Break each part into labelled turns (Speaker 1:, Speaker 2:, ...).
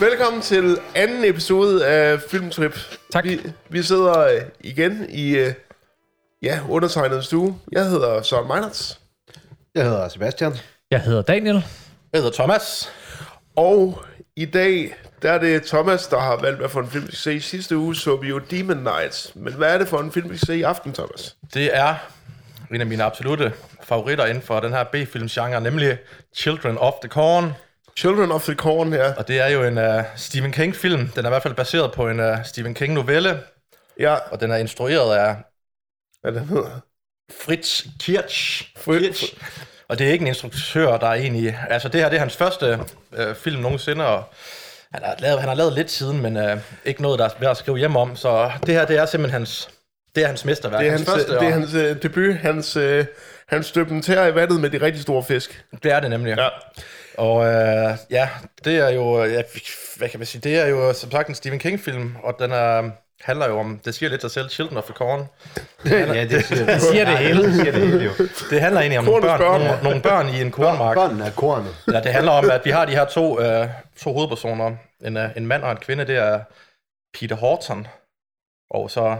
Speaker 1: Velkommen til anden episode af Filmtrip.
Speaker 2: Tak.
Speaker 1: Vi, vi sidder øh, igen i øh, ja, undertegnet stue. Jeg hedder Søren Meinerts,
Speaker 3: Jeg hedder Sebastian.
Speaker 2: Jeg hedder Daniel.
Speaker 4: Jeg hedder Thomas.
Speaker 1: og i dag der er det Thomas, der har valgt, hvad for en film vi skal se. I Sidste uge så vi jo Demon Knights, men hvad er det for en film, vi skal se i aften, Thomas?
Speaker 4: Det er en af mine absolute favoritter inden for den her B-filmsgenre, nemlig Children of the Corn.
Speaker 1: Children of the Corn her.
Speaker 4: Og det er jo en uh, Stephen King-film. Den er i hvert fald baseret på en uh, Stephen King-novelle,
Speaker 1: Ja,
Speaker 4: og den er instrueret af
Speaker 1: hvad den hedder.
Speaker 4: Fritz Kirch.
Speaker 1: Fri-
Speaker 4: Kirch. Og det er ikke en instruktør, der er egentlig... Altså, det her det er hans første øh, film nogensinde, og han har, lavet, han har lavet lidt siden, men øh, ikke noget, der er værd at skrive hjem om. Så det her, det er simpelthen hans... Det er hans mesterværk.
Speaker 1: Det er hans,
Speaker 4: første,
Speaker 1: det er
Speaker 4: og-
Speaker 1: hans øh, debut, hans, øh, hans døbentær i vandet med de rigtig store fisk.
Speaker 4: Det er det nemlig. Ja. Og øh, ja, det er jo, ja, hvad kan man sige, det er jo som sagt en Stephen King-film, og den er, handler jo om, det siger lidt sig selv, Children of the Corn.
Speaker 3: Ja, det siger, det
Speaker 2: siger det hele.
Speaker 3: Det siger det hele jo.
Speaker 4: Det handler egentlig om nogle
Speaker 1: Kornets
Speaker 4: børn,
Speaker 1: børn.
Speaker 4: nogle, nogle børn i en kornmark.
Speaker 3: Børnene er kornet.
Speaker 4: Ja, det handler om, at vi har de her to, øh, to hovedpersoner, en, øh, en mand og en kvinde, det er Peter Horton, og så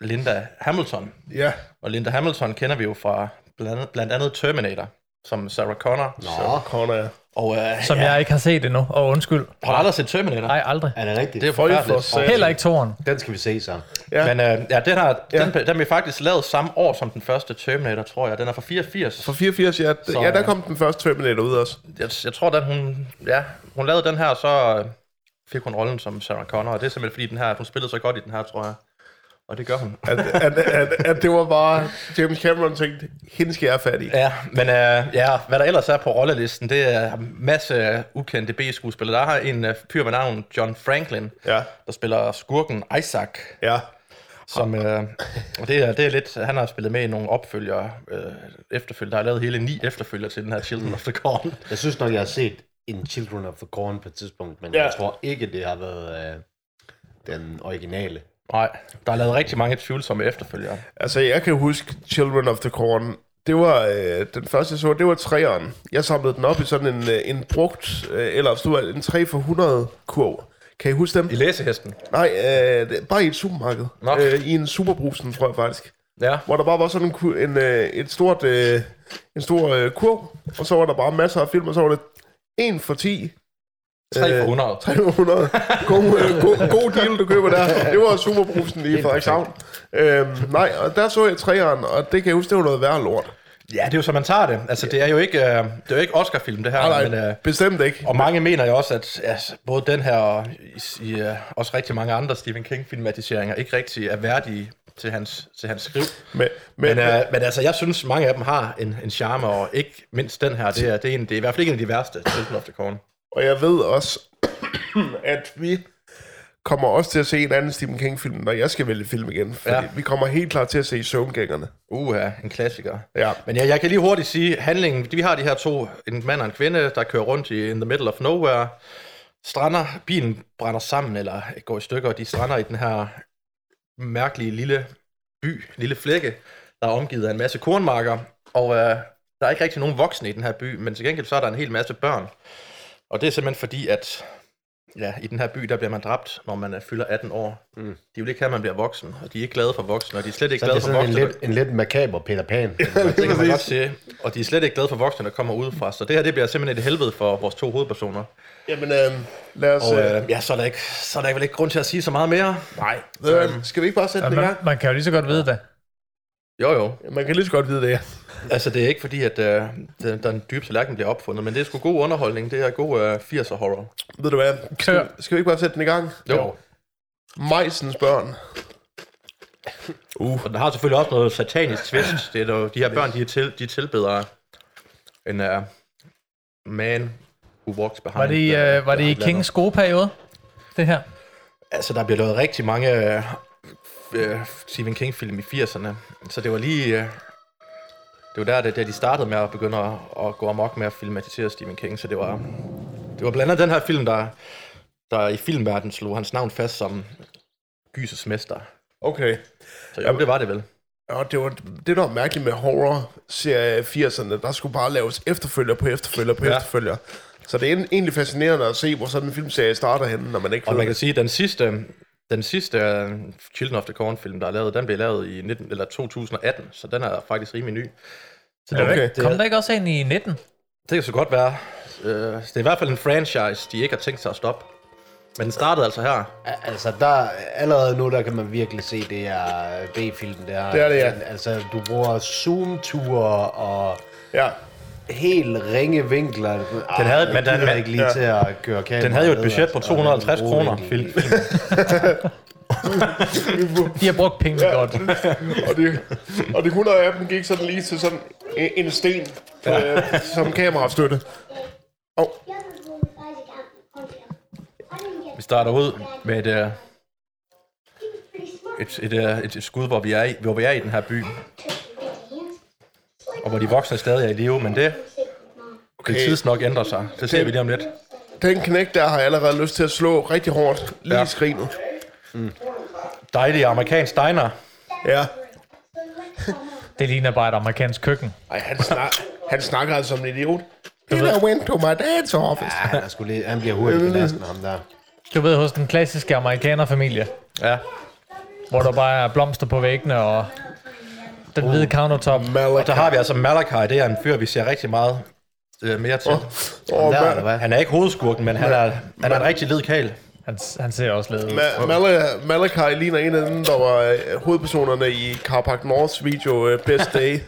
Speaker 4: Linda Hamilton.
Speaker 1: Ja,
Speaker 4: Og Linda Hamilton kender vi jo fra blandt, blandt andet Terminator, som Sarah Connor.
Speaker 3: Nå,
Speaker 1: Corner er.
Speaker 4: Og øh,
Speaker 2: Som ja. jeg ikke har set endnu, og undskyld.
Speaker 4: har du aldrig set Terminator?
Speaker 2: Nej, aldrig.
Speaker 3: er det rigtigt?
Speaker 4: Det er
Speaker 3: Det
Speaker 1: Hold
Speaker 4: forfærdeligt.
Speaker 1: for satan.
Speaker 2: Heller ikke toren.
Speaker 3: Den skal vi se sammen.
Speaker 1: Ja.
Speaker 4: Ja. Men øh, ja, den, har,
Speaker 1: Ja.
Speaker 4: ja. Den, den blev faktisk lavet samme år som den første Terminator, tror jeg. Den er fra 84.
Speaker 1: Fra 84, ja.
Speaker 4: Så,
Speaker 1: ja, der
Speaker 4: øh,
Speaker 1: kom den første Terminator ud også.
Speaker 4: Jeg, jeg tror, da hun, ja, hun lavede den her, så øh, fik hun rollen som Sarah Connor. Og det er simpelthen fordi, den her, hun spillede så godt i den her, tror jeg. Og det gør hun.
Speaker 1: At, at, at, at det var bare... James Cameron tænkte, hende skal jeg have fat i.
Speaker 4: Ja, men øh, ja, hvad der ellers er på rollelisten, det er masse af ukendte B-skuespillere. Der har en øh, fyr med navn John Franklin,
Speaker 1: Ja.
Speaker 4: der spiller skurken Isaac.
Speaker 1: Ja.
Speaker 4: Som, øh, og det er, det er lidt, han har spillet med i nogle opfølgere øh, efterfølgere. Der er lavet hele ni efterfølgere til den her Children of the Corn.
Speaker 3: Jeg synes nok, jeg har set en Children of the Corn på et tidspunkt, men
Speaker 1: Ja.
Speaker 3: ja. jeg tror ikke, det har været øh, den originale.
Speaker 4: Nej, der er lavet rigtig mange tvivlsomme efterfølgere.
Speaker 1: Altså, jeg kan huske Children of the Corn. Det var øh, den første, jeg så, det var træeren. Jeg samlede den op i sådan en, øh, en brugt, øh, eller stod en 3 for 100 kurv. Kan I huske dem?
Speaker 4: I læsehesten.
Speaker 1: Nej, øh, det, bare i et supermarked.
Speaker 4: Nå.
Speaker 1: Øh, I en superbrusen, tror jeg faktisk.
Speaker 4: Ja.
Speaker 1: Hvor der bare var sådan en, ku- en, øh, et stort, øh, en stor øh, kurv, og så var der bare masser af film, og så var det 1 for 10,
Speaker 4: 3 for 100.
Speaker 1: 300. God, øh, god, god deal, du køber der. Det var superbrusen i Frederikshavn. Øhm, nej, og der så jeg træeren, og det kan jeg huske, det var noget værre lort.
Speaker 4: Ja, det er jo, som man tager det. Altså, det er jo ikke, øh, det er jo ikke Oscar-film, det her.
Speaker 1: Nej,
Speaker 4: Men,
Speaker 1: nej,
Speaker 4: øh,
Speaker 1: bestemt ikke.
Speaker 4: og mange mener jo også, at altså, både den her og i, i, øh, også rigtig mange andre Stephen King-filmatiseringer ikke rigtig er værdige til hans, til hans skriv.
Speaker 1: Men, men,
Speaker 4: Men,
Speaker 1: men,
Speaker 4: øh, men altså, jeg synes, mange af dem har en, en charme, og ikke mindst den her. Det er, det er, en, det er i hvert fald ikke en af de værste, Children of the Corn.
Speaker 1: og jeg ved også, at vi kommer også til at se en anden Stephen King-film, når jeg skal vælge film igen. Fordi ja.
Speaker 4: Ja.
Speaker 1: vi kommer helt klart til at se Søvngængerne.
Speaker 4: Uha, en klassiker.
Speaker 1: Ja.
Speaker 4: Men jeg, jeg kan lige hurtigt sige, handlingen, vi har de her to, en mand og en kvinde, der kører rundt i in the middle of nowhere, strander, bilen brænder sammen, eller går i stykker, og de strander i den her mærkelige lille by, lille flække, der er omgivet af en masse kornmarker, og øh, der er ikke rigtig nogen voksne i den her by, men til gengæld så er der en hel masse børn. Og det er simpelthen fordi, at ja, i den her by, der bliver man dræbt, når man øh, fylder 18 år. Mm. De vil ikke have, at man bliver voksen, og de er ikke glade for voksne, og de er slet ikke
Speaker 3: Så det
Speaker 4: glade
Speaker 3: er
Speaker 4: for
Speaker 3: sådan en
Speaker 4: voksne.
Speaker 3: lidt, en lidt makaber Peter Pan.
Speaker 4: Det kan man godt se. Og de er slet ikke glade for voksne, der kommer udefra. Så det her det bliver simpelthen et helvede for vores to hovedpersoner.
Speaker 1: Jamen, øh, lad os...
Speaker 4: Og
Speaker 1: øh,
Speaker 4: øh, ja, så er, der ikke, så er der vel ikke grund til at sige så meget mere. Øhm,
Speaker 1: nej, ved du hvad, skal vi ikke bare sætte den i
Speaker 2: Man,
Speaker 1: gang?
Speaker 2: man kan jo lige så godt vide det.
Speaker 4: Jo jo.
Speaker 1: Man kan lige så godt vide det, ja.
Speaker 4: Altså, det er ikke fordi, at øh, den, den dybe tallerken bliver opfundet, men det er sgu god underholdning. Det er god øh, 80'er horror.
Speaker 1: Ved du hvad, skal, skal vi ikke bare sætte den i gang?
Speaker 4: Jo. jo.
Speaker 1: Majsens børn.
Speaker 4: Og den har selvfølgelig også noget satanisk twist. Det er jo, de her børn, de, er til, de tilbeder en øh, man who walks behind.
Speaker 2: Var det i,
Speaker 4: the-
Speaker 2: øh, var det i
Speaker 4: behind the-
Speaker 2: Kings gode periode? Det her?
Speaker 4: Altså, der bliver lavet rigtig mange øh, øh, Stephen King-film i 80'erne. Så det var lige... Øh, det var der, det, der, de startede med at begynde at, at gå amok med at filmatisere Stephen King. Så det var, det var blandt andet den her film, der, der i filmverdenen slog hans navn fast som Gyses mester.
Speaker 1: Okay.
Speaker 4: Så jo, det var det vel.
Speaker 1: Og det var det, der var mærkeligt med horror-serie i 80'erne. Der skulle bare laves efterfølger på efterfølger på ja.
Speaker 4: Ja.
Speaker 1: efterfølger. Så det er en- egentlig fascinerende at se, hvor sådan en filmserie starter henne, når man ikke
Speaker 4: Og
Speaker 1: ved
Speaker 4: man kan
Speaker 1: det.
Speaker 4: sige, at den sidste, den sidste øh, Children of the Corn-film, der er lavet, den blev lavet i 19, eller 2018, så den er faktisk rimelig ny. Så det,
Speaker 1: Okay.
Speaker 4: okay. ikke,
Speaker 2: Kom
Speaker 4: det,
Speaker 2: der ikke også en i 19?
Speaker 4: det kan så godt være. Øh, det er i hvert fald en franchise, de ikke har tænkt sig at stoppe. Men den startede altså her.
Speaker 3: Al- Altså, der, allerede nu, der kan man virkelig se, det er B-filmen, der.
Speaker 1: Det er det, ja.
Speaker 3: Altså, du bruger zoom-ture og
Speaker 1: Ja,
Speaker 3: helt ringe vinkler. Arh,
Speaker 4: Ah, Den havde-
Speaker 3: jeg
Speaker 4: men den-
Speaker 3: gider ikke lige
Speaker 1: ja.
Speaker 3: til at køre altså. kamera.
Speaker 4: Den havde jo et budget på 250 kroner. Phil.
Speaker 2: De har brugt pengene godt.
Speaker 1: og det, og det 100 af dem gik sådan lige til sådan en en sten ja. øh, som kamerastøtte.
Speaker 4: Vi starter ud med et, øh, et, et, øh, et, et skud, hvor vi, er i, hvor vi er i den her by, og hvor de voksne stadig er i live, men det okay. vil tids nok ændre sig. Det ser vi lige om lidt.
Speaker 1: Den knæk der har jeg allerede lyst til at slå rigtig hårdt lige ja.
Speaker 4: Ja.
Speaker 1: i skrinet.
Speaker 4: Dejlig amerikansk diner.
Speaker 1: Ja.
Speaker 2: Det ligner bare et amerikansk køkken.
Speaker 1: Ej, han, snak, han snakker altså som en idiot. Peter went to my dad's office.
Speaker 3: Ja, han, er sgu lige, han bliver hurtigt belastet, ham der.
Speaker 2: Du ved, hos den klassiske amerikanerfamilie,
Speaker 4: Ja,
Speaker 2: hvor der bare er blomster på væggene og den hvide countertop.
Speaker 1: Malik.
Speaker 4: så har vi altså Malachi, det er en fyr, vi ser rigtig meget øh, mere til.
Speaker 1: Og
Speaker 3: Der, eller
Speaker 1: Ma-
Speaker 3: hvad?
Speaker 4: Han er ikke hovedskurken, men han er, han er en rigtig led kæl.
Speaker 2: Han, han ser også lidt ud.
Speaker 1: Ma- Mala- Malachi ligner en af dem, der var øh, hovedpersonerne i Carpark Norths video øh, Best Day.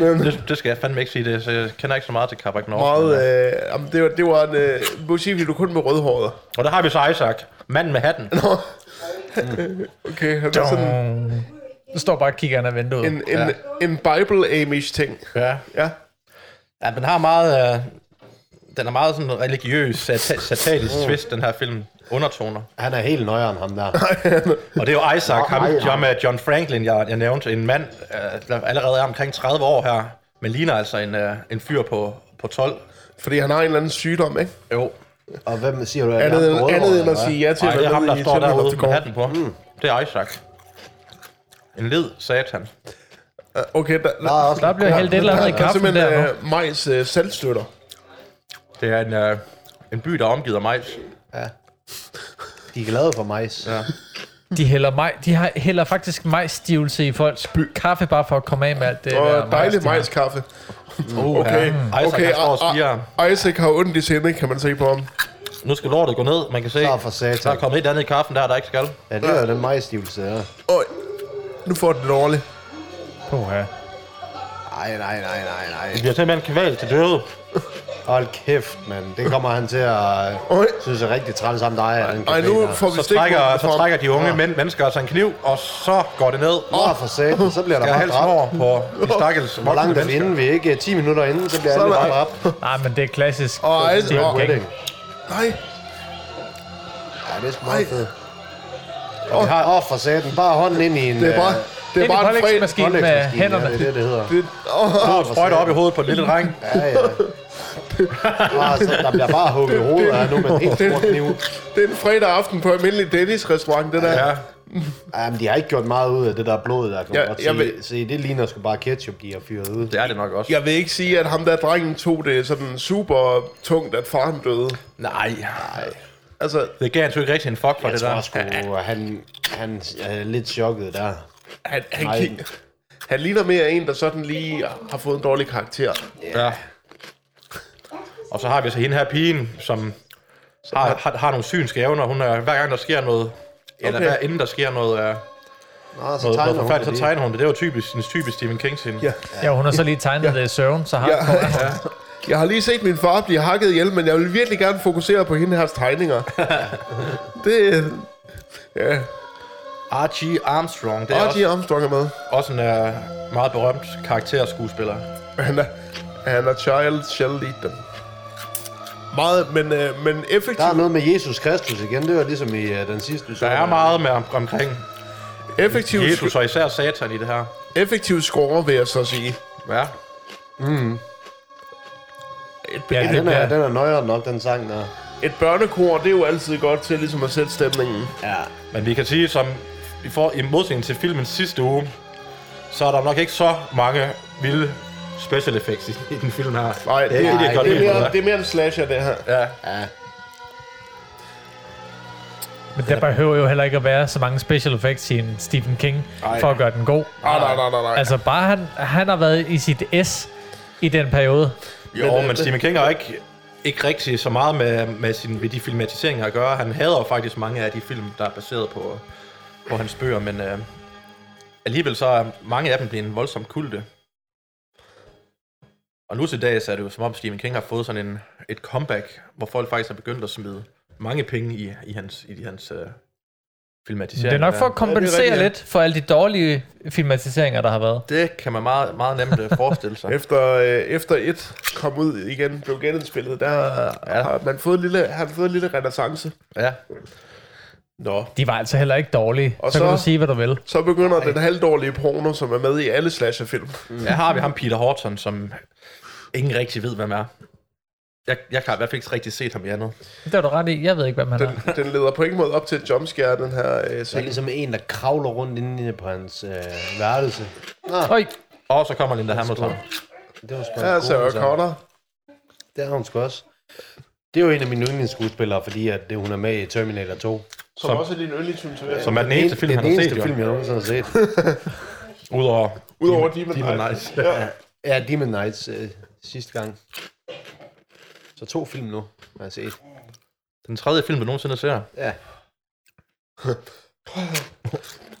Speaker 4: Det, det skal jeg fandme ikke sige, det, så jeg kender ikke så meget til Kabak North.
Speaker 1: Meget, øh, jamen, det, var, det var en øh, musikvideo kun med rødhåret.
Speaker 4: Og der har vi så Isaac, manden med hatten.
Speaker 1: Okay, han er sådan
Speaker 2: Du Mm. står bare og kigger ind ad vinduet.
Speaker 1: en, en, en Bible-Amish-ting.
Speaker 4: Ja.
Speaker 1: Ja.
Speaker 4: Ja, den har meget... Øh, den er meget sådan en religiøs, sata- satanisk twist, den her film. Undertoner.
Speaker 3: Han er helt nøjeren, ham der.
Speaker 4: Og det er jo Isaac, ham,
Speaker 3: nej, nej.
Speaker 4: John, John Franklin, jeg, jeg nævnte. En mand, øh, der allerede er omkring 30 år her, men ligner altså en, øh, en fyr på, på 12.
Speaker 1: Fordi han har en eller anden sygdom, ikke?
Speaker 4: Jo.
Speaker 3: Og hvem siger du? er
Speaker 1: Andet,
Speaker 3: ham
Speaker 1: end,
Speaker 3: rødhåret,
Speaker 1: andet end
Speaker 3: eller
Speaker 1: at
Speaker 3: hvad?
Speaker 1: sige ja til
Speaker 4: Nej,
Speaker 1: at
Speaker 4: det er
Speaker 1: være
Speaker 4: ham,
Speaker 1: med
Speaker 4: der
Speaker 1: i
Speaker 4: står
Speaker 1: Children of
Speaker 4: derude
Speaker 1: the
Speaker 4: med
Speaker 1: Corn.
Speaker 4: hatten på. Det er Isaac. En led satan.
Speaker 1: Okay, der,
Speaker 3: Der
Speaker 1: der,
Speaker 3: er også
Speaker 2: Der bliver hældt et eller andet i
Speaker 1: der er
Speaker 2: kaffen der
Speaker 1: simpelthen
Speaker 2: nu.
Speaker 1: øh, majs øh, saltstøtter.
Speaker 4: Det er en, øh, en by, der er omgivet af majs.
Speaker 3: De er glade for majs. Ja.
Speaker 2: De hælder, maj, de har, hælder faktisk majsstivelse i folks by. kaffe, bare for at komme af med alt det
Speaker 1: Og dejlig
Speaker 2: de har.
Speaker 1: majskaffe.
Speaker 4: Uh,
Speaker 1: Okay,
Speaker 4: Isaac,
Speaker 1: okay.
Speaker 4: han står og
Speaker 1: og-
Speaker 4: spirer.
Speaker 1: og- Isaac har ondt i sinde, kan man se på ham.
Speaker 4: Nu skal lortet gå ned, man kan se.
Speaker 3: Så for satan.
Speaker 4: Der er kommet et andet i kaffen der, der ikke skal.
Speaker 3: ja, det er jo den majstivelse, der.
Speaker 1: Øj, nu får den det dårligt.
Speaker 2: Puha.
Speaker 3: Nej, nej, nej, nej, nej.
Speaker 4: Vi bliver simpelthen kvalt til døde.
Speaker 3: Hold kæft, mand. Det kommer han til at øh,
Speaker 1: Øj,
Speaker 3: synes er rigtig træt sammen dig. Ej,
Speaker 1: ej, nu får vi
Speaker 4: Så
Speaker 1: stik.
Speaker 4: trækker, så trækker de unge mænd, mennesker altså en kniv, og så går det ned.
Speaker 3: Åh, for satan, så bliver der
Speaker 4: Jeg er
Speaker 3: bare
Speaker 4: halsen
Speaker 3: dræbt.
Speaker 4: over på de stakkels
Speaker 3: Hvor
Speaker 4: voksne
Speaker 3: langt er vi
Speaker 4: mennesker.
Speaker 3: inden? Vi er ikke 10 minutter inden, så bliver alle
Speaker 1: Sådan.
Speaker 3: bare dræbt.
Speaker 2: Nej, men det er klassisk.
Speaker 1: Og Isaac, og,
Speaker 2: Okay.
Speaker 3: Wedding.
Speaker 1: nej,
Speaker 3: Ja, det er sgu meget
Speaker 1: Ej.
Speaker 3: fedt. Og vi har, åh, for satan, bare hånden ind i en... øh,
Speaker 1: det er bare, det
Speaker 2: Det
Speaker 1: er
Speaker 2: er
Speaker 1: bare
Speaker 2: en
Speaker 1: en fredag.
Speaker 2: pålægsmaskine med hænderne.
Speaker 3: Ja, det er det, det hedder.
Speaker 1: Det, åh,
Speaker 3: Åh, for
Speaker 4: Sprøjter op
Speaker 3: satan.
Speaker 4: i hovedet på den lille dreng.
Speaker 3: Ja, ja. Åh, så der bliver bare hugget hovedet af nu med en helt stor kniv.
Speaker 1: det er en fredag aften på almindelig Dennis restaurant, det der.
Speaker 4: Ja.
Speaker 3: Jamen, de har ikke gjort meget ud af det der blod, der kan man
Speaker 1: Ja,
Speaker 3: godt
Speaker 1: jeg
Speaker 3: sige.
Speaker 1: vil-
Speaker 3: Se, det ligner sgu bare ketchup, de har fyret ud.
Speaker 4: Det er det nok også.
Speaker 1: Jeg vil ikke sige, at ham der drengen tog det sådan super tungt, at faren døde.
Speaker 4: Nej.
Speaker 1: Altså,
Speaker 4: Det gav han sgu ikke rigtig en fuck for
Speaker 3: Jeg
Speaker 4: det
Speaker 3: tror
Speaker 4: der.
Speaker 3: sgu, han, han er lidt chokket der.
Speaker 1: han, han,
Speaker 3: Nej.
Speaker 1: kig, han ligner mere en, der sådan lige har fået en dårlig karakter.
Speaker 4: Ja. Og så har vi så hende her pigen, som har, har, har nogle synske evner. Hun er, hver gang der sker noget, eller
Speaker 1: Okay.
Speaker 4: hver inden der sker noget, øh,
Speaker 1: Ah,
Speaker 3: Nå, så
Speaker 4: noget, noget
Speaker 3: tegner hun
Speaker 4: forfærdeligt,
Speaker 3: det
Speaker 4: så
Speaker 3: lige.
Speaker 4: tegner hun det. Det er jo typisk, en typisk Stephen King scene.
Speaker 1: Ja.
Speaker 2: Ja, hun har så lige tegnet det i søvn, så har ja.
Speaker 1: Jeg har lige set min far blive hakket ihjel, men jeg vil virkelig gerne fokusere på hende her tegninger. det, ja,
Speaker 4: Archie Armstrong, det er
Speaker 1: Archie
Speaker 4: også,
Speaker 1: Armstrong er med.
Speaker 4: også en øh, meget berømt karakterskuespiller.
Speaker 1: Han er, han er child shall lead them. Meget, men, øh, men
Speaker 3: Der er
Speaker 1: effektiv,
Speaker 3: noget med Jesus Kristus igen, det var ligesom i uh, den sidste.
Speaker 4: Der er meget med om, omkring
Speaker 1: effektiv,
Speaker 4: Jesus og især satan i det her.
Speaker 1: effektiv score, vil jeg så sige.
Speaker 4: Ja.
Speaker 1: Et,
Speaker 2: Ja,
Speaker 1: ja,
Speaker 3: Ja,
Speaker 1: et,
Speaker 3: den
Speaker 2: det
Speaker 3: er,
Speaker 2: bliver-
Speaker 3: den er nøjeren nok, den sang der.
Speaker 1: et børnekor, det er jo altid godt til ligesom at sætte stemningen.
Speaker 3: Ja.
Speaker 4: Men vi kan sige, som i, for, i modsætning til filmen sidste uge, så er der nok ikke så mange vilde special effects i, i den film her.
Speaker 1: Nej, det,
Speaker 3: Nej,
Speaker 1: det,
Speaker 3: det er
Speaker 1: det,
Speaker 3: godt
Speaker 1: det, er
Speaker 3: lige
Speaker 1: mere, det er mere en slasher, det her.
Speaker 4: Ja,
Speaker 3: Ja.
Speaker 2: Men der behøver jo heller ikke at være så mange special effects i en Stephen King,
Speaker 4: Ej.
Speaker 2: for at gøre den god.
Speaker 1: Ah, nej, nej, nej, nej.
Speaker 2: Altså bare han, han har været i sit S i den periode.
Speaker 4: jo, men, men Stephen King har ikke, ikke rigtig så meget med, med, sin, med de filmatiseringer at gøre. Han hader jo faktisk mange af de film, der er baseret på, på hans bøger, men øh, alligevel så er mange af dem blevet en voldsom kulte. Og nu til dags er det jo som om Stephen King har fået sådan en, et comeback, hvor folk faktisk har begyndt at smide mange penge i, i hans, i hans øh,
Speaker 2: Det
Speaker 4: filmatiseringer.
Speaker 2: er nok for
Speaker 4: der.
Speaker 2: at kompensere
Speaker 1: rigtigt, ja.
Speaker 2: lidt for alle de dårlige filmatiseringer, der har været.
Speaker 4: Det kan man meget, meget nemt øh, forestille sig.
Speaker 1: Efter, øh, efter et kom ud igen, blev genindspillet, der ja. har man fået en lille, har man fået en lille renaissance.
Speaker 4: Ja.
Speaker 1: Nå.
Speaker 2: De var altså heller ikke dårlige.
Speaker 1: Og
Speaker 2: så, så kan
Speaker 1: så-
Speaker 2: du sige, hvad du vil.
Speaker 1: Så begynder den halvdårlige porno, som er med i alle slasherfilm.
Speaker 4: Der har vi ham, Peter Horton, som ingen rigtig ved, hvem er. Jeg, jeg kan i hvert fald ikke rigtig set ham i andet.
Speaker 2: Det har du ret i. Jeg ved ikke, hvad man er.
Speaker 1: Den, den leder på ingen måde op til et jumpscare, den her øh,
Speaker 3: Der er
Speaker 1: scene.
Speaker 3: ligesom en, der kravler rundt inde på hans øh, værelse.
Speaker 2: Øj,
Speaker 4: Og så kommer Linda Hamilton.
Speaker 3: Det var sgu
Speaker 1: Ja,
Speaker 3: en
Speaker 1: Sarah
Speaker 3: god sang.
Speaker 1: Connor.
Speaker 3: Det har hun sgu også. Det er jo en af mine yndlingsskuespillere, fordi at det, hun er med i Terminator 2.
Speaker 1: Som, også er din yndlingsfilm.
Speaker 4: Som er den eneste film,
Speaker 3: det er
Speaker 4: han
Speaker 3: den
Speaker 4: har
Speaker 3: eneste
Speaker 4: set,
Speaker 3: film,
Speaker 4: film.
Speaker 3: jeg nogensinde har set.
Speaker 4: jo. Udover
Speaker 1: Udover Demon,
Speaker 4: Demon
Speaker 1: Knight.
Speaker 4: Nights.
Speaker 1: Ja.
Speaker 3: Ja, Demon Knights øh, sidste gang. Så to film nu, har jeg set.
Speaker 4: Den tredje film, du nogensinde ser.
Speaker 3: Ja.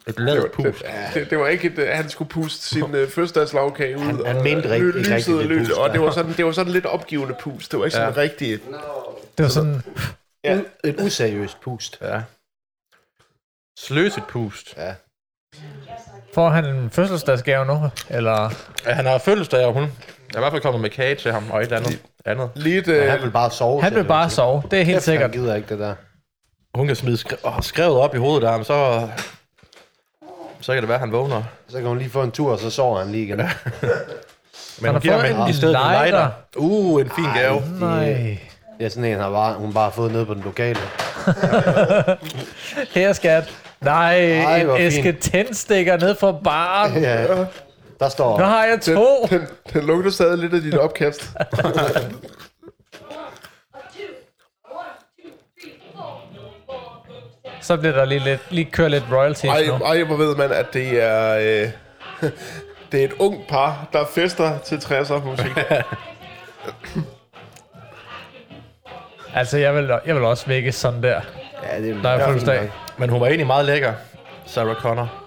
Speaker 4: Et lavet
Speaker 1: Det,
Speaker 4: pus.
Speaker 1: det, det var ikke, et, øh, han skulle puste sin øh, fødselsdagslagkage ud.
Speaker 3: Han- han
Speaker 1: og,
Speaker 3: mente
Speaker 1: øh,
Speaker 3: rigtig-
Speaker 1: ly-
Speaker 3: ikke rigtig
Speaker 1: lyset
Speaker 3: det
Speaker 1: lød,
Speaker 3: pust,
Speaker 1: Og
Speaker 3: ja.
Speaker 1: det var, sådan, det var sådan lidt opgivende pust. Det var ikke sådan ja. rigtigt.
Speaker 2: det var sådan...
Speaker 1: Ja.
Speaker 3: U- et useriøst pust.
Speaker 4: Ja. Sløset pust.
Speaker 3: Ja.
Speaker 2: Får han en fødselsdagsgave nu? Eller...
Speaker 4: Ja, han har fødselsdag, og hun er i hvert fald kommet med kage til ham, og et eller andet. andet.
Speaker 1: Lige et, øh,
Speaker 3: Han vil bare sove.
Speaker 2: Han vil bare sove. Det er helt sikkert.
Speaker 3: Han gider ikke det der.
Speaker 4: Hun kan smide skre- åh, skrevet op i hovedet der, men så, så kan det være, at han vågner.
Speaker 3: Så kan hun lige få en tur, og så sover han lige igen. Ja.
Speaker 4: Men hun
Speaker 2: har
Speaker 4: giver
Speaker 2: fået
Speaker 4: ham
Speaker 2: en
Speaker 4: i stedet en
Speaker 2: lighter.
Speaker 4: lighter. Uh, en fin gave.
Speaker 2: Nej.
Speaker 3: Det er sådan en, har bare, hun bare har fået ned på den lokale.
Speaker 2: Her, skat. Nej,
Speaker 3: Ej,
Speaker 2: en
Speaker 3: hvor fint.
Speaker 2: æske tændstikker ned fra baren.
Speaker 3: Ja. Der står...
Speaker 2: Nu har jeg
Speaker 1: den,
Speaker 2: to.
Speaker 1: den, den lugter stadig lidt af dit opkast.
Speaker 2: Så bliver der lige, lidt, lige kører lidt royalties
Speaker 1: Ej,
Speaker 2: nu.
Speaker 1: ej, hvor ved man, at det er... Øh, det er et ung par, der fester til 60'er musik.
Speaker 2: Altså, jeg vil, jeg vil også vække sådan der.
Speaker 3: Ja, det er
Speaker 2: Der er
Speaker 3: fint
Speaker 2: fødselsdag.
Speaker 3: nok.
Speaker 4: Men hun var egentlig meget lækker, Sarah Connor.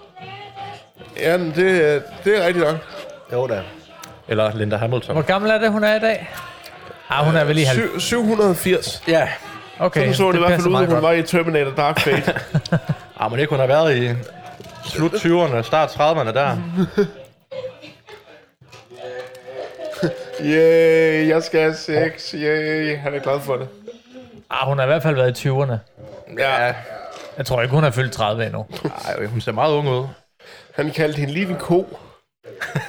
Speaker 1: Jamen, det, øh, det er rigtigt nok.
Speaker 3: Jo da.
Speaker 4: Eller Linda Hamilton.
Speaker 2: Hvor gammel er det, hun er i dag? Ah, hun er vel lige halv...
Speaker 1: Syv- 780.
Speaker 4: Ja.
Speaker 2: Okay,
Speaker 1: Sådan så det, det i hvert fald
Speaker 2: passer
Speaker 1: ud,
Speaker 2: meget
Speaker 1: at hun
Speaker 2: godt.
Speaker 1: var i Terminator Dark Fate.
Speaker 4: Ah, men ikke hun har været i slut 20'erne, start 30'erne der.
Speaker 1: Yay, jeg skal have sex. Yay, han er glad for det.
Speaker 2: Ah, hun har i hvert fald været i 20'erne.
Speaker 1: Ja.
Speaker 2: Jeg tror ikke, hun har fyldt 30 endnu.
Speaker 4: Ej, hun ser meget ung ud.
Speaker 1: Han kaldte hende lige en ko.
Speaker 3: Det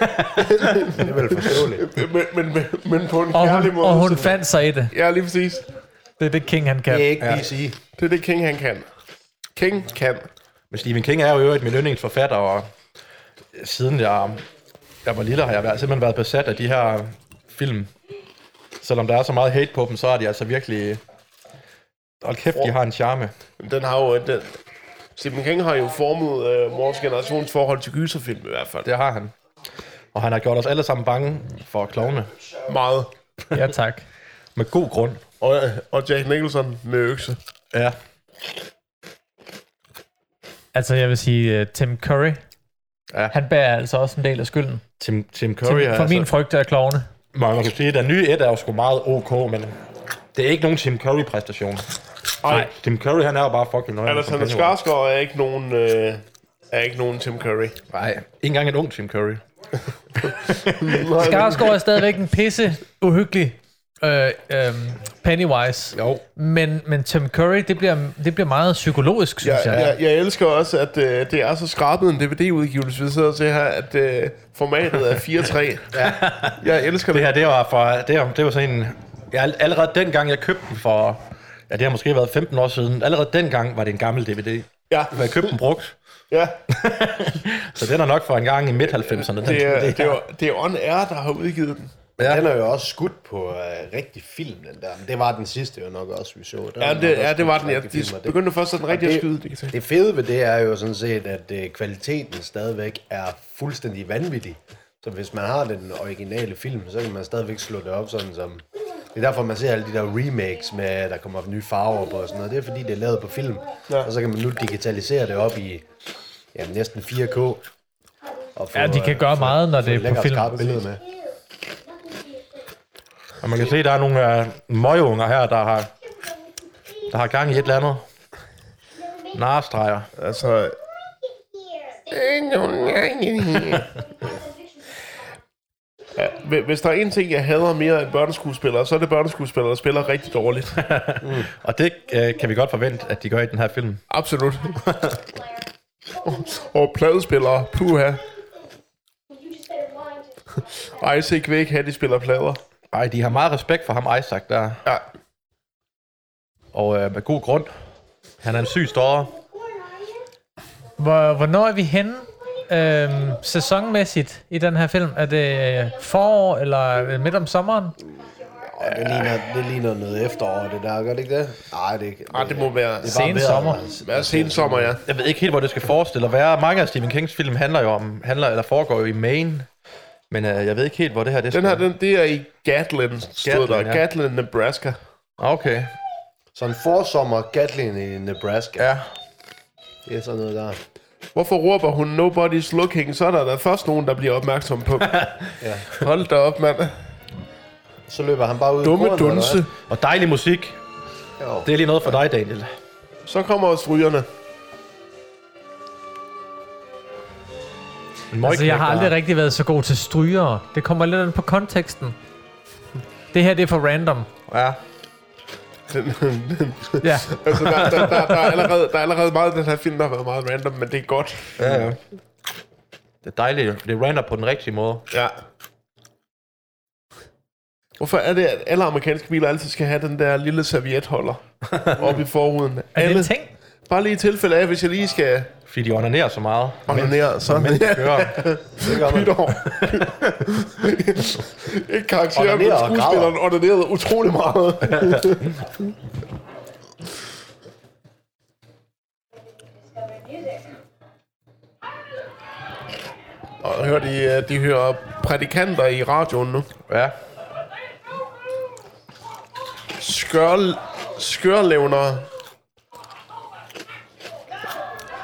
Speaker 3: er vel forståeligt.
Speaker 1: Men, men, men, men på en
Speaker 2: Og
Speaker 1: kærlig
Speaker 2: hun,
Speaker 1: måde.
Speaker 2: og hun
Speaker 1: så-
Speaker 2: fandt sig i det.
Speaker 1: Ja, lige præcis.
Speaker 2: Det er det King, han kan.
Speaker 3: Det er ikke PC.
Speaker 1: Det er det, King han kan. King kan.
Speaker 4: Men Stephen King er jo i øvrigt min yndlingsforfatter, og siden jeg, jeg var lille, har jeg været, simpelthen været besat af de her film. Selvom der er så meget hate på dem, så er de altså virkelig... Hold kæft, de har en charme.
Speaker 1: Den har jo... øh, Den, Stephen King har jo formet øh, vores generations forhold til gyserfilm i hvert fald.
Speaker 4: Det har han. Og han har gjort os alle sammen bange for klovne.
Speaker 1: Meget.
Speaker 2: Ja, tak.
Speaker 4: Med god grund.
Speaker 1: Og, øh, og Jack Nicholson med økse.
Speaker 4: Ja.
Speaker 2: Altså, jeg vil sige, uh, Tim Curry,
Speaker 4: Ja.
Speaker 2: han bærer altså også en del af skylden.
Speaker 4: Tim, Tim Curry
Speaker 2: Tim,
Speaker 4: er altså-
Speaker 2: for min frygt er klovne.
Speaker 4: Man man kan sige, at den nye et er jo sgu meget ok, men det er ikke nogen Tim Curry-præstation. Altså,
Speaker 1: Nej.
Speaker 4: Tim Curry, han er jo bare fucking nøjeren.
Speaker 1: Alexander Skarsgård er ikke nogen... Øh, er ikke nogen Tim Curry.
Speaker 4: Nej, ikke engang en ung Tim Curry.
Speaker 2: Skarsgård er stadigvæk en pisse uhyggelig øh, øh, Pennywise.
Speaker 4: Jo.
Speaker 2: Men, men Tim Curry, det bliver, det bliver meget psykologisk,
Speaker 1: Jeg,
Speaker 2: synes jeg.
Speaker 1: jeg, jeg elsker også, at øh, det er så skrabet en DVD-udgivelse, vi sidder til her, at øh, formatet er 4-3. ja. Jeg elsker
Speaker 4: Det
Speaker 1: det.
Speaker 4: her, det var, for, det, var, det var sådan en... Jeg, al- allerede dengang, jeg købte den for... Ja, det har måske været 15 år siden. Allerede dengang var det en gammel DVD.
Speaker 1: Ja.
Speaker 4: Jeg købte den brugt.
Speaker 1: Ja,
Speaker 4: Så den er nok fra en gang i midt-90'erne.
Speaker 1: det er, det,
Speaker 4: det,
Speaker 1: er, det er On Air, der har udgivet den.
Speaker 4: Ja.
Speaker 3: Ja. Den er jo også skudt på øh, rigtig film, den der. Men det var den sidste jo nok også, vi så. Den
Speaker 1: Ja,
Speaker 3: er nok
Speaker 1: det,
Speaker 3: også
Speaker 1: ja, det
Speaker 3: skudt
Speaker 1: var
Speaker 3: på
Speaker 1: den. Ja,
Speaker 3: rigtig film,
Speaker 1: de
Speaker 3: og
Speaker 1: begyndte først sådan rigtig at skyde. Det, kan jeg se.
Speaker 3: det, det fede ved det er jo sådan set, at øh, kvaliteten stadigvæk er fuldstændig vanvittig. Så hvis man har den originale film, så kan man stadigvæk slå det op sådan som... Det er derfor, man ser alle de der remakes med, at der kommer nye farver på og sådan noget. Det er fordi, det er lavet på film. Ja. Og så kan man nu digitalisere det op i ja, næsten 4K. Og få, øh,
Speaker 2: Ja, de kan gøre meget, når det er på film.
Speaker 3: Skarpt billede med.
Speaker 4: Og man kan se, der er nogle øh, møgeunger her, der har, der har gang i et eller andet. Narestreger.
Speaker 1: Altså... Ja, hvi- hvis der er en ting, jeg hader mere end børneskuespillere, så er det børneskuespillere, der spiller rigtig dårligt.
Speaker 4: Og det øh, kan vi godt forvente, at de gør i den her film.
Speaker 1: Absolut. Og pladespillere, puha. Ej, se kvæk, have de spiller plader.
Speaker 4: Ej, de har meget respekt for ham, Isaac, der.
Speaker 1: Ja,
Speaker 4: Og øh, med god grund. Han er en syg stårer.
Speaker 2: Hvor, hvornår er vi henne øhm, sæsonmæssigt i den her film? Er det øh, forår eller er det midt om sommeren?
Speaker 3: Og det ligner, det ligner noget efterår, det der, gør det ikke det? Nej, det, det,
Speaker 1: Ej, det må være,
Speaker 3: bare
Speaker 2: Sen
Speaker 3: vejret,
Speaker 2: sommer.
Speaker 3: altså.
Speaker 1: være sensommer, ja.
Speaker 4: Jeg ved ikke helt, hvor det skal forestille at være. Mange af Stephen Kings film handler jo om, handler, eller foregår jo i Maine. Men øh, jeg ved ikke helt, hvor det her det
Speaker 1: Den
Speaker 4: skal.
Speaker 1: her, den, det er i Gatlin, stod
Speaker 4: Gatlin,
Speaker 1: der.
Speaker 4: ja.
Speaker 1: Gatlin, Nebraska.
Speaker 4: Ah, Okay,
Speaker 3: Så en forsommer Gatlin i Nebraska.
Speaker 4: ja.
Speaker 3: Det er sådan noget der.
Speaker 1: Hvorfor råber hun, nobody's looking? Så er der da først nogen, der bliver opmærksom på.
Speaker 3: Ja.
Speaker 1: Hold da op, mand.
Speaker 3: Så løber han bare ud i
Speaker 1: Dumme
Speaker 3: kornet, eller
Speaker 1: dunse.
Speaker 4: Og dejlig musik.
Speaker 3: hvad? Jo.
Speaker 4: Det er lige noget for dig, Daniel.
Speaker 2: Altså,
Speaker 1: Så kommer strygerne.
Speaker 4: En
Speaker 2: Altså, jeg har
Speaker 4: møgknægt, der-
Speaker 2: aldrig rigtig været så god til strygere. Det kommer lidt an på konteksten. Det her, det er for random.
Speaker 4: Ja.
Speaker 2: Ja.
Speaker 1: altså, der, der, der, der, er allerede, der er allerede meget i den her film, der har været meget random, men det er godt.
Speaker 4: Ja, ja. Det er dejligt. Det rander på den rigtige måde.
Speaker 1: Ja. Hvorfor er det, at alle amerikanske biler altid skal have den der lille servietholder oppe i forruden?
Speaker 2: Er det
Speaker 1: Alle,
Speaker 2: en ting?
Speaker 1: bare lige i tilfælde af, hvis jeg lige skal
Speaker 4: Fordi de onanerer så meget.
Speaker 1: ordinere, så
Speaker 4: Men de kører.
Speaker 3: Det gør man.
Speaker 1: Pytår. Ikke karakteren, men
Speaker 3: Ordinerer og
Speaker 1: skuespilleren ordinerede utrolig meget. Og hører de, øh, de hører prædikanter i radioen nu.
Speaker 4: Ja.
Speaker 1: Skør, skørlevner.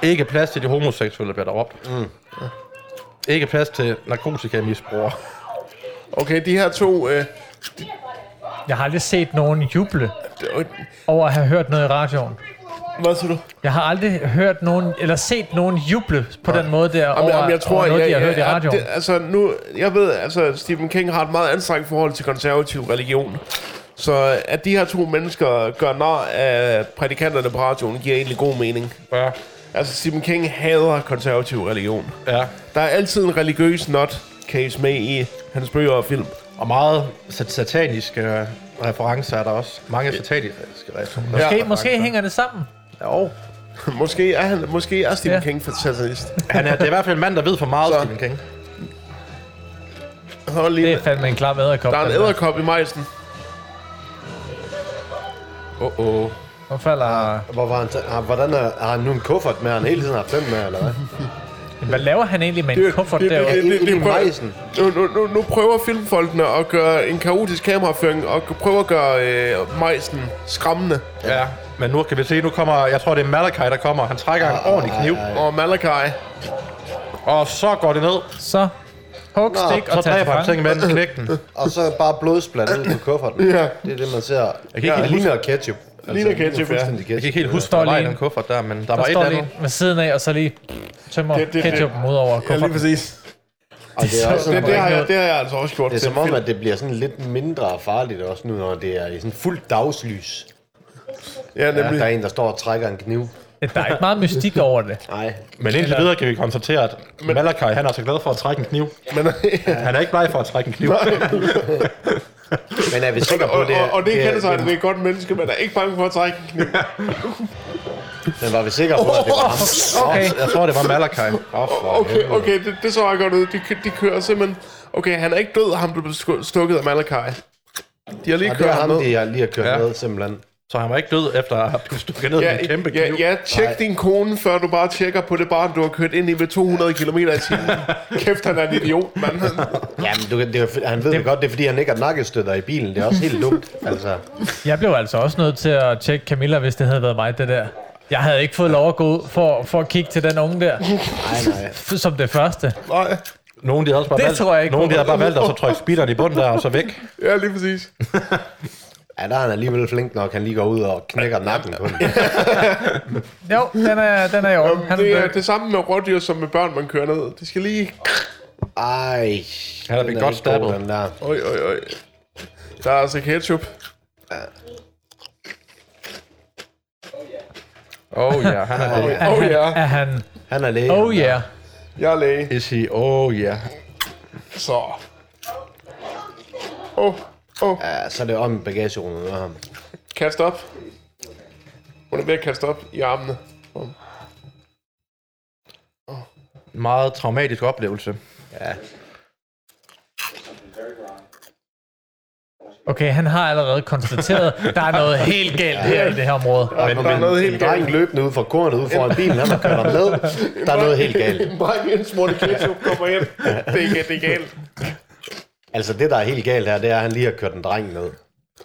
Speaker 4: Ikke plads til de homoseksuelle, bliver der råbt. Mm. Ikke plads til narkotikamisbrugere.
Speaker 1: Okay, de her to... Øh,
Speaker 2: Jeg har aldrig set nogen juble
Speaker 1: d-
Speaker 2: over at have hørt noget i radioen.
Speaker 1: hvad siger du?
Speaker 2: Jeg har aldrig hørt nogen, eller set nogen juble på den måde der
Speaker 1: Jamen,
Speaker 2: over,
Speaker 1: jamen, jeg tror,
Speaker 2: over noget, de har hørt i
Speaker 1: ja,
Speaker 2: radioen.
Speaker 1: Det, altså, nu, jeg ved, altså, Stephen King har et meget anstrengt forhold til konservativ religion. Så øh, at de her to mennesker gør nar af prædikanterne på radioen, giver egentlig god mening.
Speaker 4: Ja.
Speaker 1: Altså, Stephen King hader konservativ religion.
Speaker 4: ja.
Speaker 1: Der er altid en religiøs not case med i hans bøger og film.
Speaker 4: Og meget sat- sataniske øh, referencer er der også. Mange sataniske referencer.
Speaker 2: Måske, måske hænger det sammen.
Speaker 4: Jo.
Speaker 1: Måske er, han, måske er Stephen
Speaker 2: Ja.
Speaker 1: King satanist.
Speaker 4: Han er, det er i hvert fald en mand, der ved for meget,
Speaker 1: Så.
Speaker 4: Stephen King.
Speaker 1: Hold lige
Speaker 2: Det
Speaker 1: med.
Speaker 2: er fandme en klam æderkop.
Speaker 1: Der er en
Speaker 2: den der.
Speaker 1: æderkop i majsen.
Speaker 4: Åh, oh, oh.
Speaker 2: Nu falder...
Speaker 3: Hvor var han så- har, hvordan er, har han nu en kuffert med, han hele tiden har fem med, eller hvad?
Speaker 2: Hvad laver han egentlig med en
Speaker 1: Det-
Speaker 2: kuffert
Speaker 1: det- det-
Speaker 2: derovre?
Speaker 3: Ind
Speaker 1: det
Speaker 3: i
Speaker 1: er prøv-
Speaker 3: majsen.
Speaker 1: Nu, nu, nu, nu prøver filmfolkene at gøre en kaotisk kameraføring og prøver at gøre øh, majsen skræmmende.
Speaker 4: Ja, men nu kan vi se, nu kommer, jeg tror det er Malachi, der kommer. Han trækker
Speaker 2: Ah,
Speaker 4: en ordentlig kniv,
Speaker 1: Og Malakai.
Speaker 4: og så går det ned.
Speaker 2: Så hug, stik
Speaker 4: Så
Speaker 2: og tag til
Speaker 4: dræber han ting
Speaker 2: fange.
Speaker 4: med den knægten.
Speaker 3: Og så bare blodsplat ud på kufferten. ja. Det er det, man ser. Jeg
Speaker 4: ikke helt
Speaker 3: ligner ketchup. Altså,
Speaker 1: Ligner ketchup, ja.
Speaker 3: fuldstændig
Speaker 4: Jeg kan
Speaker 3: ketchup.
Speaker 4: ikke helt huske,
Speaker 2: står
Speaker 4: hvor der var i
Speaker 2: lige
Speaker 4: den
Speaker 2: en-
Speaker 4: kuffert der, men der, var
Speaker 2: Der
Speaker 4: et eller
Speaker 2: står lige
Speaker 4: andet.
Speaker 2: ved siden af, og så lige tømmer
Speaker 1: Det- det- det-
Speaker 2: ketchupen ud over
Speaker 1: Ja, lige
Speaker 2: kufferten.
Speaker 1: præcis.
Speaker 3: Og det, er også,
Speaker 1: Det, det, har
Speaker 3: det,
Speaker 1: jeg, det har jeg altså også gjort.
Speaker 3: det er
Speaker 1: til
Speaker 3: som om,
Speaker 1: film.
Speaker 3: at det bliver sådan lidt mindre farligt også nu, når det er i sådan fuldt dagslys.
Speaker 1: Ja,
Speaker 3: Ja, der er
Speaker 1: nemlig.
Speaker 3: en, der står og trækker en kniv.
Speaker 2: Ja, Der er ikke meget mystik over det.
Speaker 3: Nej,
Speaker 4: Men indtil videre kan vi konstatere, at Malachi, han er så glad for at trække en kniv.
Speaker 1: Men,
Speaker 4: Han er ikke bleg for at trække en kniv.
Speaker 3: men er vi sikre på,
Speaker 1: og,
Speaker 3: det er-
Speaker 1: og, og det
Speaker 3: er-
Speaker 1: kender sig, at det er et godt menneske, men er ikke bange for at trække en kniv.
Speaker 3: Men var vi sikre på, at det var ham?
Speaker 2: Okay.
Speaker 4: Jeg tror, det var Malakai. Oh, for
Speaker 1: Okay,
Speaker 4: helvede.
Speaker 1: okay, det, det så jeg godt ud. De, kø- de kører simpelthen... Okay, han er ikke død, ham der blev sku- stukket af Malakai. De har lige
Speaker 3: Og det
Speaker 1: kørt
Speaker 3: var
Speaker 1: ham
Speaker 3: ham,
Speaker 1: ned.
Speaker 3: de har lige har kørt
Speaker 4: Ja.
Speaker 3: ned, simpelthen.
Speaker 4: Så han var ikke død efter at have blevet stukket ned med en kæmpe
Speaker 1: ja,
Speaker 4: kniv.
Speaker 1: ja, tjek din kone, før du bare tjekker på det barn, du har kørt ind i med 200 km i timen. Kæft, han er en idiot, mand.
Speaker 3: Jamen, du, kan- det er, han ved det godt, det er fordi, han ikke har nakkestøtter i bilen. Det er også helt dumt, altså.
Speaker 2: Jeg blev altså også nødt til at tjekke Camilla, hvis det havde været mig, det der. Jeg havde ikke fået lov at gå ud for, for at kigge til den unge der,
Speaker 3: Nej, nej.
Speaker 2: f- som det første.
Speaker 1: Nej,
Speaker 4: Nogen de havde også bare
Speaker 2: Det
Speaker 4: valgt,
Speaker 2: tror jeg ikke
Speaker 4: nogen,
Speaker 2: på.
Speaker 4: de havde bare valgt at så trykke speederen i bunden der, og så væk.
Speaker 1: ja, lige præcis.
Speaker 3: Ja, der er han alligevel flink nok. Han lige går ud og knækker nakken på den.
Speaker 2: Jo, den er, den er i orden. Han er
Speaker 1: Det er
Speaker 2: død.
Speaker 1: det samme med rådyr, som med børn, man kører ned. De skal lige...
Speaker 3: Ej.
Speaker 4: Han er
Speaker 3: den
Speaker 4: blevet godt
Speaker 3: ikke god,
Speaker 4: stabbet.
Speaker 3: den der.
Speaker 1: Oj, oj, oj. Der er altså ketchup.
Speaker 4: Oh ja, yeah, han er det.
Speaker 2: Er
Speaker 1: Oh,
Speaker 2: han,
Speaker 1: yeah.
Speaker 2: er han,
Speaker 3: Han er læge.
Speaker 2: oh yeah.
Speaker 1: Jeg er læge,
Speaker 4: Is he? Oh yeah.
Speaker 1: så... Åh, oh, åh, oh.
Speaker 3: Ja, så er det om i bagagerummet med ham.
Speaker 1: kast op. Hun er ved at kaste op i armene.
Speaker 4: Meget traumatisk oplevelse.
Speaker 2: Okay, han har allerede konstateret, der er noget helt galt her i det her område.
Speaker 1: Men, der er noget helt galt.
Speaker 3: Drengen løbende ud fra kornet, ud foran bilen, han har kørt ham ned. Der er noget helt galt.
Speaker 1: En dreng i en smurt ketchup kommer ind. Det er, det er galt.
Speaker 3: Altså, det, der er helt galt her, det er, at han lige har kørt en dreng ned.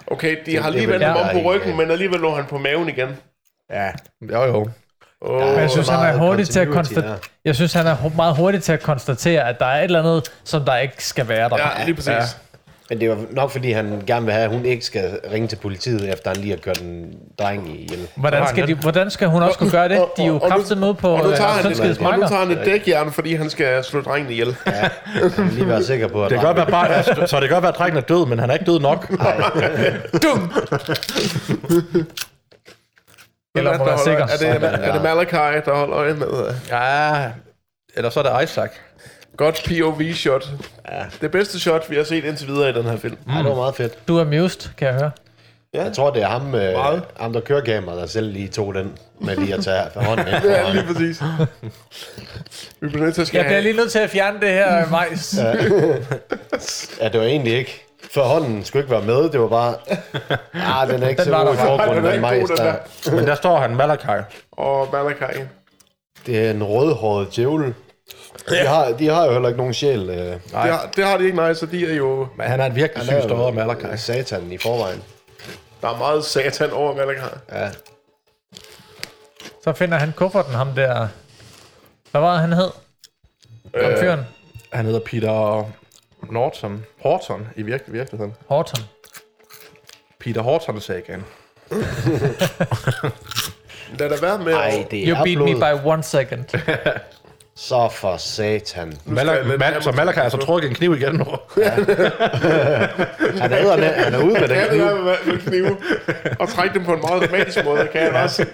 Speaker 1: Okay, de har
Speaker 3: det
Speaker 1: lige
Speaker 3: vil
Speaker 1: vendt ham
Speaker 3: jeg
Speaker 1: om
Speaker 3: ikke.
Speaker 1: på ryggen, men alligevel lå han på maven igen.
Speaker 3: Ja.
Speaker 4: Jo jo.
Speaker 1: Oh,
Speaker 2: Jeg synes, han er
Speaker 3: meget
Speaker 2: hurtig til at
Speaker 3: continuity
Speaker 2: konstatere, jeg synes, han er hu- meget hurtig til at konstatere, at der er et eller andet, som der ikke skal være der.
Speaker 1: ja, lige præcis.
Speaker 3: Men det var nok, fordi han gerne vil have, at hun ikke skal ringe til politiet, efter han lige har kørt en dreng ihjel.
Speaker 2: Hvordan skal, de, hvordan skal hun også kunne gøre det? De er
Speaker 1: Og-
Speaker 2: jo
Speaker 1: og- og nu-
Speaker 2: kraftigt med på
Speaker 1: Og nu tager han,
Speaker 2: øh,
Speaker 1: et, og nu
Speaker 2: smakker.
Speaker 1: tager han et dækjern, fordi han skal slå drengen ihjel.
Speaker 3: Han vil lige være sikker på, at
Speaker 4: Det kan godt være bare, så det kan godt være, at drengen er død, men han er ikke død nok.
Speaker 2: Eller må
Speaker 1: Hvem er det,
Speaker 2: være
Speaker 1: der
Speaker 2: sikker.
Speaker 1: holder- Er det, er, det Malakai, der holder øje med? øh?
Speaker 4: Ja, eller så er det Isaac.
Speaker 1: Godt POV-shot. Det bedste shot, vi har set indtil videre i den her film.
Speaker 3: Ej, det var meget fedt.
Speaker 2: Du er mused, kan jeg høre.
Speaker 3: Jeg tror, det er ham, øh,
Speaker 1: Meget.
Speaker 3: ham der kører kameraet, der selv lige tog den med lige at tage for hånden. ind
Speaker 1: Ja,
Speaker 3: foran.
Speaker 1: lige præcis. vi bliver nødt til at
Speaker 2: Jeg bliver
Speaker 1: skære
Speaker 2: lige nødt til at fjerne det her øh, majs.
Speaker 3: Ja, det var egentlig ikke. For hånden skulle ikke være med, det var bare... Ah, den er ikke
Speaker 2: Den
Speaker 3: så
Speaker 2: var
Speaker 3: god i
Speaker 2: der bare.
Speaker 1: Den
Speaker 3: forgrunden,
Speaker 1: er
Speaker 3: den
Speaker 1: ikke
Speaker 3: majs
Speaker 1: god, den
Speaker 3: der.
Speaker 1: der.
Speaker 4: Men der står han, Malakai.
Speaker 1: Og Malakai.
Speaker 3: Det er en rødhåret djævel. De har, de har jo heller ikke nogen sjæl. Øh,
Speaker 1: Det har, det har de ikke, nej, så de er jo...
Speaker 4: Men han er en virkelig
Speaker 3: der
Speaker 4: syg
Speaker 3: er jo
Speaker 4: støder, Malakai.
Speaker 3: Satan i forvejen.
Speaker 1: Der er meget satan over Malakai.
Speaker 3: Ja.
Speaker 2: Så finder han kufferten, ham der... Hvad var det, han hed?
Speaker 3: Øh,
Speaker 2: Ham fyren?
Speaker 4: Han hedder Peter Norton. Horton i virke, virkeligheden.
Speaker 2: Horton.
Speaker 4: Peter Horton sagaen.
Speaker 1: Lad da være med...
Speaker 3: Ej,
Speaker 1: at-
Speaker 3: det
Speaker 2: You
Speaker 3: er
Speaker 2: beat me
Speaker 3: blod.
Speaker 2: by one second.
Speaker 3: Så for satan.
Speaker 1: jeg
Speaker 4: Malak,
Speaker 1: lidt
Speaker 4: Mal,
Speaker 1: nærmere
Speaker 4: så
Speaker 1: til
Speaker 4: Malakai har så
Speaker 1: mikrofonen.
Speaker 4: trukket en kniv igen nu.
Speaker 3: Han er, ude, han er ude med den
Speaker 1: Ja, det
Speaker 3: kniv.
Speaker 1: er med, med knive. Og trække dem på en meget dramatisk måde, kan jeg også.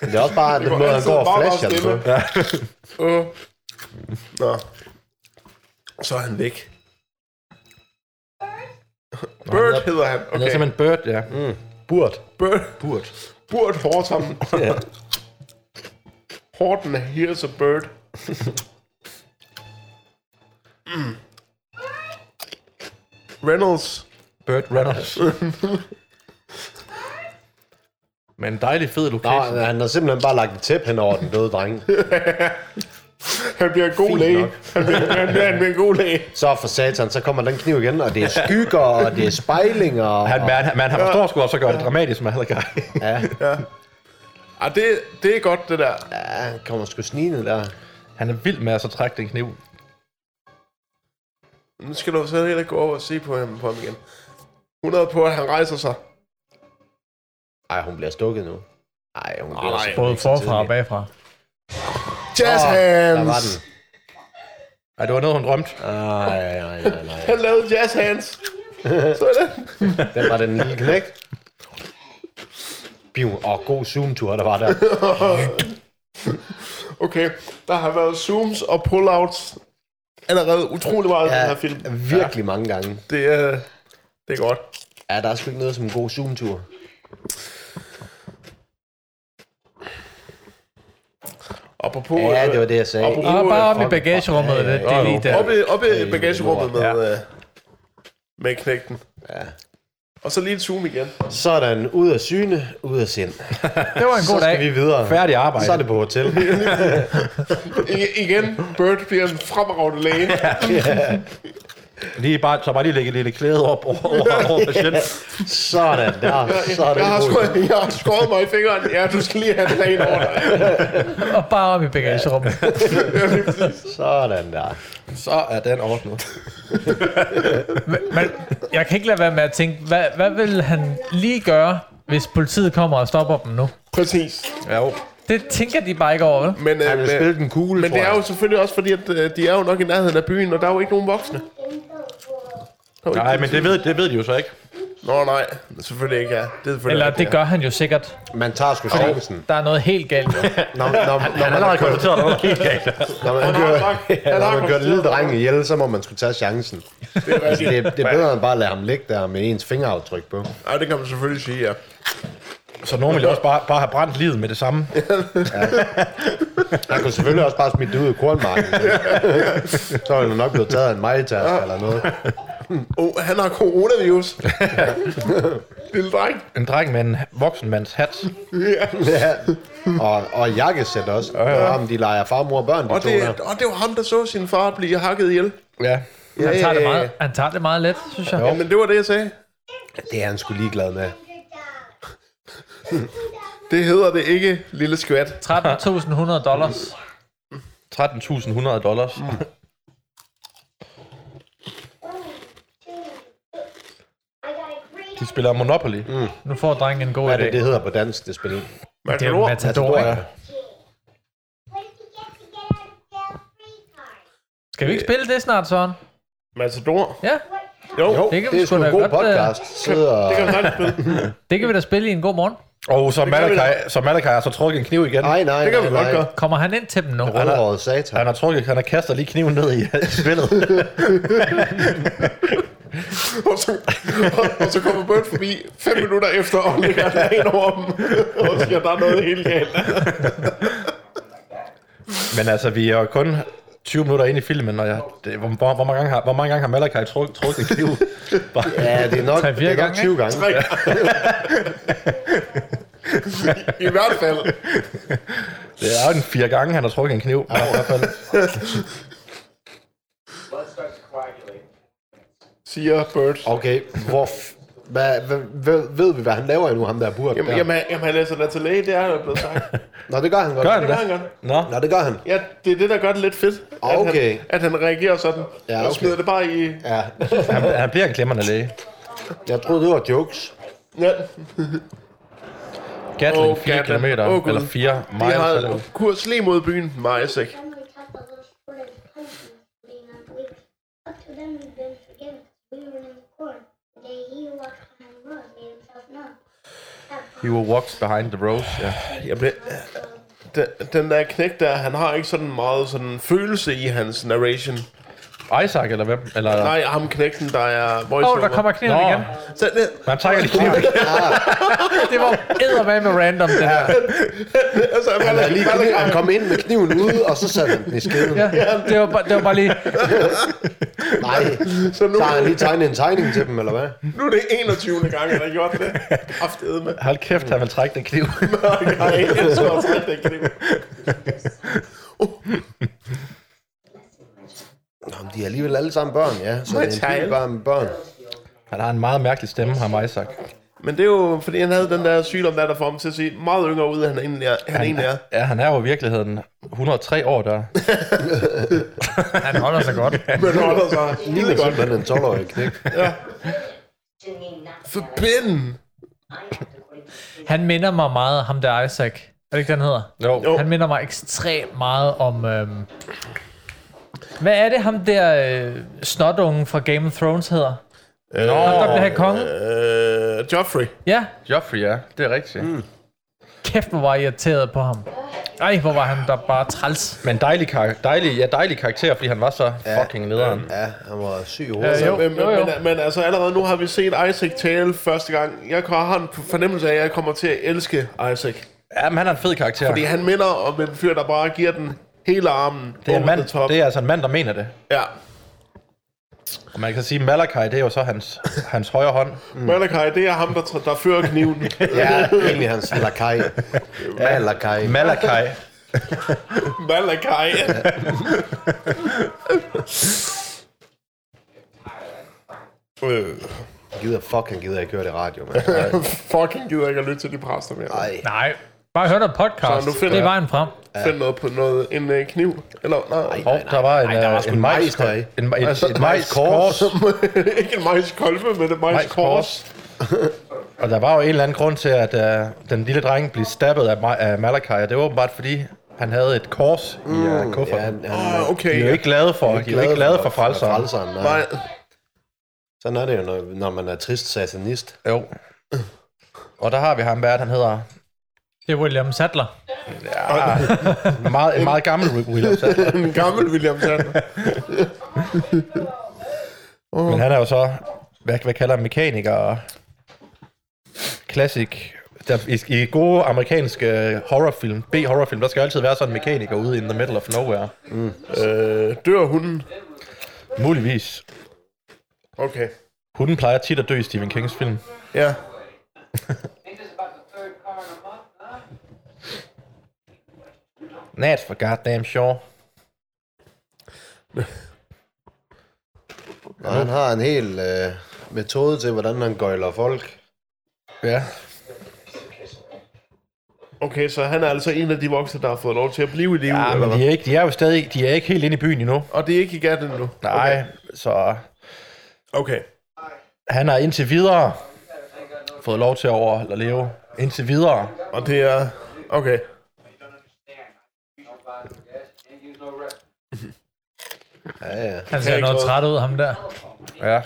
Speaker 3: Men Det er også bare den
Speaker 1: går
Speaker 3: måde, han
Speaker 1: altid
Speaker 3: går og
Speaker 1: bare meget
Speaker 3: flasher
Speaker 1: stille.
Speaker 3: på. Ja.
Speaker 1: Uh. Nå. Så er han væk. Bird hedder han.
Speaker 4: Han er
Speaker 1: Okay.
Speaker 4: simpelthen Bird, ja.
Speaker 3: Burt.
Speaker 1: Bird,
Speaker 4: Burt.
Speaker 1: Bird Horton. Horton, here's a bird. Mm. Reynolds.
Speaker 4: Burt Reynolds. Men dejlig fed location.
Speaker 3: Nå, han har simpelthen bare lagt et tæp hen over den døde dreng.
Speaker 1: Han bliver en god
Speaker 4: Fint
Speaker 1: læge.
Speaker 4: nok.
Speaker 1: Han bliver, han, bliver, han bliver en god læge.
Speaker 3: Så for satan, så kommer den kniv igen, og det er skygger, og det er spejlinger. Og,
Speaker 4: Han, men, han, men han forstår sgu også at gøre det dramatisk, Malakai.
Speaker 3: ja,
Speaker 1: Ah, det, det er godt, det der.
Speaker 3: ja, han kommer sgu snigende der.
Speaker 4: Han er vild med at så trække den kniv.
Speaker 1: Nu skal du så heller gå over og se på ham, på ham igen. 100 på, at han rejser sig.
Speaker 3: Ej, hun bliver stukket nu. Ej, hun bliver
Speaker 1: Ej.
Speaker 3: sgu
Speaker 2: Både
Speaker 3: ikke så
Speaker 2: forfra og
Speaker 3: tidlig.
Speaker 2: bagfra.
Speaker 1: Jazz
Speaker 3: Åh,
Speaker 1: hands!
Speaker 3: Der var den.
Speaker 4: Ej, det var noget, hun drømte.
Speaker 3: Ej, nej, nej, nej.
Speaker 1: Han lavede jazz hands. Sådan.
Speaker 3: Den var den lille knæk. Biu, og god zoomtur, der var der.
Speaker 1: Okay, der har været zooms og pullouts allerede utrolig meget i den her film.
Speaker 3: virkelig mange gange.
Speaker 1: Det er, det er godt.
Speaker 3: Ja, der er sgu ikke noget som en god zoomtur.
Speaker 1: Apropos...
Speaker 3: Ja, det var det, jeg sagde.
Speaker 1: Apropos,
Speaker 2: Og bare op i
Speaker 3: fuck.
Speaker 2: bagagerummet, det, det er lige
Speaker 1: øh,
Speaker 2: der.
Speaker 1: oppe, oppe
Speaker 3: Ja,
Speaker 1: i bagagerummet med,
Speaker 2: ja.
Speaker 1: ja. øh, med knægten.
Speaker 3: Ja.
Speaker 1: Og så lige et zoom igen.
Speaker 3: Sådan, ud af syne, ud af sind.
Speaker 2: Det var en
Speaker 3: Så
Speaker 2: god
Speaker 3: skal
Speaker 2: dag.
Speaker 3: vi videre.
Speaker 4: Færdig arbejde.
Speaker 3: Så er det på hotel.
Speaker 1: I, igen, Bird bliver en fremragende læge.
Speaker 4: Lige bare, så bare lige lægge et lille klæde op over, over, over patienten.
Speaker 3: Sådan der. Sådan
Speaker 1: Jeg har,
Speaker 3: god.
Speaker 1: skåret, jeg har skåret mig i fingeren. Ja, du skal lige have en plan over dig.
Speaker 2: Og bare op i bagagerummet.
Speaker 3: Sådan der.
Speaker 4: Så er den ordnet.
Speaker 2: Men jeg kan ikke lade være med at tænke, hvad, hvad vil han lige gøre, hvis politiet kommer og stopper dem nu?
Speaker 1: Præcis.
Speaker 4: Ja, jo.
Speaker 2: Det tænker de bare ikke over, vel?
Speaker 1: Men, øh,
Speaker 3: Han vil spille den kugle,
Speaker 1: men
Speaker 3: tror
Speaker 1: det er
Speaker 3: jeg.
Speaker 1: jo selvfølgelig også fordi, at øh, de er jo nok i nærheden af byen, og der er jo ikke nogen voksne. Der er jo ikke
Speaker 4: Nej,
Speaker 1: nogen
Speaker 4: men det ved, det ved de jo så ikke.
Speaker 1: Nå nej, selvfølgelig ikke, ja. Det er selvfølgelig
Speaker 2: Eller
Speaker 1: rigtigt,
Speaker 2: det gør han jo sikkert.
Speaker 3: Man tager sgu chancen.
Speaker 2: Der er noget helt galt.
Speaker 3: Når, når, når,
Speaker 4: Han
Speaker 3: man
Speaker 4: har
Speaker 3: har
Speaker 4: allerede
Speaker 3: kørt,
Speaker 4: konstateret, at der var noget helt galt.
Speaker 3: når man har
Speaker 1: Han har
Speaker 3: kørt,
Speaker 1: sagt- han
Speaker 3: ja,
Speaker 1: har
Speaker 3: når man kørt
Speaker 1: konstateret-
Speaker 3: lille dreng ihjel, så må man skulle tage chancen.
Speaker 1: Ja.
Speaker 3: Altså, det, det er bedre end bare at lade ham ligge der med ens fingeraftryk på.
Speaker 1: Ej, det kan man selvfølgelig sige, ja.
Speaker 4: Så nogen ville også bare, bare have brændt livet med det samme.
Speaker 3: Han kunne selvfølgelig også bare smide det ud i kornmarken. så er han nok blevet taget af en majtaske eller noget.
Speaker 1: Oh, han har coronavirus. Lille dreng.
Speaker 4: En dreng med en voksenmands hat.
Speaker 3: Ja. Og, og jakkesæt også. Ja, ja. Ham, de leger farmor og børn, de
Speaker 1: Og
Speaker 3: to
Speaker 1: det,
Speaker 3: der.
Speaker 1: og det var ham, der så sin far blive hakket ihjel.
Speaker 4: Ja.
Speaker 2: Han tager det
Speaker 1: Ja, ja,
Speaker 2: meget, han tager det meget let, synes jeg.
Speaker 1: Ja, men det var det, jeg sagde.
Speaker 3: Det er han sgu ligeglad med.
Speaker 1: Det hedder det ikke, lille skvat.
Speaker 2: 13.100 dollars.
Speaker 4: 13.100 dollars. Mm. De spiller Monopoly. Mm.
Speaker 2: Nu får drengen en god
Speaker 3: Hvad
Speaker 2: idé.
Speaker 3: er det, det hedder på dansk, det spil? Altså,
Speaker 1: Man
Speaker 2: Det er
Speaker 1: kan
Speaker 2: jo
Speaker 1: lort.
Speaker 2: Matador.
Speaker 3: Matador,
Speaker 2: ja.
Speaker 3: ja.
Speaker 2: Skal vi ikke spille det snart, Søren?
Speaker 1: Matador.
Speaker 2: Ja,
Speaker 1: Jo, jo.
Speaker 2: det kan vi
Speaker 3: det er
Speaker 2: sgu
Speaker 3: sgu en
Speaker 2: da
Speaker 3: god
Speaker 2: godt, øh,
Speaker 3: podcast. Sidde og...
Speaker 1: det kan man sagtens spille.
Speaker 2: det kan vi da spille i en god morgen.
Speaker 4: Og så
Speaker 1: gør vi
Speaker 4: Malakai, så Malakai har så trukket en kniv igen.
Speaker 3: Nej, nej,
Speaker 1: Det kan vi
Speaker 3: nej,
Speaker 1: godt
Speaker 3: nej.
Speaker 1: gøre.
Speaker 2: Kommer han ind til dem nu?
Speaker 3: Rødhåret satan.
Speaker 4: Han har trukket, han har kastet lige kniven ned i spillet.
Speaker 1: Og så, og så kommer Bert forbi fem minutter efter, og lægger den ind over dem. Og siger, der er noget helt galt.
Speaker 4: Men altså, vi er jo kun 20 minutter inde i filmen, og jeg, det, hvor, hvor, hvor, mange gange har, hvor mange gange har Malakai truk, trukket en kniv? Bare,
Speaker 3: Ja, det er nok,
Speaker 2: Tre, fire
Speaker 3: det er nok
Speaker 2: gange,
Speaker 3: 20 gange.
Speaker 1: Tre. I hvert fald.
Speaker 4: det er jo en fire gange, han har trukket en kniv. i hvert fald.
Speaker 1: Siger Bert.
Speaker 3: Okay, hvor... F- hvad, hvad, hvad, ved vi, hvad han laver endnu, ham der burde
Speaker 1: Jamen,
Speaker 3: der?
Speaker 1: jamen, han- jamen han læser der til læge, det er der blevet sagt.
Speaker 3: Nå, det gør han godt.
Speaker 1: Det
Speaker 4: Gør han
Speaker 1: gør han
Speaker 4: det?
Speaker 1: godt.
Speaker 4: Nå,
Speaker 3: Nå, det gør han.
Speaker 1: Ja, det er det, der gør det lidt fedt. At
Speaker 3: Okay.
Speaker 1: han, at han reagerer sådan.
Speaker 3: Ja,
Speaker 1: Og
Speaker 3: okay.
Speaker 1: smider det bare i...
Speaker 3: Ja,
Speaker 4: han, han bliver en glemrende læge.
Speaker 3: jeg troede, det var jokes.
Speaker 1: Ja,
Speaker 4: Gatling
Speaker 1: Åh,
Speaker 4: 4
Speaker 1: Gatling.
Speaker 4: km,
Speaker 1: Åh, Gud.
Speaker 4: eller 4
Speaker 1: de
Speaker 4: miles. eller-
Speaker 1: har kurs lige mod byen, Majesæk.
Speaker 5: Up to then we've been forgiven. We were in the court. The day he walked behind the road, made himself known.
Speaker 4: He will walks behind the rose, ja.
Speaker 1: Jeg blev, den, den der knæk der, han har ikke sådan meget sådan følelse i hans narration.
Speaker 4: Isaac, eller hvem? Eller,
Speaker 1: Nej, ham knækken, der er
Speaker 2: Åh, oh,
Speaker 1: voiceover.
Speaker 2: der kommer kniven
Speaker 4: Nå.
Speaker 2: igen.
Speaker 1: Så, det,
Speaker 4: Man tager lige kniven.
Speaker 2: Det var eddermame random, det der.
Speaker 1: altså, han,
Speaker 3: Han,
Speaker 1: han
Speaker 3: er lige kniv, han kom ind med kniven ude, og så satte han den i skeden.
Speaker 2: Ja, det var, bare, det var bare lige...
Speaker 3: Nej,
Speaker 1: Så nu,
Speaker 3: så har han lige tegnet en tegning til dem, eller hvad?
Speaker 1: nu er det 21. gang, han har gjort det. Aftede med.
Speaker 4: Hold kæft, han vil trække den kniv.
Speaker 1: Nej, jeg tror også, at det kan
Speaker 3: Nå, men de er alligevel alle sammen børn, ja. Så det er en bil bare med børn.
Speaker 4: han har en meget mærkelig stemme, ham Isaac.
Speaker 1: Men det er jo, fordi han havde den der sygdom, der, der får ham til at se meget yngre ud, end han egentlig er. Han, han egentlig er.
Speaker 4: Ja, han er jo i virkeligheden 103 år der.
Speaker 2: Han holder sig godt.
Speaker 1: Men han holder sig
Speaker 3: Det
Speaker 1: lille
Speaker 3: er
Speaker 1: godt.
Speaker 3: simpelthen en 12-årig knæk.
Speaker 1: Forbind!
Speaker 2: Han minder mig meget, ham der Isaac. Er det ikke, den hedder?
Speaker 4: Jo.
Speaker 1: Jo.
Speaker 2: Han minder mig ekstremt meget om... Øhm, hvad er det, ham der øh, snotungen fra Game of Thrones hedder?
Speaker 1: Nå,
Speaker 2: Ham, der blev han konge?
Speaker 1: Øh, Joffrey.
Speaker 2: Ja,
Speaker 4: Joffrey, ja. Det er rigtigt. Mm.
Speaker 2: kæft, hvor var jeg irriteret på ham. Ej, hvor var han der bare træls.
Speaker 4: Men dejlig, kar- dejlig, ja, dejlig karakter, fordi han var så fucking nederen.
Speaker 3: Ja, han var syg i
Speaker 2: Ja,
Speaker 3: hovedet.
Speaker 2: jo,
Speaker 1: men,
Speaker 2: jo, jo.
Speaker 1: Men, men altså allerede nu har vi set Isaac tale første gang. Jeg har en fornemmelse af, at jeg kommer til at elske Isaac.
Speaker 4: Ja, men han er en fed karakter.
Speaker 1: Fordi han minder om en fyr, der bare giver den hele armen.
Speaker 4: det er, en
Speaker 1: over
Speaker 4: mand,
Speaker 1: the top.
Speaker 4: det er altså en mand, der mener det.
Speaker 1: Ja.
Speaker 4: Og man kan sige, Malachi, det er jo så hans, hans højre hånd.
Speaker 1: Mm. Malachi, det er ham, der, tr- der fører kniven.
Speaker 3: Ja, egentlig hans lakai. Ja, lakai.
Speaker 4: Malachi.
Speaker 1: Malachi. øh,
Speaker 3: Han gider, fuck, han gider ikke høre det radio, mand. Nej.
Speaker 1: fucking gider ikke at lytte til de præster mere.
Speaker 3: Nej.
Speaker 2: Nej, bare hør noget podcast.
Speaker 1: Så nu
Speaker 2: Så
Speaker 1: finder
Speaker 2: det er
Speaker 1: jeg-
Speaker 2: vejen frem.
Speaker 1: Find noget på noget, en øh, kniv. Eller, nej.
Speaker 4: Og der var en,
Speaker 3: nej, der var sgu
Speaker 4: øh, en
Speaker 3: en majs
Speaker 4: majs,
Speaker 3: der i.
Speaker 4: en, en, et,
Speaker 1: Altså,
Speaker 4: et majskors,
Speaker 1: ikke en majskolbe, men en majskors.
Speaker 4: majskors. og der var jo en eller anden grund til, at øh, den lille dreng blev stabbet af, Ma- af Malachi, og det var åbenbart, fordi han havde et kors i øh,
Speaker 3: Ja,
Speaker 4: kufferten.
Speaker 3: han,
Speaker 1: Åh,
Speaker 3: han,
Speaker 1: oh,
Speaker 4: De er
Speaker 1: okay.
Speaker 4: jo ikke glade for, de er jo ikke glade for frelseren.
Speaker 3: frelseren nej.
Speaker 1: Nej.
Speaker 3: Sådan er det jo, når, når man er trist satanist.
Speaker 4: Jo. Og der har vi ham, hvad er det, han hedder?
Speaker 2: Det er William Sadler.
Speaker 4: En meget, en meget gammel Wi- William Sadler.
Speaker 1: En gammel William Sandler.
Speaker 4: Men han er jo så, hvad, hvad kalder han, mekaniker og classic. Der, i, I gode amerikanske horrorfilm, B-horrorfilm, der skal altid være sådan en mekaniker ude in the middle of nowhere.
Speaker 1: Øh, dør hunden?
Speaker 4: Muligvis.
Speaker 1: Okay.
Speaker 4: Hunden plejer tit at dø i Stephen Kings film.
Speaker 1: Ja.
Speaker 4: That's for goddamn sure.
Speaker 3: Og han har en hel øh, metode til, hvordan han gøjler folk.
Speaker 4: Ja.
Speaker 1: Okay, så han er altså en af de voksne, der har fået lov til at blive i live.
Speaker 4: Ja,
Speaker 1: eller
Speaker 4: men
Speaker 1: hvad?
Speaker 4: de er, ikke, de er jo stadig de er ikke helt inde i byen endnu.
Speaker 1: Og det er ikke i gat endnu?
Speaker 4: Nej,
Speaker 1: Okay.
Speaker 4: okay. så
Speaker 1: okay.
Speaker 4: han har indtil videre fået lov til at overleve. Indtil videre.
Speaker 1: Og det er... Okay.
Speaker 3: Ja, ja.
Speaker 2: Han ser
Speaker 1: ikke
Speaker 2: noget
Speaker 1: noget.
Speaker 2: træt ud, ham der.
Speaker 4: Ja.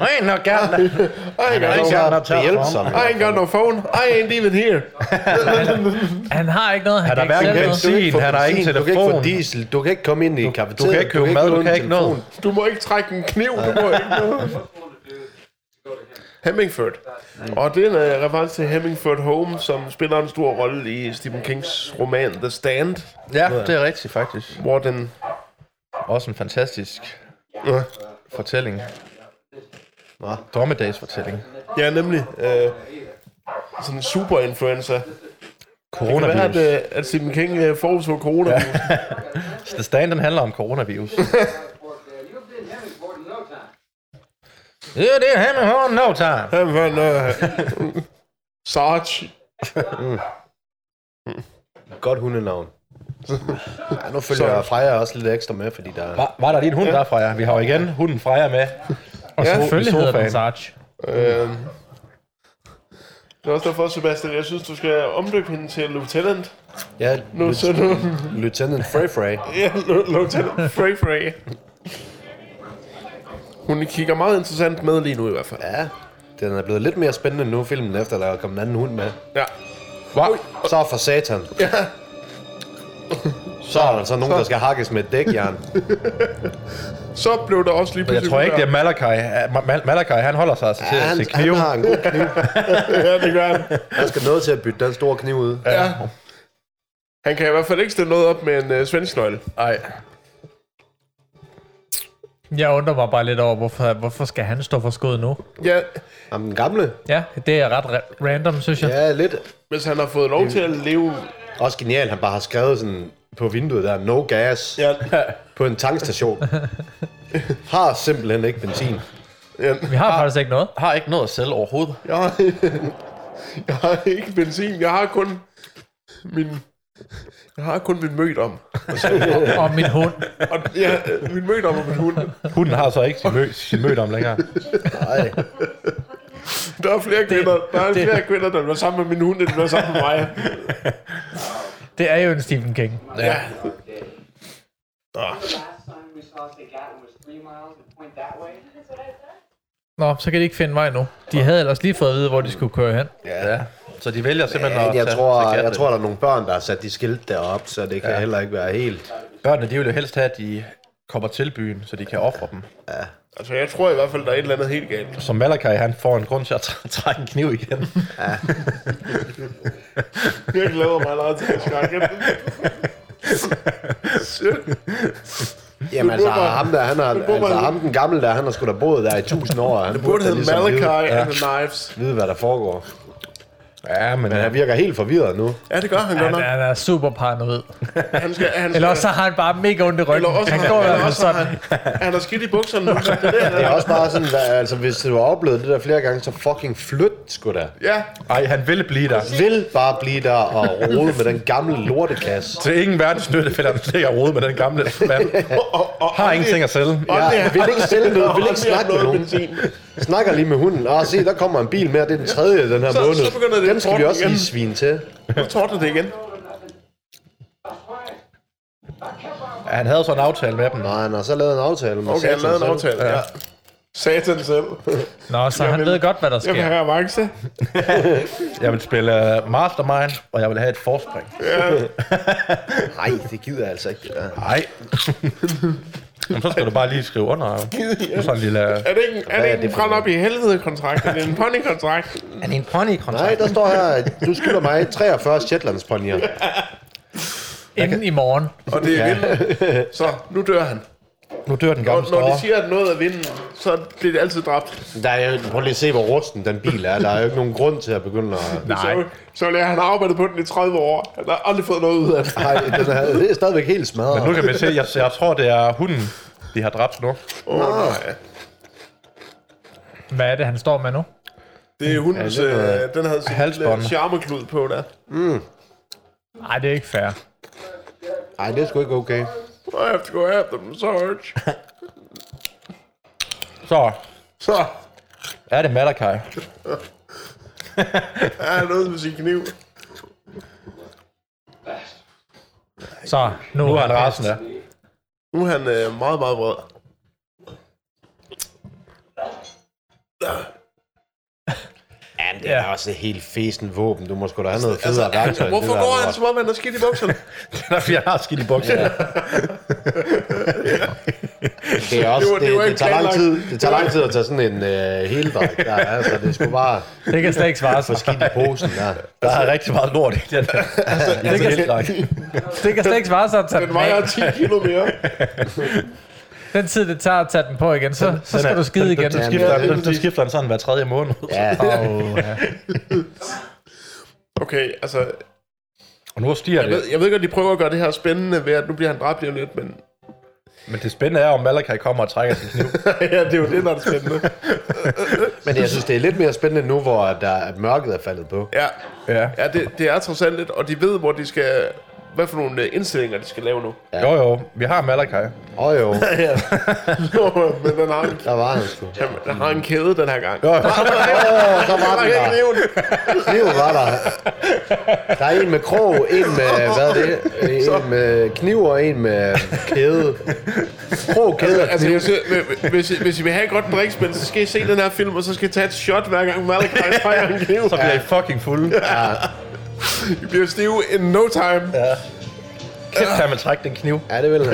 Speaker 4: I ain't no got no,
Speaker 1: I ain't
Speaker 4: I
Speaker 1: got
Speaker 4: ain't
Speaker 1: no,
Speaker 4: got no
Speaker 3: Det er hjælpsom.
Speaker 1: I ain't got no phone. I ain't even here.
Speaker 2: Han har ikke noget, han,
Speaker 4: Han
Speaker 2: kan
Speaker 4: har
Speaker 2: ikke
Speaker 4: hverken
Speaker 2: selv
Speaker 4: benzin,
Speaker 2: noget.
Speaker 4: benzin, han har
Speaker 3: Du
Speaker 4: ikke
Speaker 3: kan ikke få
Speaker 4: telefon.
Speaker 3: diesel, du kan ikke komme ind i
Speaker 4: Du
Speaker 3: kafeteriet,
Speaker 4: kan ikke købe mad, du kan ikke noget.
Speaker 1: Du må ikke trække en kniv. Du må ikke noget. Hemmingford. Og det er en uh, reference til Hemmingford Home, som spiller en stor rolle i Stephen Kings roman The Stand,
Speaker 4: Ja, det er rigtigt faktisk.
Speaker 1: hvor den...
Speaker 4: Også en fantastisk
Speaker 1: Uh,
Speaker 4: fortælling.
Speaker 3: Nå.
Speaker 4: Dommedagsfortælling.
Speaker 1: ja, nemlig... Uh, sådan en superinfluencer. Hvad er
Speaker 4: Coronavirus.
Speaker 1: det, at Stephen King øh, forudså corona? Ja.
Speaker 4: The Stand, den handler om coronavirus. Ja, det er ham og no time.
Speaker 1: Hvad var det? øh, Sarge.
Speaker 3: Godt hundenavn. Ja, nu følger jeg Freja også lidt ekstra med, fordi der er...
Speaker 4: Var, var der lige en hund der, Freja? Vi har jo igen hunden Freja med.
Speaker 2: Og
Speaker 1: Ja,
Speaker 2: selvfølgelig
Speaker 4: i
Speaker 2: hedder
Speaker 4: sofaen.
Speaker 2: den Sarge.
Speaker 1: Øh, det er også derfor, Sebastian, jeg synes, du skal omdøbe hende til Lieutenant.
Speaker 3: Ja,
Speaker 1: Nu så du...
Speaker 3: Lieutenant Frey Frey.
Speaker 1: ja, Lu- Lieutenant Frey Frey. Hun kigger meget interessant med lige nu i hvert fald.
Speaker 3: Ja, den er blevet lidt mere spændende nu, filmen, efter der er kommet en anden hund med.
Speaker 1: Ja.
Speaker 4: Wow.
Speaker 3: Så for satan.
Speaker 1: ja.
Speaker 3: Så er der så nogen, der skal hakkes med et dækjern.
Speaker 1: Så blev der også lige
Speaker 4: Jeg
Speaker 1: pludselig...
Speaker 4: tror ikke, det er Malachi. Ma- Ma- Malachi, han holder sig altså til,
Speaker 3: Ja, han,
Speaker 4: til
Speaker 3: han
Speaker 4: knive.
Speaker 3: har en god kniv.
Speaker 1: ja, det gør han.
Speaker 3: Han skal noget til at bytte den store kniv ud.
Speaker 1: Ja. Han kan i hvert fald ikke stille noget op med en øh, svensk nøgle.
Speaker 4: Nej.
Speaker 2: Jeg undrer mig bare lidt over, hvorfor, hvorfor skal han stå for skud nu?
Speaker 1: Ja,
Speaker 3: Ham den gamle?
Speaker 2: Ja, det er ret ra- random, synes jeg.
Speaker 3: Ja, lidt.
Speaker 1: hvis han har fået lov til at leve...
Speaker 3: Også genialt, han bare har skrevet sådan på vinduet der, no gas,
Speaker 1: Ja,
Speaker 3: på en tankstation. har simpelthen ikke benzin.
Speaker 1: ja.
Speaker 2: Vi har faktisk ikke noget.
Speaker 4: Har ikke noget at sælge overhovedet.
Speaker 1: Jeg har, jeg har ikke benzin. Jeg har kun min... Jeg har kun min mødt om.
Speaker 2: Og min hund.
Speaker 1: Og, ja, min mødt om og min hund.
Speaker 4: Hunden har så ikke sin, mø- sin mødt om længere.
Speaker 3: Nej,
Speaker 1: Der er flere kvinder, der, er flere kvinder, der var sammen med min hund, end der var sammen med mig.
Speaker 2: Det er jo en Stephen King.
Speaker 1: Ja.
Speaker 6: last time we saw Sagatton was three miles and point that way.
Speaker 2: Nå, så kan de ikke finde vej nu. De havde ellers lige fået at vide, hvor de skulle køre hen.
Speaker 4: Ja. Så de vælger simpelthen at
Speaker 3: men jeg
Speaker 4: tage
Speaker 3: tror,
Speaker 4: Zagat
Speaker 3: jeg
Speaker 4: med.
Speaker 3: tror, der er nogle børn, der har sat de skilt derop, så det kan ja. heller ikke være helt...
Speaker 4: Børnene, de vil jo helst have, at de kommer til byen, så de kan ofre dem.
Speaker 1: Altså, jeg tror i hvert fald, der er et eller andet helt galt.
Speaker 4: Så Malakai, han får en grund til at træ- trække en kniv igen.
Speaker 1: Jeg glæder mig allerede til at snakke. Shit.
Speaker 3: Jamen altså,
Speaker 1: burde-
Speaker 3: ham der, han har,
Speaker 1: det burde
Speaker 3: altså,
Speaker 1: man-
Speaker 3: ham den gamle der, han har sgu da boet der i tusind år. Han
Speaker 1: Det burde
Speaker 3: da
Speaker 1: hedde
Speaker 3: ligesom
Speaker 1: Malachi
Speaker 3: Vide, ja,
Speaker 1: and the Knives.
Speaker 3: vide, hvad der foregår.
Speaker 4: Ja, men... øh,
Speaker 3: Men han virker helt forvirret nu.
Speaker 1: Ja, det gør han godt
Speaker 2: Han,
Speaker 1: nok.
Speaker 2: han er super paranoid.
Speaker 1: Han skal, han skal,
Speaker 2: Eller også så har han bare mega ondt i ryggen.
Speaker 1: eller også,
Speaker 2: han går i
Speaker 1: eller
Speaker 2: hvert fald
Speaker 1: også har
Speaker 2: sådan.
Speaker 1: han, han har skidt i bukserne nu. så Det er
Speaker 3: Det
Speaker 1: det,
Speaker 3: er også bare sådan, der, altså hvis du har oplevet det der flere gange, så fucking flyt sgu da.
Speaker 1: ja,
Speaker 4: Ej, han ville blive der.
Speaker 3: Vil bare blive der og rode med den gamle lortekasse.
Speaker 4: Til ingen verdens nytte, fordi han ligger og roder med den gamle mand.
Speaker 1: og, og,
Speaker 4: Har ingenting at sælge.
Speaker 3: Ja, vil ikke sælge noget, vil ikke snakke med nogen. Snakker lige med hunden. Ah, se, der kommer en bil mere, det er den tredje den her
Speaker 1: Så- så
Speaker 3: måned.
Speaker 1: begynder det
Speaker 3: Dem skal vi
Speaker 1: torden
Speaker 3: også
Speaker 1: igen.
Speaker 3: lige svine til.
Speaker 1: Nu tårte det igen.
Speaker 4: Ja, Han havde så en aftale med dem.
Speaker 3: Nej, han har så lavet en aftale med
Speaker 1: Okay,
Speaker 3: satan
Speaker 1: han lavede en
Speaker 3: selv.
Speaker 1: aftale. Ja. Satan selv.
Speaker 2: Nå, så han
Speaker 1: vil-
Speaker 2: ved godt, hvad der
Speaker 1: Jeg vil
Speaker 2: sker.
Speaker 1: have avance.
Speaker 4: Jeg vil spille øh, Mastermind, og jeg vil have et forspring.
Speaker 3: Nej, det gider jeg altså ikke. det der.
Speaker 4: Nej. Jamen, så skal du bare lige skrive under. jo. Sådan en lille... øh,
Speaker 1: Er det ikke, er det
Speaker 3: er
Speaker 1: ikke
Speaker 3: det
Speaker 1: en
Speaker 3: for
Speaker 1: brænd
Speaker 3: noget?
Speaker 1: op i helvede-kontrakt? Er det en pony-kontrakt?
Speaker 4: Er det en pony-kontrakt?
Speaker 3: Nej, der står her, at du skylder mig 43 Shetlandsponier.
Speaker 2: Inden i morgen.
Speaker 1: Og det er vinden. Så, nu dør han.
Speaker 4: Nu dør den
Speaker 1: Og
Speaker 4: gamle
Speaker 1: når de
Speaker 4: store.
Speaker 1: siger, at noget er vinden, så bliver det altid dræbt.
Speaker 3: Der er jo, prøv lige at se, hvor rusten den bil er. Der er jo ikke nogen grund til at begynde at...
Speaker 1: Så, så vil jeg, han har arbejdet på den i 30 år. Han har aldrig fået noget ud af det.
Speaker 3: Nej, den er, det er stadigvæk helt smadret.
Speaker 4: Nu kan vi se, jeg, jeg tror, det er hunden, de har dræbt nu.
Speaker 1: Åh, oh, nej.
Speaker 2: Hvad er det, han står med nu?
Speaker 1: Det er hundens...
Speaker 3: noget
Speaker 1: øh, den havde sin
Speaker 4: halsbånd.
Speaker 1: lille charmeklud på der.
Speaker 2: Nej, det er ikke fair.
Speaker 3: Nej, det er sgu ikke okay.
Speaker 1: I have to go after them, Sarge.
Speaker 4: Så
Speaker 1: Så
Speaker 4: er det Malakai.
Speaker 1: er han ude med sin kniv.
Speaker 2: Så, nu,
Speaker 4: Nu er han rasende.
Speaker 1: Nu er han øh, meget, meget vred.
Speaker 3: Ja, det er også et helt fesen våben. Du må sgu da have noget federe altså, værktøj. end
Speaker 1: Hvorfor
Speaker 3: det der
Speaker 1: går han
Speaker 3: lort.
Speaker 1: så meget, man har skidt i bukserne?
Speaker 4: Den er, fordi han har skidt i bukserne.
Speaker 3: Det, er også,
Speaker 1: Det var- det
Speaker 3: det, var, det,
Speaker 1: var
Speaker 3: det,
Speaker 1: ikke
Speaker 3: tager lang
Speaker 1: planlagt.
Speaker 3: tid, det tager lang tid at tage sådan en øh, heldræk der, altså det skulle bare
Speaker 2: Det kan slet ikke svare sig.
Speaker 3: få skidt i posen der.
Speaker 4: Der er rigtig meget lort i den. Altså, det
Speaker 2: kan- Det kan slet ikke svare sig at tage
Speaker 1: Den
Speaker 2: den, af.
Speaker 1: vejer 10 kilo mere.
Speaker 2: Den tid, det tager at tage den på igen, så, så skal du skide igen.
Speaker 4: Så skifter, han, den- så skifter han sådan hver tredje måned.
Speaker 3: Ja,
Speaker 2: Åh, ja.
Speaker 1: Okay, altså...
Speaker 4: Og nu stiger
Speaker 1: Jeg
Speaker 4: det.
Speaker 1: ved, jeg ved godt, de prøver at gøre det her spændende ved, at nu bliver han dræbt lige om lidt, men...
Speaker 4: Men det spændende er, om Malakai kommer og trækker sin kniv.
Speaker 1: ja, det er jo det, der er det spændende.
Speaker 3: men jeg synes, det er lidt mere spændende nu, hvor at der, at mørket er faldet på.
Speaker 1: Ja,
Speaker 4: Ja.
Speaker 1: ja det, det er trods alt lidt, og de ved, hvor de skal... Hvad for nogle øh, indstillinger, de skal lave nu.
Speaker 4: Jo, jo. Vi har Malakai.
Speaker 3: Åh oh, jo,
Speaker 1: Ja. men den har, en,
Speaker 3: der var han sgu.
Speaker 1: den- den har en kæde den her gang.
Speaker 4: Jo, jo.
Speaker 3: Åh, der var
Speaker 1: Nej,
Speaker 3: den
Speaker 1: ikke
Speaker 3: der.
Speaker 1: kniven.
Speaker 3: Kniv var der. Der er en med krog, en med, hvad er det? En med kniv og en med kæde. Krog, kæde og
Speaker 1: Altså,
Speaker 3: kniv.
Speaker 1: jeg siger, hvis, I- hvis I vil have et godt drikspil, så skal I se den her film, og så skal I tage et shot hver gang Malakai trækker en kniv.
Speaker 4: Så bliver I fucking fulde.
Speaker 1: I bliver stive in no time.
Speaker 4: Kæft, kan man trække den kniv.
Speaker 3: Ja, det vil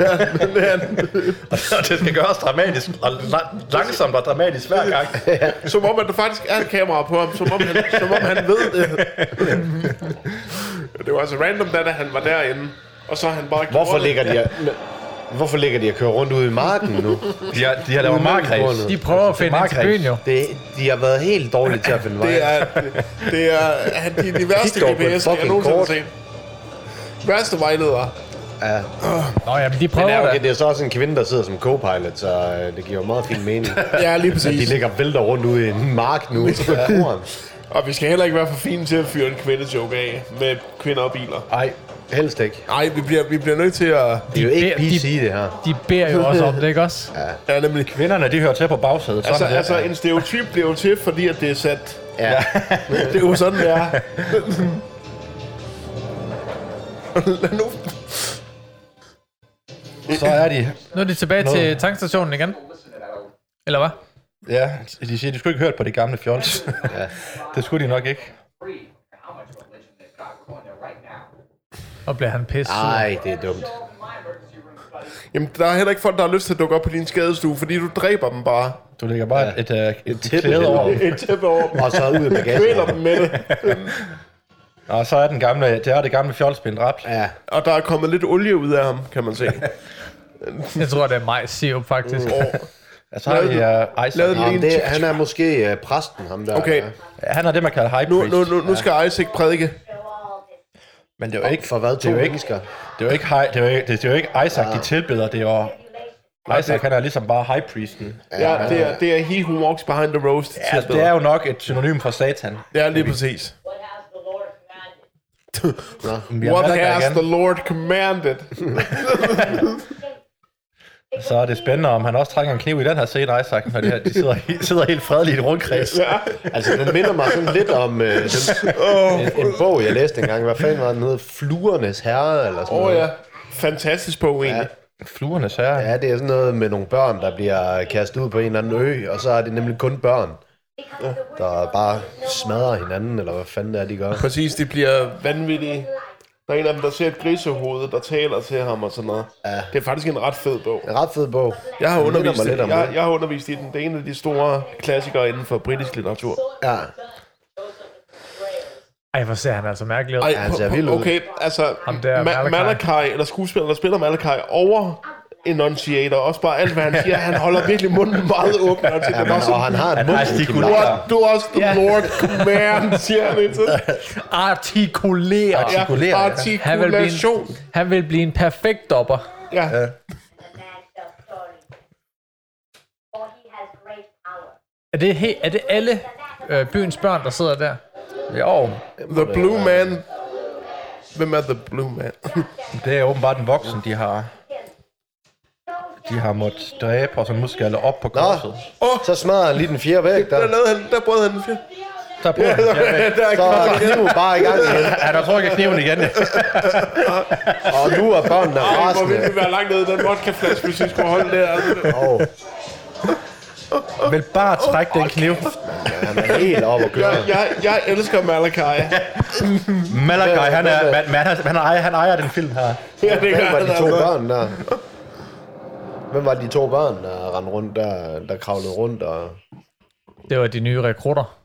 Speaker 3: han.
Speaker 4: Og det skal gøres dramatisk og la- langsomt og dramatisk hver gang.
Speaker 1: Som om, at der faktisk er et kamera på ham. Som om han, som om han ved det. det var altså random, da da han var derinde. Og så er han bare...
Speaker 3: Hvorfor ligger de og, Hvorfor ligger de og kører rundt ude i marken nu?
Speaker 4: De har, de har lavet markreds.
Speaker 2: De prøver at finde ind til
Speaker 4: markræs.
Speaker 2: byen jo.
Speaker 3: Det, de har været helt dårlige til at finde vej.
Speaker 1: Det er, det er, han- de er de værste
Speaker 3: Kig dog på et
Speaker 1: GPS'er, jeg
Speaker 3: fucking
Speaker 1: nogensinde har
Speaker 3: kort.
Speaker 1: set. Værste vejledere.
Speaker 3: ja.
Speaker 2: Nå ja, men de
Speaker 3: Men
Speaker 2: prøver
Speaker 3: ja, okay,
Speaker 2: det.
Speaker 3: det er så også en kvinde, der sidder som co-pilot, så øh, det giver jo meget fin mening.
Speaker 1: Ja, lige
Speaker 3: At de
Speaker 1: præcis.
Speaker 3: ligger og vælter rundt ude i en mark nu. Så på korn.
Speaker 1: Og vi skal heller ikke være for fine til at fyre en kvindejoke af med kvinder og biler.
Speaker 3: Ej, helst ikke.
Speaker 1: Nej, vi bliver, vi bliver nødt til at...
Speaker 3: Det er jo ikke
Speaker 2: De- de-
Speaker 3: PC, det her.
Speaker 2: De beder jo også om det, ikke også?
Speaker 1: Ja, nemlig.
Speaker 4: Kvinderne, de hører til på bagsædet.
Speaker 1: Altså,
Speaker 4: Sådan altså,
Speaker 1: altså, en stereotyp bliver jo til, fordi at det er sat.
Speaker 3: Ja.
Speaker 1: Det er jo sådan, det er. Lad nu.
Speaker 4: så er de.
Speaker 2: Nu er de tilbage til tankstationen igen. Eller hvad?
Speaker 4: Ja, de siger, de skulle ikke hørt på det gamle fjols. ja. Det skulle de nok ikke.
Speaker 6: Free. How much religion they've got? We're going there right now.
Speaker 2: Og bliver han pisset.
Speaker 3: Ej, det er dumt.
Speaker 6: From my emergency room.
Speaker 1: Jamen, der er heller ikke folk, der har lyst til at dukke op på din skadestue, fordi du dræber dem bare.
Speaker 4: Du lægger bare ja. et, øh, et, et klæde
Speaker 3: hen
Speaker 4: over. dem.
Speaker 1: Et tæppe over dem.
Speaker 3: Og så ud af
Speaker 1: Kvæler
Speaker 3: bagagen.
Speaker 1: dem med det.
Speaker 4: Og så er den gamle, det er det gamle fjolsbind dræbt.
Speaker 3: Ja,
Speaker 1: Og der er kommet lidt olie ud af ham, kan man se.
Speaker 2: Jeg tror, det er majssirup, faktisk.
Speaker 1: Og
Speaker 4: Ja, så har
Speaker 1: Lavede
Speaker 4: vi uh, Isaac.
Speaker 1: lavede den
Speaker 3: Nå, men
Speaker 1: lige en
Speaker 3: det, han er måske øh, præsten, ham der. øh,
Speaker 1: Okay.
Speaker 3: Ja.
Speaker 4: Ja, Han er det, man kalder high
Speaker 1: nu,
Speaker 4: priest.
Speaker 1: nu, nu, nu skal Isaac prædike.
Speaker 4: Men det er jo ikke,
Speaker 3: For hvad?
Speaker 4: det er jo
Speaker 3: To
Speaker 4: ikke,
Speaker 3: mennesker.
Speaker 4: det er jo ikke, high, det er jo ikke, det er jo ikke Isaac,
Speaker 1: Ah.
Speaker 4: de tilbeder. Det er jo, Isaac, han er ligesom bare high priesten.
Speaker 1: Ja, det er, det er he who walks behind the roast.
Speaker 4: Ja, det er jo nok et synonym for satan.
Speaker 1: det er lige præcis.
Speaker 7: What has the Lord commanded?
Speaker 4: Jamen,
Speaker 1: What
Speaker 4: hvad er der
Speaker 1: has
Speaker 4: igen?
Speaker 1: the Lord commanded?
Speaker 4: Så er det spændende, om han også trækker en kniv i den her scene, Isaac, når de, her, de sidder, sidder helt fredeligt i et rundkreds. Ja.
Speaker 3: Altså, den minder mig sådan lidt om øh, den, en, en bog, jeg læste engang. Hvad fanden var den hed? Fluernes Herre, eller sådan
Speaker 1: Åh oh,
Speaker 3: noget.
Speaker 1: ja. Fantastisk bog, egentlig.
Speaker 4: Fluernes herre. Ja.
Speaker 3: Ja, det er sådan noget med nogle børn, der bliver kastet ud på en eller anden ø, og så er det nemlig kun børn, der bare smadrer hinanden, eller hvad fanden det er, de gør.
Speaker 1: Præcis, de bliver vanvittige. Der er en af dem, der ser et grisehoved, der taler til ham og sådan noget. Ja. Det er faktisk en ret fed bog.
Speaker 3: En ret fed bog.
Speaker 1: Jeg har,
Speaker 3: Den minder
Speaker 1: undervist
Speaker 3: mig
Speaker 1: i,
Speaker 3: lidt om
Speaker 1: jeg,
Speaker 3: det.
Speaker 1: jeg har undervist i den. Det er en af de store klassikere inden for britisk litteratur.
Speaker 3: Ja,
Speaker 2: Ej, hvor ser han altså mærkelig ud.
Speaker 1: Ej,
Speaker 3: han
Speaker 1: på-
Speaker 3: ser
Speaker 1: på-
Speaker 3: vild ud.
Speaker 1: Okay, altså,
Speaker 2: Ham der,
Speaker 1: Ma-
Speaker 2: Malachi.
Speaker 1: Malachi, eller skuespilleren, der spiller Malachi over Enunciator, også bare alt, hvad han siger. Han holder virkelig munden meget åben. Og, ja,
Speaker 3: ja men, og han har en
Speaker 4: Han
Speaker 3: mund.
Speaker 1: What
Speaker 4: artikulerer,
Speaker 1: does the Lord command, siger han indtil.
Speaker 2: Artikulerer.
Speaker 1: Ja,
Speaker 4: Artikulerer, ja.
Speaker 2: Han vil, blive
Speaker 1: artikulation.
Speaker 2: en, han vil blive en perfekt dopper.
Speaker 1: Ja.
Speaker 7: For he has great power.
Speaker 2: Er det, he, er det alle øh, byens børn, der sidder der?
Speaker 4: jo,
Speaker 1: The Blue Man. Hvem er The Blue Man?
Speaker 4: det er åbenbart den voksen, de har de har måttet dræbe, og så nu skal alle op på korset.
Speaker 3: Så smadrer han lige den fjerde væg, der.
Speaker 1: Der lavede han, der brød han en fjerde.
Speaker 4: Der bruger han den fjerde væg.
Speaker 1: Der er
Speaker 3: Så
Speaker 1: knap.
Speaker 3: er kniven bare i gang igen.
Speaker 4: Han har trukket kniven igen.
Speaker 3: Og nu er børnene
Speaker 1: Ej, hvor ville
Speaker 3: rasende.
Speaker 1: det være langt ned i den vodkaflaske, hvis vi skulle holde der.
Speaker 3: Åh,
Speaker 4: Vil bare trække den kniv.
Speaker 3: han er helt oppe at køre.
Speaker 1: Jeg, jeg, jeg elsker Malachi.
Speaker 4: Malachi, han, er, man, man, han, han, ejer, han ejer den film her.
Speaker 1: Ja, det
Speaker 3: Hvem var de to
Speaker 1: altså.
Speaker 3: børn der? Hvem var de to børn, der rendte rundt, der, der kravlede rundt? Og...
Speaker 2: Det var de nye rekrutter.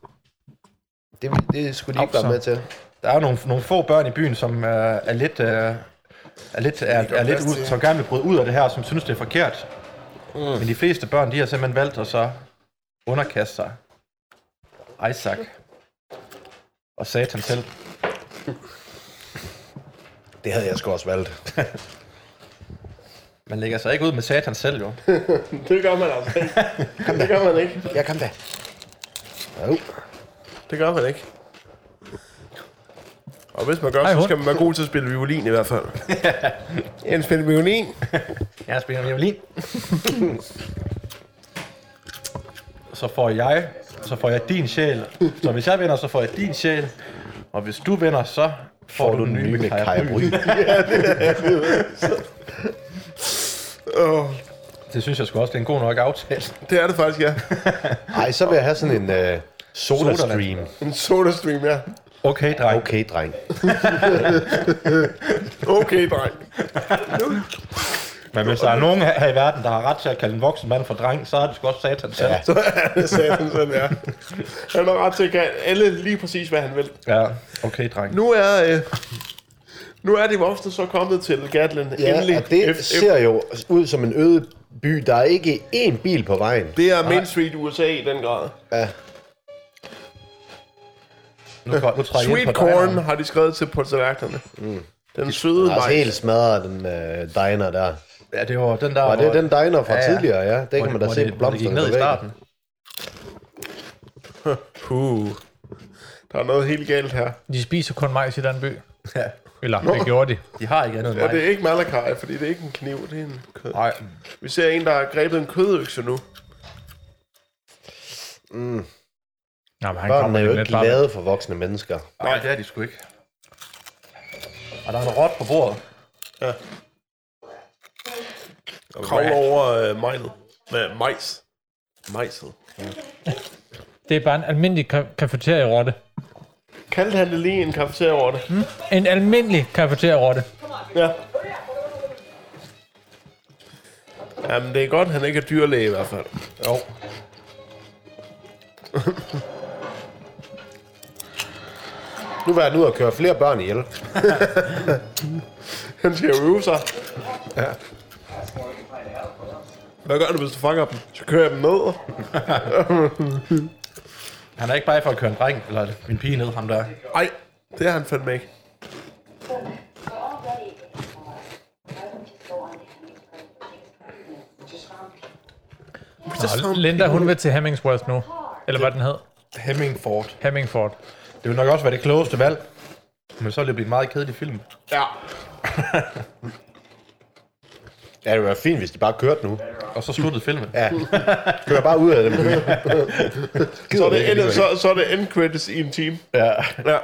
Speaker 3: Det, det skulle de ikke være med til.
Speaker 4: Der er jo nogle, nogle få børn i byen, som øh, er lidt... Øh, er lidt, er, er lidt ud, som gerne vil bryde ud af det her, som synes, det er forkert. Mm. Men de fleste børn, de har simpelthen valgt at så underkaste sig Isaac og Satan selv.
Speaker 3: Det havde jeg sgu også valgt.
Speaker 4: Man lægger sig ikke ud med Satan selv, jo.
Speaker 1: Det gør man altså ikke. Det gør man ikke.
Speaker 3: Ja, kom da. Jo.
Speaker 1: Det gør man ikke. Og hvis man gør,
Speaker 2: Ej,
Speaker 1: så
Speaker 2: hund.
Speaker 1: skal man være god til at spille violin i hvert fald. en spille violin.
Speaker 4: Jeg spiller violin. så får jeg, så får jeg din sjæl. Så hvis jeg vinder, så får jeg din sjæl. Og hvis du vinder, så får, får du den nye med Kaja Bry.
Speaker 1: Oh,
Speaker 4: Det synes jeg sgu også, det er en god nok aftale.
Speaker 1: det er det faktisk, ja.
Speaker 3: Ej, så vil jeg have sådan en øh, soda stream.
Speaker 1: En soda stream, ja.
Speaker 4: Okay, dreng. Okay.
Speaker 3: Okay, dreng.
Speaker 1: Okay, dreng.
Speaker 4: Men hvis der er nogen her her i verden, der har ret til at kalde en voksen mand for dreng, så er det sgu også satan selv. Ja.
Speaker 1: Så er det satan sådan, ja. Han har ret til at kalde alle lige præcis, hvad han vil.
Speaker 4: ja. Okay, dreng. Nu.
Speaker 1: Nu er... Øh, nu er de voksne så kommet til Gatlin. endelig.
Speaker 3: Ja, og det
Speaker 1: F-
Speaker 3: ser jo ud som en øde by. Der er ikke én bil på vejen.
Speaker 1: det er Main Street USA i den grad.
Speaker 4: Nu, nu træder jeg ind
Speaker 1: Sweet
Speaker 4: på dig,
Speaker 1: corn
Speaker 4: Arne.
Speaker 1: har de skrevet til på tallerkenerne. Mm. Den søde
Speaker 3: Der er også
Speaker 1: majs.
Speaker 3: Altså, helt smadret den øh, diner der.
Speaker 4: Ja, det var den der,
Speaker 3: Og det er
Speaker 4: hvor-
Speaker 3: den diner fra
Speaker 4: Ja, ja.
Speaker 3: tidligere, ja. Det
Speaker 4: hvor
Speaker 3: kan man da
Speaker 4: hvor
Speaker 3: se
Speaker 4: det-
Speaker 3: på
Speaker 4: hvor det gik
Speaker 3: blomsterne.
Speaker 4: ned i
Speaker 3: på væggen.
Speaker 4: starten.
Speaker 1: Puh. Der er noget helt galt her.
Speaker 2: De spiser kun majs i den by.
Speaker 4: Ja.
Speaker 2: Eller, det gjorde de.
Speaker 4: De har ikke andet end
Speaker 1: Ja,
Speaker 4: mig.
Speaker 1: det er ikke Malakai, fordi det er ikke en kniv, det er en kød.
Speaker 4: Nej,
Speaker 1: Vi ser en, der har grebet en kødøkse nu.
Speaker 2: Nå, men han
Speaker 3: Børnene
Speaker 2: kommer
Speaker 3: er jo
Speaker 2: lidt
Speaker 3: ikke
Speaker 2: bare-
Speaker 3: lavet for voksne mennesker.
Speaker 4: nej, det er de sgu ikke. Og der er en rot på bordet.
Speaker 1: Kravler over øh, majlet. Med majs. Majset.
Speaker 2: Det er bare en almindelig ka- kafeterierotte.
Speaker 1: Kaldte han det lige en kafeteria over det?
Speaker 2: En almindelig kafeterierotte.
Speaker 1: Ja. Jamen, det er godt, han ikke er dyrlæge i hvert fald.
Speaker 4: Jo.
Speaker 3: Nu var han ude og køre flere børn ihjel.
Speaker 1: Han skal jo øve sig. Ja. Hvad gør du, hvis du fanger dem? Så kører jeg dem ned.
Speaker 4: Han er ikke bare for at køre en dreng, eller en pige ned, ham der.
Speaker 1: Nej, det er han fandme ikke.
Speaker 2: Nå, Linda, hun vil til Hemmingsworth nu. Eller hvad den hed.
Speaker 4: Hemmingford.
Speaker 2: Hemmingford.
Speaker 4: Det vil nok også være det klogeste valg. Men så vil det blive en meget kedelig film.
Speaker 3: Ja, det var fint, hvis de bare kørte nu.
Speaker 4: Og så sluttede filmen.
Speaker 3: Ja. Kører bare ud af dem.
Speaker 1: Så er det, end, så, så er det end credits i en time.
Speaker 4: Ja.
Speaker 1: Ja.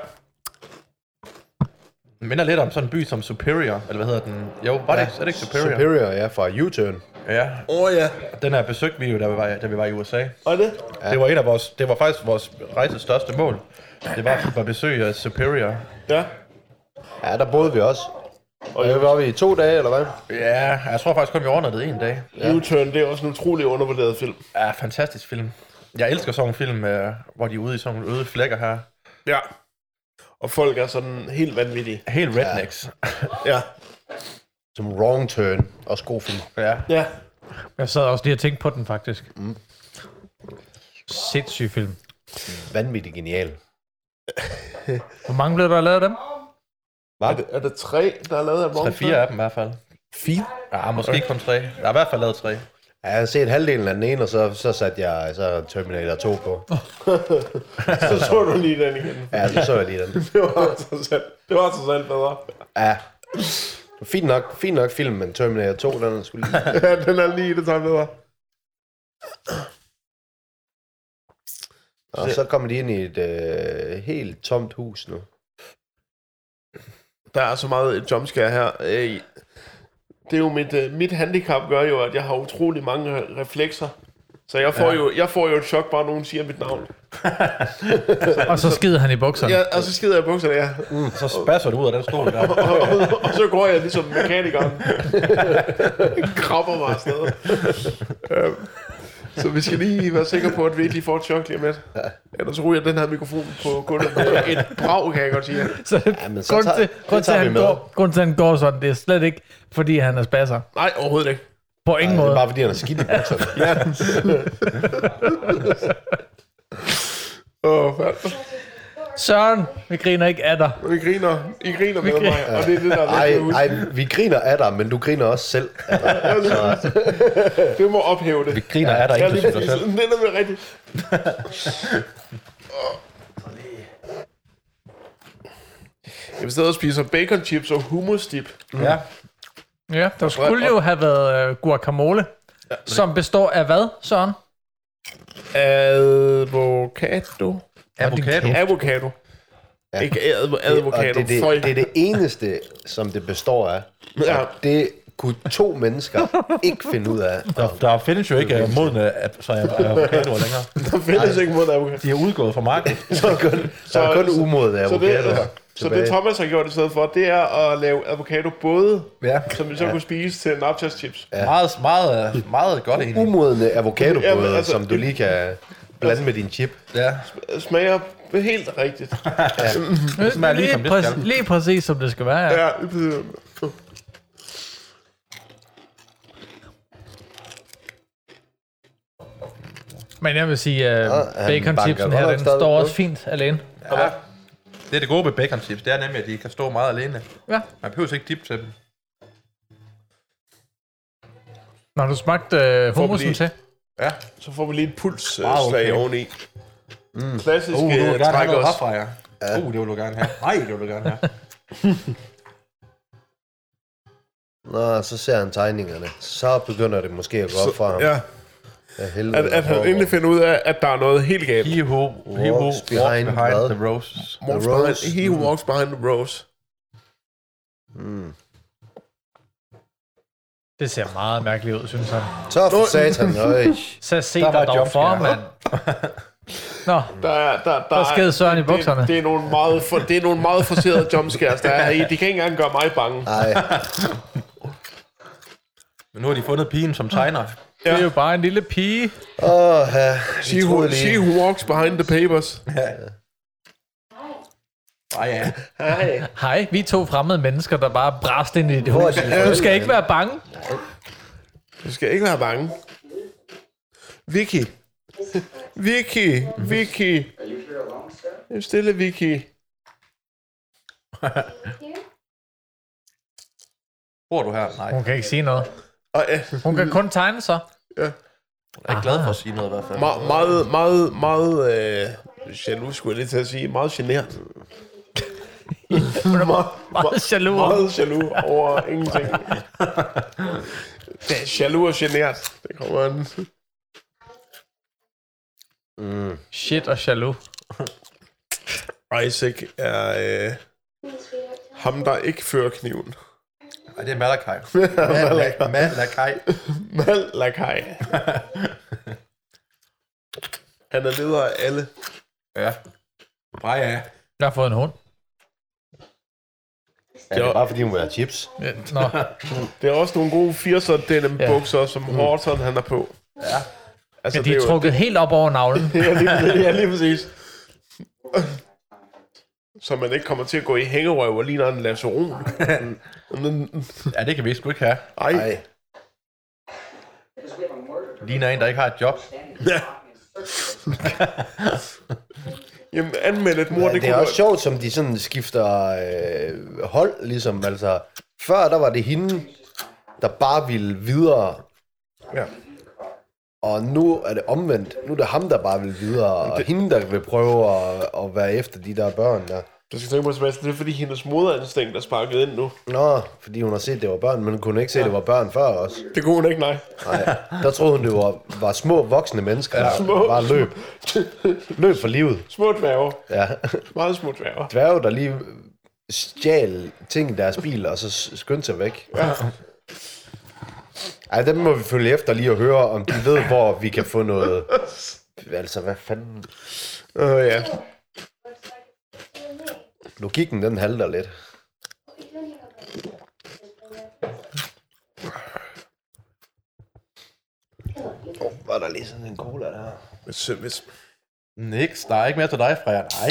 Speaker 4: Den minder lidt om sådan en by som Superior, eller hvad hedder den? Jo, var det, ja. er det ikke Superior? Superior?
Speaker 3: Superior, ja, fra U-turn.
Speaker 4: Ja,
Speaker 1: Åh oh, ja.
Speaker 4: den her besøgte vi jo, da vi var, da vi var i USA.
Speaker 1: Og det?
Speaker 4: Ja. Det var en af vores, det var faktisk vores rejses største mål. Det var at besøge Superior.
Speaker 1: Ja.
Speaker 3: Ja, der boede vi også. Og det var vi i to dage, eller hvad?
Speaker 4: Ja, jeg tror faktisk kun, vi ordnede det en dag.
Speaker 1: U-turn, det er også en utrolig undervurderet film.
Speaker 4: Ja, fantastisk film. Jeg elsker sådan en film, øh, hvor de er ude i sådan nogle øde flækker her.
Speaker 1: Ja. Og folk er sådan helt vanvittige.
Speaker 4: Helt rednecks.
Speaker 1: Ja.
Speaker 3: Som Wrong Turn. Også god film.
Speaker 4: Ja.
Speaker 1: Ja.
Speaker 2: Jeg sad også lige og tænkte på den, faktisk. Mm. Sindssyg film.
Speaker 3: Vanvittigt genial.
Speaker 2: Hvor mange blev der lavet af dem?
Speaker 1: Er det, er det tre, der er lavet af
Speaker 4: Tre fire af dem i hvert fald.
Speaker 1: Fire?
Speaker 4: Ja, måske kun tre. Der er i hvert fald lavet tre.
Speaker 3: Ja, jeg har set halvdelen af den ene, og så, så satte jeg så Terminator 2 på.
Speaker 1: Så så du lige den igen.
Speaker 3: Ja, så så jeg lige den.
Speaker 1: Det var trods alt, det var trods alt bedre.
Speaker 3: Ja. Fint nok, fint nok film, men Terminator 2, den er sgu lige...
Speaker 1: Ja, den er lige det samme bedre.
Speaker 3: Og så kommer de ind i et øh, helt tomt hus nu.
Speaker 1: Der er så meget jumpscare her. Øh, Det er jo mit, øh, mit handicap gør jo, at jeg har utrolig mange re- reflekser. Så jeg får, ja. jo, jeg får jo et chok, bare nogen siger mit navn.
Speaker 2: Og så skider han i bukserne.
Speaker 1: Ja, og så skider jeg i bukserne, ja.
Speaker 4: Så spasser du ud af den stol der.
Speaker 1: Og, og, og så går jeg ligesom mekanikeren. Krabber mig afsted. Øhm, Så vi skal lige være sikre på, at vi ikke lige får et chok lige om lidt. Ellers ryger den her mikrofon på gulvet med et brag, kan jeg godt sige.
Speaker 2: Så,
Speaker 3: Ja, men så
Speaker 2: grund,
Speaker 3: tager-
Speaker 2: til,
Speaker 3: så
Speaker 2: grund, til,
Speaker 3: tager
Speaker 2: at
Speaker 3: vi
Speaker 2: han
Speaker 3: med.
Speaker 2: går, grund til, at han går sådan, det er slet ikke, fordi han er spasser.
Speaker 1: Nej, overhovedet ikke.
Speaker 2: På ingen
Speaker 3: Det
Speaker 2: måde.
Speaker 3: er bare fordi, han er skidt i bukserne.
Speaker 1: Åh, fanden.
Speaker 2: Søren, vi griner ikke af dig.
Speaker 1: Vi griner. I griner med
Speaker 2: griner.
Speaker 1: mig, og det er det, der er
Speaker 3: Ej,
Speaker 1: lidt med
Speaker 3: ej, vi griner af dig, men du griner også selv. af dig.
Speaker 1: Det må ophæve det.
Speaker 4: Vi griner af dig,
Speaker 1: Ja, lige
Speaker 4: inklusive dig
Speaker 1: præcis.
Speaker 4: selv.
Speaker 1: Det er nemlig rigtigt. Jeg vil stadig spise bacon chips og hummus dip.
Speaker 4: Ja.
Speaker 2: Ja, der skulle jo have været øh, guacamole, som består af hvad, Søren?
Speaker 1: Avocado.
Speaker 4: Avocado.
Speaker 1: Avocado. Ja. Ikke ad- advocado.
Speaker 3: Og det, er
Speaker 1: Føj.
Speaker 3: det, det er det eneste, som det består af.
Speaker 1: Ja.
Speaker 3: Og det kunne to mennesker ikke finde ud af.
Speaker 4: Der, der findes jo ikke øh, modne at- så jeg avocadoer længere.
Speaker 1: Der findes ikke mod avocado.
Speaker 4: De er udgået fra markedet.
Speaker 3: Så er kun, så er kun umod af
Speaker 1: Så det,
Speaker 3: avocadoer.
Speaker 1: så det Thomas har gjort i stedet for, det er at lave avocado både,
Speaker 4: Ja.
Speaker 1: som vi så ja. kunne spise til nachos chips. Ja.
Speaker 4: Meget, meget, øh, meget godt egentlig.
Speaker 3: Umodne
Speaker 1: Ja, men
Speaker 3: avocadobåde,
Speaker 1: altså-
Speaker 3: som du lige kan blande med din chip.
Speaker 4: Ja.
Speaker 1: Øh, Smager helt rigtigt.
Speaker 2: Det
Speaker 4: smager lige som det skal.
Speaker 2: præcis, lige præcis, som det skal være. Ja.
Speaker 1: Ja, lige præcis.
Speaker 2: Men jeg vil sige, øh,
Speaker 3: han banker
Speaker 2: bacon-chipsen her, den
Speaker 3: godt nok stadig
Speaker 2: står
Speaker 3: på.
Speaker 2: også fint alene.
Speaker 4: ja. Det er det gode ved bacon chips, det er nemlig, at de kan stå meget alene.
Speaker 2: Ja.
Speaker 4: Man behøver ikke dip til dem.
Speaker 2: Når du smagte øh, hummusen
Speaker 1: lige-
Speaker 2: til.
Speaker 4: Ja.
Speaker 1: Så får vi lige et pulsslag
Speaker 4: Ah,
Speaker 1: wow, okay.
Speaker 4: okay.
Speaker 1: oveni. Mm. Klassisk
Speaker 4: Uh, du
Speaker 1: uh,
Speaker 4: vil gerne have
Speaker 1: træk
Speaker 4: noget
Speaker 1: også.
Speaker 4: herfra, ja. Uh, det vil du gerne have. Nej, det vil du gerne have.
Speaker 3: Nå, så ser han tegningerne. Så begynder det måske at gå op for ham.
Speaker 1: Ja,
Speaker 3: At,
Speaker 1: at, at han endelig finder ud af, at der er noget helt galt. He,
Speaker 4: He who, he who walks behind,
Speaker 3: behind hvad?
Speaker 4: the roses.
Speaker 1: walks,
Speaker 3: rose.
Speaker 1: behind, he who walks behind the rose.
Speaker 2: Det ser meget mærkeligt ud, synes jeg.
Speaker 3: Så for satan, øj.
Speaker 2: Så se der
Speaker 4: Der var
Speaker 2: dig dog
Speaker 4: jumpscare.
Speaker 2: for, mand. Nå,
Speaker 1: Der, er- der, der,
Speaker 2: Der sked Søren i
Speaker 1: det-
Speaker 2: bukserne.
Speaker 1: Det, det, er nogle meget for, det er nogle meget Ah, forserede jumpscares, der er i. De kan ikke engang gøre mig bange.
Speaker 3: Nej,
Speaker 4: Men nu har de fundet pigen som tegner.
Speaker 2: Ja. Det er jo bare en lille pige.
Speaker 3: Åh, ja,
Speaker 1: She who, she who walks behind the papers.
Speaker 4: Ej, ja.
Speaker 2: Hej, vi er to fremmede mennesker, der bare bræst ind i dit hus.
Speaker 3: dine
Speaker 2: Du skal ikke være bange.
Speaker 1: Du skal ikke være bange. Vicky. Vicky. Vicky.
Speaker 6: Are you here alone, sir?
Speaker 1: Det er stille, Vicky.
Speaker 4: Bor du her? Nej.
Speaker 2: Hun kan ikke sige noget.
Speaker 1: Og, ja,
Speaker 2: Hun kan kun tegne sig.
Speaker 4: Jeg er ikke glad for at sige noget i hvert fald.
Speaker 1: Me- meget, meget, meget... Øh, jaloux, skulle jeg lige til at sige. Meget genert. Hun er meget,
Speaker 2: Meget jaloux.
Speaker 1: meget jaloux over ingenting. Det er jaloux og genert. Det kommer an. Mm.
Speaker 2: Shit og jaloux.
Speaker 1: Isaac er øh, ham, der ikke fører kniven.
Speaker 4: Ej, det er Malakai.
Speaker 1: Malakai.
Speaker 4: Malakai.
Speaker 1: Malakai. Han er leder af alle.
Speaker 4: Ja. Bare ja.
Speaker 2: Jeg har fået en hund.
Speaker 3: Ja, det er bare fordi hun vil have chips.
Speaker 2: Ja, Nå,
Speaker 1: Det er også nogle gode 80'er denim
Speaker 2: Ja. Mm.
Speaker 1: bukser, som Horton han er på. Ja. Altså,
Speaker 2: men de
Speaker 1: det
Speaker 2: er
Speaker 1: jo-
Speaker 2: trukket helt op over navlen.
Speaker 1: Ja, lige, ja, lige præcis. Så man ikke kommer til at gå i hængerøv og ligner en laceron.
Speaker 4: Ja, det kan vi sgu ikke have.
Speaker 1: Ej,
Speaker 3: Ej,
Speaker 1: Ej.
Speaker 6: Because we have a murderer
Speaker 4: Ligner en, der ikke har et job.
Speaker 6: standing in in search of
Speaker 1: Jamen, anmeld et mor,
Speaker 3: ja,
Speaker 1: det,
Speaker 3: det er
Speaker 1: kunne
Speaker 3: også sjovt, som de sådan skifter øh, hold, ligesom. Altså, før der var det hende, der bare ville videre.
Speaker 1: Ja.
Speaker 3: Og nu er det omvendt. Nu er det ham, der bare vil videre, og hende, der vil prøve at, at være efter de der børn der.
Speaker 1: Du skal tænke på, Sebastian, det er fordi hendes moderinstinkt er sparket ind nu.
Speaker 3: Nå, fordi hun har set, det var børn, men hun kunne ikke se, det var børn før også.
Speaker 1: Det kunne hun ikke, nej.
Speaker 3: Nej, der troede hun, det var, var små voksne mennesker, der
Speaker 1: Små-
Speaker 3: bare løb. Løb for livet.
Speaker 1: Små dværger.
Speaker 3: Ja.
Speaker 1: Meget små dværger.
Speaker 3: Dværge, der lige stjal ting i deres bil, og så s- skyndte sig væk. Ja. Ej, dem må vi følge efter lige og høre, om de ved, hvor vi kan få noget... Altså, hvad fanden...
Speaker 1: Øh, ja.
Speaker 3: Logikken, den halter lidt. Oh, var der lige sådan en cola der?
Speaker 1: Hvis, hvis,
Speaker 4: Niks, der er ikke mere til dig, Freja. Nej.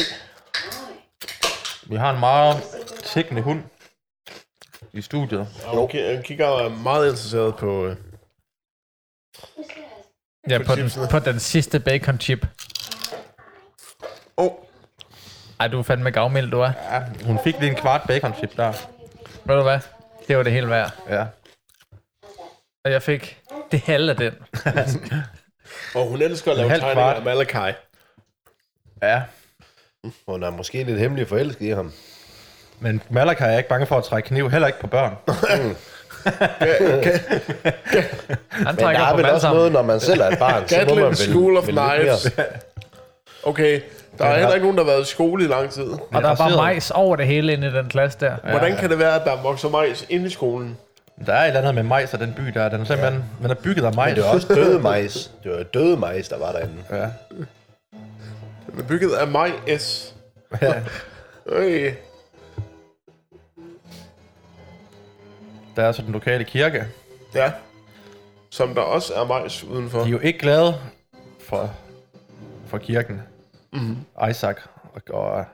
Speaker 4: Vi har en meget tækkende hund i studiet.
Speaker 1: okay, han kigger meget interesseret på... Øh,
Speaker 2: Ja, på den, på den sidste bacon chip.
Speaker 1: Åh.
Speaker 2: Ej, du er fandme gavmild, du er.
Speaker 4: Ja, hun fik lige en kvart bacon chip der.
Speaker 2: Ved du hvad? Det var det hele værd.
Speaker 4: Ja.
Speaker 2: Og jeg fik det halve af den.
Speaker 1: og hun elsker at lave
Speaker 4: halv
Speaker 1: tegninger
Speaker 4: kvart.
Speaker 1: af Malakai.
Speaker 4: Ja.
Speaker 3: Hun er måske lidt hemmelig forelsket i ham.
Speaker 4: Men Malakai er ikke bange for at trække kniv, heller ikke på børn.
Speaker 2: Han
Speaker 3: Men der
Speaker 2: trækker
Speaker 3: er
Speaker 2: på dem
Speaker 3: vel
Speaker 2: alle
Speaker 3: også
Speaker 2: sammen.
Speaker 3: noget, når man selv er et barn, så må man
Speaker 1: Gatlin
Speaker 3: vel,
Speaker 1: School of
Speaker 3: vel lidt mere.
Speaker 1: Knives. Okay, der er heller ikke nogen, der har været i skole i lang tid.
Speaker 2: Og der er bare
Speaker 4: interesseret.
Speaker 2: majs over det hele inde i den klasse der.
Speaker 1: Hvordan kan det være, at der vokser majs inde i skolen?
Speaker 4: Der er et eller andet med majs og den by der. Den er simpelthen, ja. den er bygget af majs.
Speaker 3: Det var også døde majs. Det var døde majs, der var derinde.
Speaker 4: Ja.
Speaker 1: Den er bygget af majs.
Speaker 4: Ja.
Speaker 1: Øj.
Speaker 4: Der er så den lokale kirke.
Speaker 1: Ja. Som der også er majs udenfor.
Speaker 4: De er jo ikke glade for, for kirken. Mm-hmm. Isaac og, og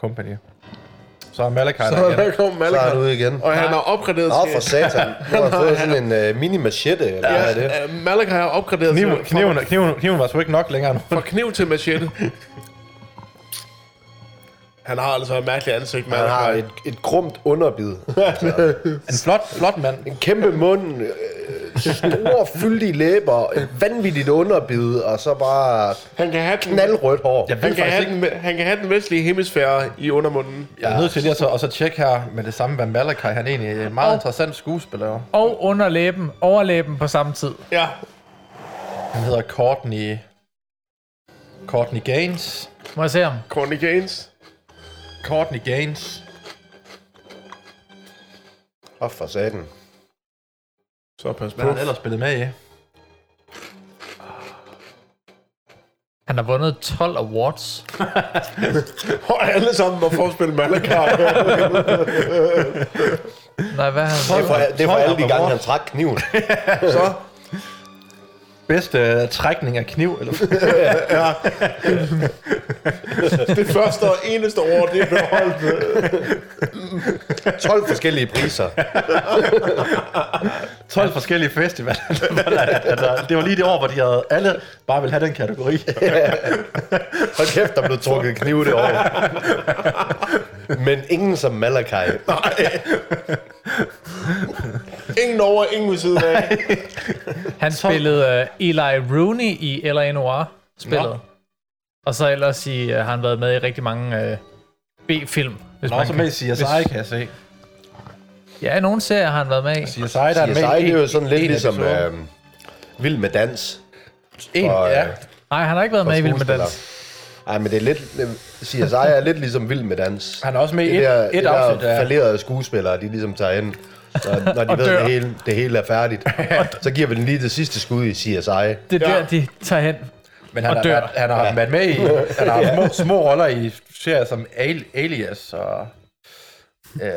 Speaker 4: company. Så er Malakai
Speaker 1: Så
Speaker 4: der igen.
Speaker 1: der kom
Speaker 3: Så er han
Speaker 1: Malakai.
Speaker 3: ude igen.
Speaker 1: Og han har opgraderet
Speaker 3: Nå, for satan. Nu har han fået sådan en uh, mini-machette, eller hvad er det?
Speaker 1: Ja, øh, Malakai har opgraderet
Speaker 4: Kniv,
Speaker 1: sig
Speaker 4: kniven, kniven, kniven var sgu ikke nok længere nu.
Speaker 1: fra kniv til machete. Han har altså et mærkeligt ansigt,
Speaker 3: Han har
Speaker 1: Malakai.
Speaker 3: et, et grumt underbid.
Speaker 4: En flot, flot mand.
Speaker 3: En kæmpe mund, øh, store, fyldige læber, et vanvittigt underbid, og så bare
Speaker 1: Han kan have den,
Speaker 3: knaldrødt hår.
Speaker 4: Jeg
Speaker 1: han
Speaker 4: ved
Speaker 1: kan
Speaker 4: faktisk
Speaker 1: have
Speaker 4: ikke,
Speaker 1: den, han kan have den vestlige hemisfære i undermunden.
Speaker 4: jeg er nødt til lige at så, og så tjekke her med det samme, hvad Malakai han egentlig er. En Meget
Speaker 2: Og-
Speaker 4: interessant skuespiller.
Speaker 2: Og underlæben, overlæben på samme tid.
Speaker 1: Ja,
Speaker 4: Han hedder Courtney... Courtney Gaines.
Speaker 2: Må jeg se ham?
Speaker 1: Corny Gaines.
Speaker 4: Courtney Gaines.
Speaker 3: Åh, for satan.
Speaker 1: Så pas
Speaker 4: Hvad har
Speaker 1: på.
Speaker 4: han ellers spillet med i?
Speaker 2: Han har vundet 12 awards.
Speaker 1: Og alle sammen var forspillet Malakar.
Speaker 2: Nej, hvad har han?
Speaker 3: Det er for, det er for alle de gange, han trak kniven.
Speaker 1: så
Speaker 4: Bedste uh, trækning af kniv, eller
Speaker 1: det første og eneste år, det blev holdt. øh,
Speaker 3: 12 forskellige priser.
Speaker 4: 12 forskellige festivaler. altså, det var lige det år, hvor de havde alle bare ville have den kategori.
Speaker 3: Hold kæft, der blev trukket knive det år. Men ingen som Malakai.
Speaker 1: Ingen over, ingen ved siden af.
Speaker 2: Han spillede uh, Eli Rooney i L.A. Noir-spillet.
Speaker 4: Nå.
Speaker 2: Og så ellers i, uh, har han været med i rigtig mange uh, B-film. Hvis
Speaker 4: Nå, så
Speaker 2: kan-
Speaker 4: med i CSI, kan jeg se.
Speaker 2: Ja, i nogle serier har han været med i.
Speaker 4: CSI, der er med
Speaker 3: CSI, Altså, det er jo sådan lidt
Speaker 4: en
Speaker 3: ligesom
Speaker 4: episode.
Speaker 3: øh, Vild med dans.
Speaker 4: en,
Speaker 3: og,
Speaker 4: ja.
Speaker 3: øh,
Speaker 2: Nej, han har ikke været med i Vild med Dans.
Speaker 3: Nej, men det er lidt... øh, CSI er lidt ligesom Vild med dans.
Speaker 4: Han er også med i
Speaker 3: Det
Speaker 4: et,
Speaker 3: der,
Speaker 4: et
Speaker 3: det
Speaker 4: afsnit
Speaker 3: der
Speaker 4: af...
Speaker 3: falderede skuespillere, de ligesom tager ind, når, når de ved,
Speaker 2: dør.
Speaker 3: at det hele, det hele er færdigt. så giver vi den lige det sidste skud i CSI.
Speaker 2: Det er
Speaker 1: Ja.
Speaker 2: der, de tager hen.
Speaker 4: Men han
Speaker 2: og
Speaker 4: har,
Speaker 2: dør.
Speaker 4: været- han har været med i han har haft små, små roller i serier som Al- Alias og øh,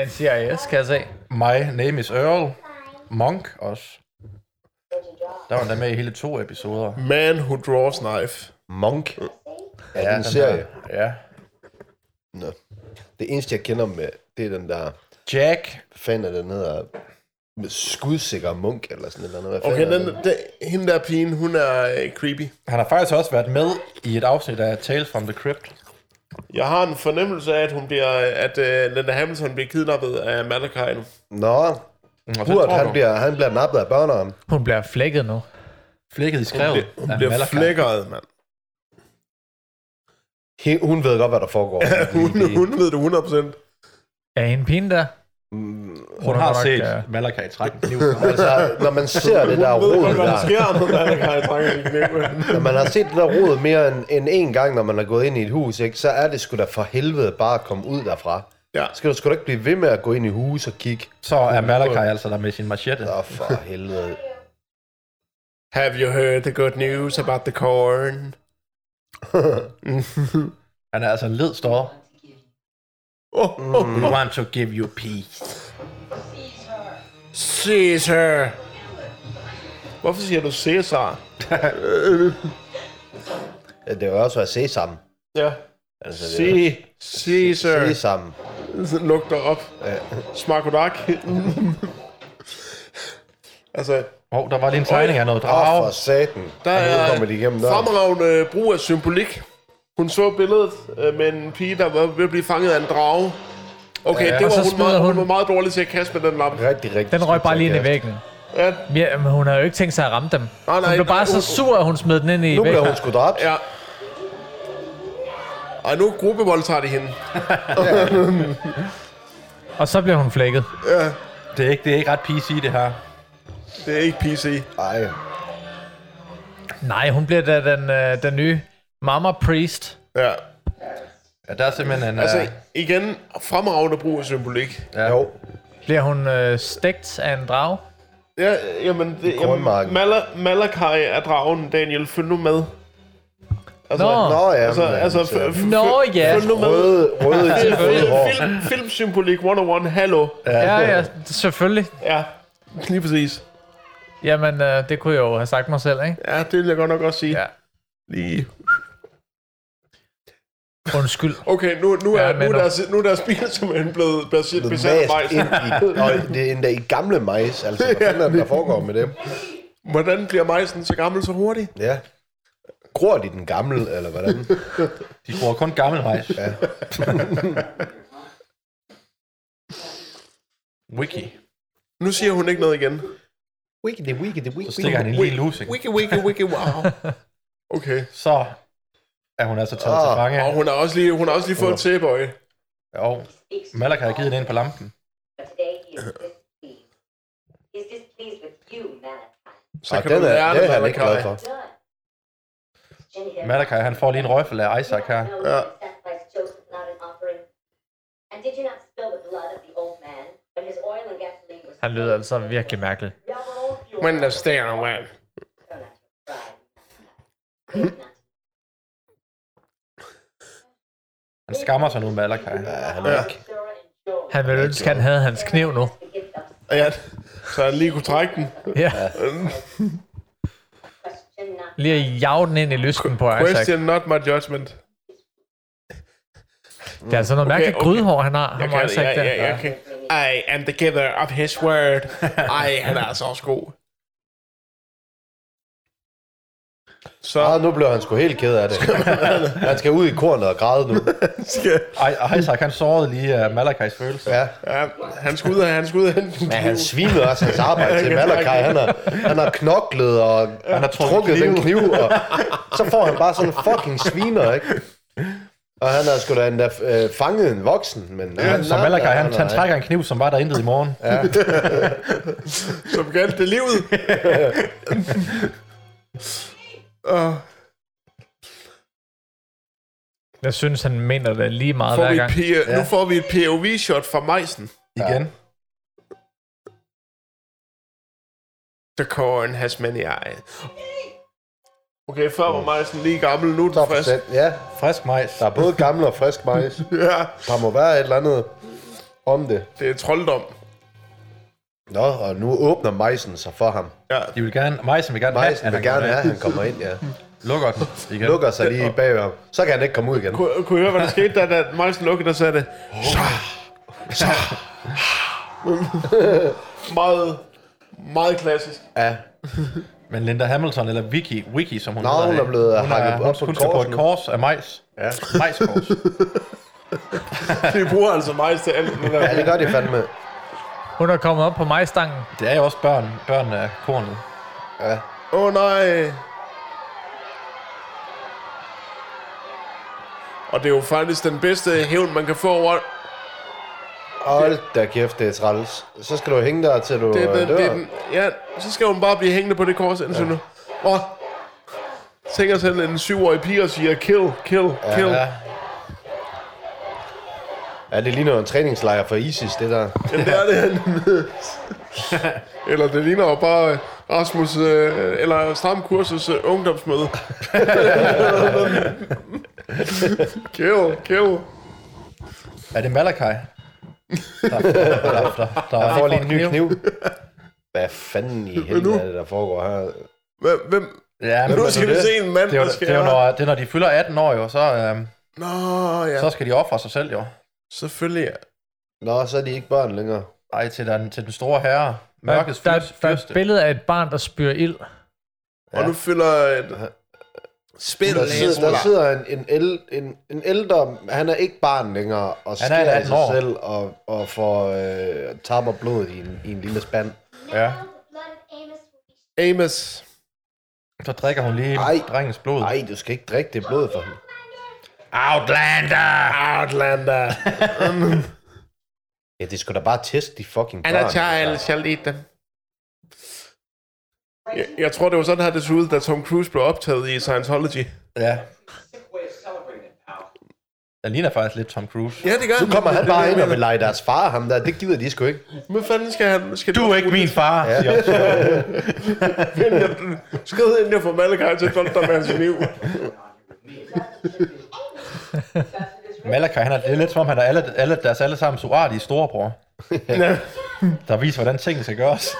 Speaker 2: NCIS, kan jeg se.
Speaker 4: My Name is Earl, Monk også. Der var han da med i hele to episoder.
Speaker 1: Man Who Draws Knife.
Speaker 3: Monk. Ja, det er en
Speaker 4: den
Speaker 3: serie.
Speaker 4: der- Ja.
Speaker 3: Nå. Det eneste, jeg kender med, det er den der...
Speaker 4: Jack,
Speaker 3: Fanden er den hedder... Med skudsikker munk, eller sådan noget. Hvad
Speaker 1: Okay,
Speaker 3: fanden er
Speaker 1: den, den, hende der pigen, hun er øh, creepy.
Speaker 4: han har faktisk også været med i et afsnit af Tales from the Crypt.
Speaker 1: Jeg har en fornemmelse af, at hun bliver, at øh, Linda Hamilton bliver kidnappet af Malakai nu.
Speaker 3: Nå,
Speaker 4: Mm, Og så
Speaker 3: Hurt,
Speaker 4: tror
Speaker 3: han
Speaker 4: du,
Speaker 3: bliver, han bliver nappet af børneren.
Speaker 2: Hun bliver flækket nu.
Speaker 4: flækket i skrevet.
Speaker 1: Hun, hun bliver flækkeret, mand.
Speaker 3: He- Hun ved godt, hvad der foregår.
Speaker 1: Hun, hun ved det 100%.
Speaker 2: Er hende pigen der?
Speaker 4: Hun har
Speaker 2: godt nok,
Speaker 4: set
Speaker 2: øh,
Speaker 4: Malakai trække en kniv.
Speaker 3: altså, når man ser det der
Speaker 1: Hun ved
Speaker 3: rod
Speaker 1: godt, hvad der
Speaker 3: der,
Speaker 1: sker, når Malakai trækker sin kniv.
Speaker 3: når man har set det der rod mere end, end én gang, når man har gået ind i et hus, ikke, så er det sgu da for helvede bare at komme ud derfra.
Speaker 1: Ja.
Speaker 3: Skal du sgu da ikke blive ved med at gå ind i hus og kigge?
Speaker 4: Så er Malakai altså der med sin machete.
Speaker 3: Nå, for helvede.
Speaker 1: Have you heard the good news about the corn?
Speaker 4: Han er altså en led står.
Speaker 1: Oh, oh.
Speaker 4: We want to give you peace.
Speaker 1: Caesar! Hvorfor siger du Caesar?
Speaker 3: Det er jo også at se sammen.
Speaker 1: Ja.
Speaker 3: Altså, det er-
Speaker 1: Se, Caesar.
Speaker 3: Se sammen.
Speaker 1: Lugter op. Smag goddag. altså,
Speaker 4: Åh, oh, der var lige en tegning af noget
Speaker 3: Åh, for
Speaker 4: drage.
Speaker 3: satan.
Speaker 1: Der
Speaker 3: nu
Speaker 1: er
Speaker 3: kommer de igennem der.
Speaker 1: fremragende brug af symbolik. Hun så billedet øh, med en pige, der var ved at blive fanget af en drage. Okay, ja, det
Speaker 2: og så
Speaker 1: var hun,
Speaker 2: smider
Speaker 1: meget, hun
Speaker 2: hun-
Speaker 1: var meget dårlig til at kaste med den lampe.
Speaker 3: Rigtig, rigtig
Speaker 2: Den røg
Speaker 3: skidt
Speaker 2: bare lige ind i
Speaker 3: sarkastisk.
Speaker 2: væggen.
Speaker 1: Ja,
Speaker 2: Ja, men hun har jo ikke tænkt sig at ramme dem.
Speaker 1: nej,
Speaker 2: hun blev bare
Speaker 1: nej,
Speaker 2: så
Speaker 1: hun-
Speaker 2: sur, at hun smed den ind i væggen.
Speaker 3: Nu bliver hun sgu dræbt.
Speaker 1: ja. Ej, nu gruppevoldtager de hende.
Speaker 2: Og så bliver hun flækket.
Speaker 4: Det er ikke, det er ikke ret PC, det her.
Speaker 1: Det er ikke PC.
Speaker 3: Ej,
Speaker 2: Nej, hun bliver da den, øh, den nye Mama Priest.
Speaker 1: Ja.
Speaker 4: Ja, der er simpelthen en...
Speaker 1: Altså,
Speaker 4: øh,
Speaker 1: igen, fremragende brug af symbolik.
Speaker 4: ja.
Speaker 3: jo.
Speaker 2: Bliver hun øh, stegt af en drag?
Speaker 1: Ja, jamen, det, jamen
Speaker 3: kornmarken.
Speaker 1: Mala, Malakai er dragen, Daniel. Følg nu med. Altså,
Speaker 2: Nå.
Speaker 3: Nå ja,
Speaker 1: Altså,
Speaker 3: men,
Speaker 1: altså,
Speaker 3: øh,
Speaker 1: f- f-
Speaker 2: Nå,
Speaker 1: f-
Speaker 2: ja.
Speaker 1: Følg nu med. Altså,
Speaker 3: Røde, røde til røde hår.
Speaker 1: Film, film, filmsymbolik 101, hallo. Ja.
Speaker 2: Ja, ja, selvfølgelig.
Speaker 1: ja. Lige præcis.
Speaker 2: Jamen, øh, det kunne jeg jo have sagt mig selv, ikke?
Speaker 1: Ja, det vil jeg godt nok også sige.
Speaker 2: Ja.
Speaker 1: Lige.
Speaker 2: Undskyld.
Speaker 1: Okay, nu, nu,
Speaker 2: Ja,
Speaker 1: er, nu,
Speaker 2: men
Speaker 1: er
Speaker 2: nu-
Speaker 1: deres, nu er deres bil simpelthen blevet besat,
Speaker 3: Blevet
Speaker 1: besat af
Speaker 3: mast ind
Speaker 1: majs.
Speaker 3: i, og det er endda i gamle majs, altså hvad fanden er det, der foregår med det?
Speaker 1: Hvordan bliver majsen så gammel så hurtigt?
Speaker 3: Ja. Gror de den gamle, eller hvordan?
Speaker 4: De bruger kun gammel majs. Ja. Wiki.
Speaker 1: Nu siger hun ikke noget igen.
Speaker 3: Wiggity, wiggity, wiggity.
Speaker 4: Så stikker han en lille losing.
Speaker 1: Wiki, wiki, wiki, wow. Okay.
Speaker 4: Så er hun altså taget til
Speaker 3: Ah,
Speaker 4: fange.
Speaker 1: Og hun har også lige, hun har også lige fået et tæbøje.
Speaker 4: Og Malakai har givet den ind på lampen.
Speaker 7: But today he is displeased. He is displeased with you, Malachi.
Speaker 1: Så
Speaker 3: Ej,
Speaker 1: kan
Speaker 3: den
Speaker 1: du
Speaker 3: er,
Speaker 1: lære
Speaker 3: den
Speaker 1: det,
Speaker 3: er han ikke glad
Speaker 1: Malakai.
Speaker 3: for.
Speaker 7: Done. Jenny here.
Speaker 4: Malakai, han får lige en røffel af Isaac her.
Speaker 7: No,
Speaker 1: Ja.
Speaker 7: you sacrificed Joseph without an offering. And did you not spill the blood of the old man when his oil and gasoline was
Speaker 2: Han lyder altså virkelig mærkelig.
Speaker 7: Yellow, you
Speaker 1: When the stænger, man.
Speaker 7: are not your bride.
Speaker 4: Han skammer sig nu, Malakai.
Speaker 3: Ja, han
Speaker 1: Ja.
Speaker 3: er ikke.
Speaker 2: Han ville ønske, han havde hans kniv nu.
Speaker 1: Og ja, så han lige kunne trække den.
Speaker 2: Ja,
Speaker 7: Question not
Speaker 2: lige at jage den ind i lysten på Isaac.
Speaker 1: Question not my judgment.
Speaker 2: Det er altså noget
Speaker 1: Okay,
Speaker 2: mærkeligt
Speaker 1: okay.
Speaker 2: grydhår, han har.
Speaker 1: Jeg
Speaker 2: Ham
Speaker 1: kan,
Speaker 2: Isaac
Speaker 1: jeg,
Speaker 2: der.
Speaker 1: jeg, jeg kan. I am the giver of his word. Ej, han er altså også god.
Speaker 3: Ah,
Speaker 1: Så
Speaker 3: nu blev han sgu helt ked af det. han skal ud i kornet og græde nu.
Speaker 1: skal,
Speaker 4: Ej, Isaac, han sårede lige uh, Malakais følelse.
Speaker 3: Ja.
Speaker 1: ja, han skal ud af, han skal ud af hente en
Speaker 3: Men han
Speaker 1: kniv.
Speaker 3: svinede også hans arbejde til Malakai. Han har, han har knoklet og han har trukket den kniv. Og så får han bare sådan en fucking sviner, ikke? Og han har sgu da endda øh, fanget en voksen, men... Ja,
Speaker 4: Så Malakai, han, han trækker en kniv, som var der intet i morgen.
Speaker 1: Som galt det livet. Og
Speaker 2: Jeg synes, han mener det lige meget
Speaker 1: får
Speaker 2: hver
Speaker 1: vi
Speaker 2: gang.
Speaker 1: et P- nu får vi et POV-shot fra Majsen.
Speaker 4: Igen.
Speaker 1: The corn has many eyes. Okay, før var Majsen lige gammel, nu er den frisk.
Speaker 3: frisk. Ja,
Speaker 4: Frisk majs.
Speaker 3: der er både gammel og frisk majs.
Speaker 1: Ja,
Speaker 3: Der må være et eller andet om det.
Speaker 1: det er trolddom.
Speaker 3: Nå, og nu åbner majsen sig for ham.
Speaker 4: De vil gerne, majsen vil gerne
Speaker 3: Majsen
Speaker 4: have,
Speaker 3: vil
Speaker 4: at han
Speaker 3: gerne
Speaker 4: kommer
Speaker 3: have, at han kommer ind, ja.
Speaker 4: ind. Lukker den igen.
Speaker 3: Lukker sig lige bag ham. Så kan han ikke komme ud igen.
Speaker 1: Kunne, kunne I høre, hvad der skete, da, da Majsen lukkede, der sagde det? Så, så. meget, meget klassisk.
Speaker 3: Ja,
Speaker 4: Men Linda Hamilton, eller Vicky, Vicky som hun
Speaker 3: Nå,
Speaker 4: hedder
Speaker 3: hun
Speaker 4: i dag,
Speaker 3: er blevet
Speaker 4: hun
Speaker 3: hakket
Speaker 4: er,
Speaker 3: op
Speaker 4: hun,
Speaker 3: på
Speaker 4: hun skal på
Speaker 3: kors
Speaker 4: et
Speaker 3: nu.
Speaker 4: kors af majs.
Speaker 3: Ja.
Speaker 4: Majskors.
Speaker 1: De bruger altså Majs til alt. Det
Speaker 3: ja det
Speaker 1: der.
Speaker 3: gør de fandme.
Speaker 2: Hun er kommet op på majstangen.
Speaker 4: Det er jo også børn, børn af kornet.
Speaker 3: Ja.
Speaker 1: Åh oh, nej. Og det er jo faktisk den bedste hævn, man kan få over...
Speaker 3: Hold da kæft, det er træls. Så skal du hænge der, til du
Speaker 1: Det, er
Speaker 3: øh,
Speaker 1: den,
Speaker 3: dør.
Speaker 1: det, er den, ja, så skal hun bare blive hængende på det kors indtil ja. nu. Åh, tænk os selv en syvårig pige og siger, kill, kill, kill. Ja,
Speaker 4: Ja.
Speaker 1: ja.
Speaker 3: Ja, det ligner jo en træningslejr for ISIS, det der.
Speaker 1: Jamen, det er det. eller det ligner jo bare øh, Rasmus, øh, eller Stram Kursus øh, ungdomsmøde. kill, kill.
Speaker 4: Er det Malakai? Der, der, der, der, der,
Speaker 3: Jeg får lige en ny kniv. Hvad fanden i helvede er det, der foregår her?
Speaker 1: Hvem, hvem,
Speaker 4: Ja, men
Speaker 1: nu
Speaker 4: det er
Speaker 1: skal
Speaker 4: jo
Speaker 1: vi
Speaker 4: det.
Speaker 1: se en mand,
Speaker 4: Det er,
Speaker 1: der
Speaker 4: jo,
Speaker 1: skal...
Speaker 4: det er jo, når, det er, når de fylder 18 år, jo, så, øhm,
Speaker 1: Nå, ja.
Speaker 4: så skal de ofre sig selv, jo.
Speaker 1: Selvfølgelig, ja.
Speaker 3: Nå, så er de ikke børn længere.
Speaker 4: Ej, til den, til den store herre.
Speaker 2: Der,
Speaker 4: Mørkets
Speaker 2: der,
Speaker 4: fyrste.
Speaker 2: der er et billede af et barn, der spyr ild.
Speaker 1: Og nu fylder... Øh, Spil,
Speaker 3: Der sidder, der sidder en, en, el, en, en ældre, han er ikke barn længere, og
Speaker 4: Han er
Speaker 3: skærer i
Speaker 4: 18
Speaker 3: sig
Speaker 4: år.
Speaker 3: selv og, og får øh, tapper blodet i en, i en lille spand.
Speaker 4: Ja.
Speaker 5: Now the blood of Amos will be
Speaker 1: Amos.
Speaker 4: Så drikker hun lige
Speaker 3: Ej.
Speaker 4: drengens blod.
Speaker 3: Nej, du skal ikke drikke det blod for ham.
Speaker 4: Outlander!
Speaker 1: Outlander.
Speaker 3: Ja, det skulle da bare teste de fucking børn. altså.
Speaker 1: shall eat them. Jeg, jeg tror, det var sådan her, det så ud, da Tom Cruise blev optaget i Scientology.
Speaker 4: Ja,
Speaker 6: Sick way of celebrating it, pal.
Speaker 4: den ligner faktisk lidt Tom Cruise.
Speaker 1: Ja, det gør
Speaker 3: Nu kommer han bare ind og vil lege deres far ham der. Det gider de sgu ikke.
Speaker 1: Hvad fanden skal han? Skal
Speaker 4: Du er ikke min far, ja. siger hun så.
Speaker 1: Skrid ind, jeg får Malakai til at stolte dig med hans liv.
Speaker 4: Malakai, han er, det er lidt som om, han er alle, alle deres alle sammen surati i storebror. Der viser, hvordan tingene skal gøres.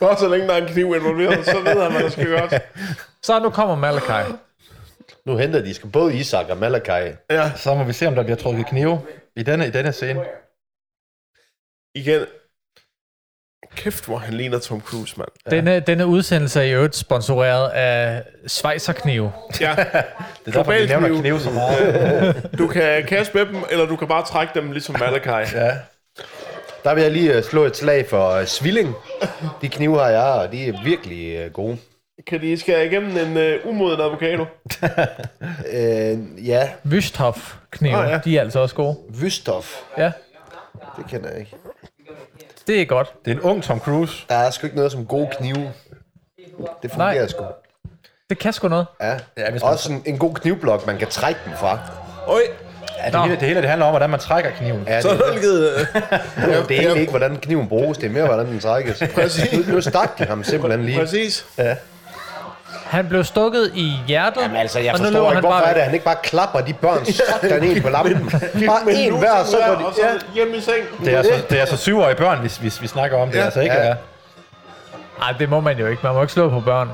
Speaker 1: Bare så længe der er en kniv involveret, så ved han, hvad der skal gøres.
Speaker 2: Så nu kommer Malakai.
Speaker 3: Nu henter de sgu både Isak og Malakai.
Speaker 4: Så må vi se, om der bliver trukket knive i denne, i denne scene.
Speaker 1: Igen. Kæft, hvor han ligner Tom Cruise, mand.
Speaker 2: Denne, denne udsendelse er i øvrigt sponsoreret af Schweizerknive.
Speaker 4: Det er derfor, vi
Speaker 1: Global
Speaker 4: nævner
Speaker 1: kniv.
Speaker 4: knive så meget.
Speaker 1: Du kan kaste med dem, eller du kan bare trække dem ligesom Malakai.
Speaker 4: Ja.
Speaker 3: Der vil jeg lige øh, slå et slag for øh, Svilling. De knive har jeg, og de er virkelig øh, gode.
Speaker 1: Kan de skære igennem en uh, umoden avocado?
Speaker 3: Øh, ja,
Speaker 2: Vystof knive,
Speaker 1: Åh,
Speaker 2: oh,
Speaker 1: ja.
Speaker 2: ja. de er altså også gode.
Speaker 3: Vystof.
Speaker 2: Ja,
Speaker 3: Det kender jeg ikke.
Speaker 2: det er godt.
Speaker 4: Det er en ung Tom Cruise.
Speaker 3: Der er sgu ikke noget som gode knive. Det fungerer
Speaker 2: Nej.
Speaker 3: sgu.
Speaker 2: Det kan sgu noget.
Speaker 3: Ja.
Speaker 4: Ja, hvis man-
Speaker 3: Også en, en god knivblok, man kan trække den fra.
Speaker 1: Oj,
Speaker 4: Ja, det,
Speaker 2: Nå.
Speaker 4: hele, det hele det handler om, hvordan man trækker kniven.
Speaker 3: Ja,
Speaker 1: så
Speaker 3: det,
Speaker 1: er der givet... øh,
Speaker 3: det er egentlig ikke, hvordan kniven bruges. Det er mere, hvordan den trækkes.
Speaker 1: Præcis.
Speaker 3: Nu, nu stak de ham simpelthen lige.
Speaker 1: Præcis.
Speaker 2: Han blev stukket i hjertet,
Speaker 3: Jamen altså, jeg
Speaker 2: og nu
Speaker 3: forstår
Speaker 2: løber
Speaker 3: ikke,
Speaker 2: han
Speaker 3: hvorfor
Speaker 2: bare
Speaker 3: er det, at han ikke bare klapper de børn sådan en på lampen. Bare en
Speaker 1: Nu
Speaker 3: hver, så
Speaker 1: hver,
Speaker 3: går
Speaker 1: og
Speaker 3: de...
Speaker 1: så
Speaker 3: Ja.
Speaker 1: hjem i seng.
Speaker 4: Det er, altså, det er altså syvårige børn, hvis, hvis vi snakker om det,
Speaker 1: Ja.
Speaker 4: ja. altså ikke?
Speaker 3: Ja.
Speaker 4: Ja.
Speaker 2: Nej, det må man jo ikke. Man må ikke slå på børn.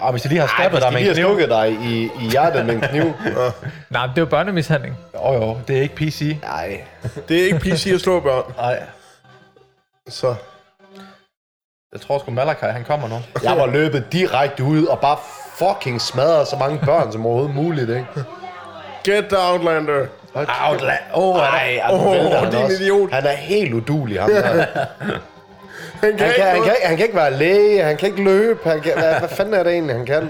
Speaker 4: Og hvis de lige har stabbet dig med en
Speaker 3: Altså, har
Speaker 4: kniv.
Speaker 3: stukket dig i, i hjertet med en kniv.
Speaker 2: Nej, men det er jo børnemishandling.
Speaker 4: Jo jo, det er ikke PC.
Speaker 3: Nej.
Speaker 1: Det er ikke PC at slå børn.
Speaker 4: Nej.
Speaker 1: Så
Speaker 4: Jeg tror sgu Malakai, han kommer nu.
Speaker 3: Jeg var løbet direkte ud og bare fucking smadrede så mange børn som overhovedet muligt, ikke?
Speaker 1: get the Outlander.
Speaker 3: Outland. Åh, oh, nej.
Speaker 1: Åh, din idiot.
Speaker 3: Han er helt udulig, ham der.
Speaker 1: Han kan,
Speaker 3: Han kan, han, kan, ikke- han kan ikke være læge, han kan ikke løbe, han kan, hvad, hvad fanden er det egentlig, han kan?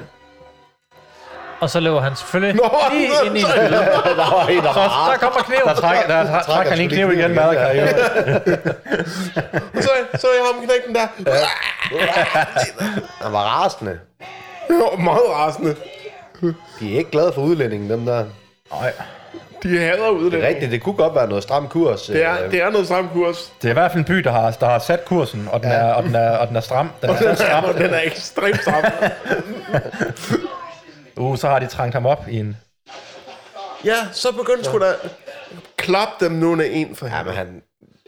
Speaker 2: Og så løber han selvfølgelig
Speaker 3: Nå,
Speaker 2: lige
Speaker 3: nå,
Speaker 2: ind i
Speaker 3: så- der var en, der
Speaker 4: Så,
Speaker 3: var
Speaker 4: der kommer kniven. Der trækker, der, der trækker han lige kniv igen, Malakai. jo.
Speaker 1: Så, så er jeg ham knægten der.
Speaker 3: Han var rasende.
Speaker 1: Det var meget rasende.
Speaker 3: De er ikke glade for udlændingen, dem der.
Speaker 4: Nej.
Speaker 1: De hader
Speaker 3: Det er
Speaker 1: udlænding.
Speaker 3: rigtigt, det kunne godt være noget stram kurs. øh,
Speaker 1: Det er, det er noget stram kurs.
Speaker 4: Det er i hvert fald en by, der har, der har sat kursen, og den, er, og den, er, og den er stram. Den er sat stram.
Speaker 1: Og den er ekstremt stram.
Speaker 4: Uh, så har de trængt ham op i en...
Speaker 1: ja, så begyndte sgu da... Klap dem nu med en for
Speaker 3: Jamen,
Speaker 1: helvede.
Speaker 3: han,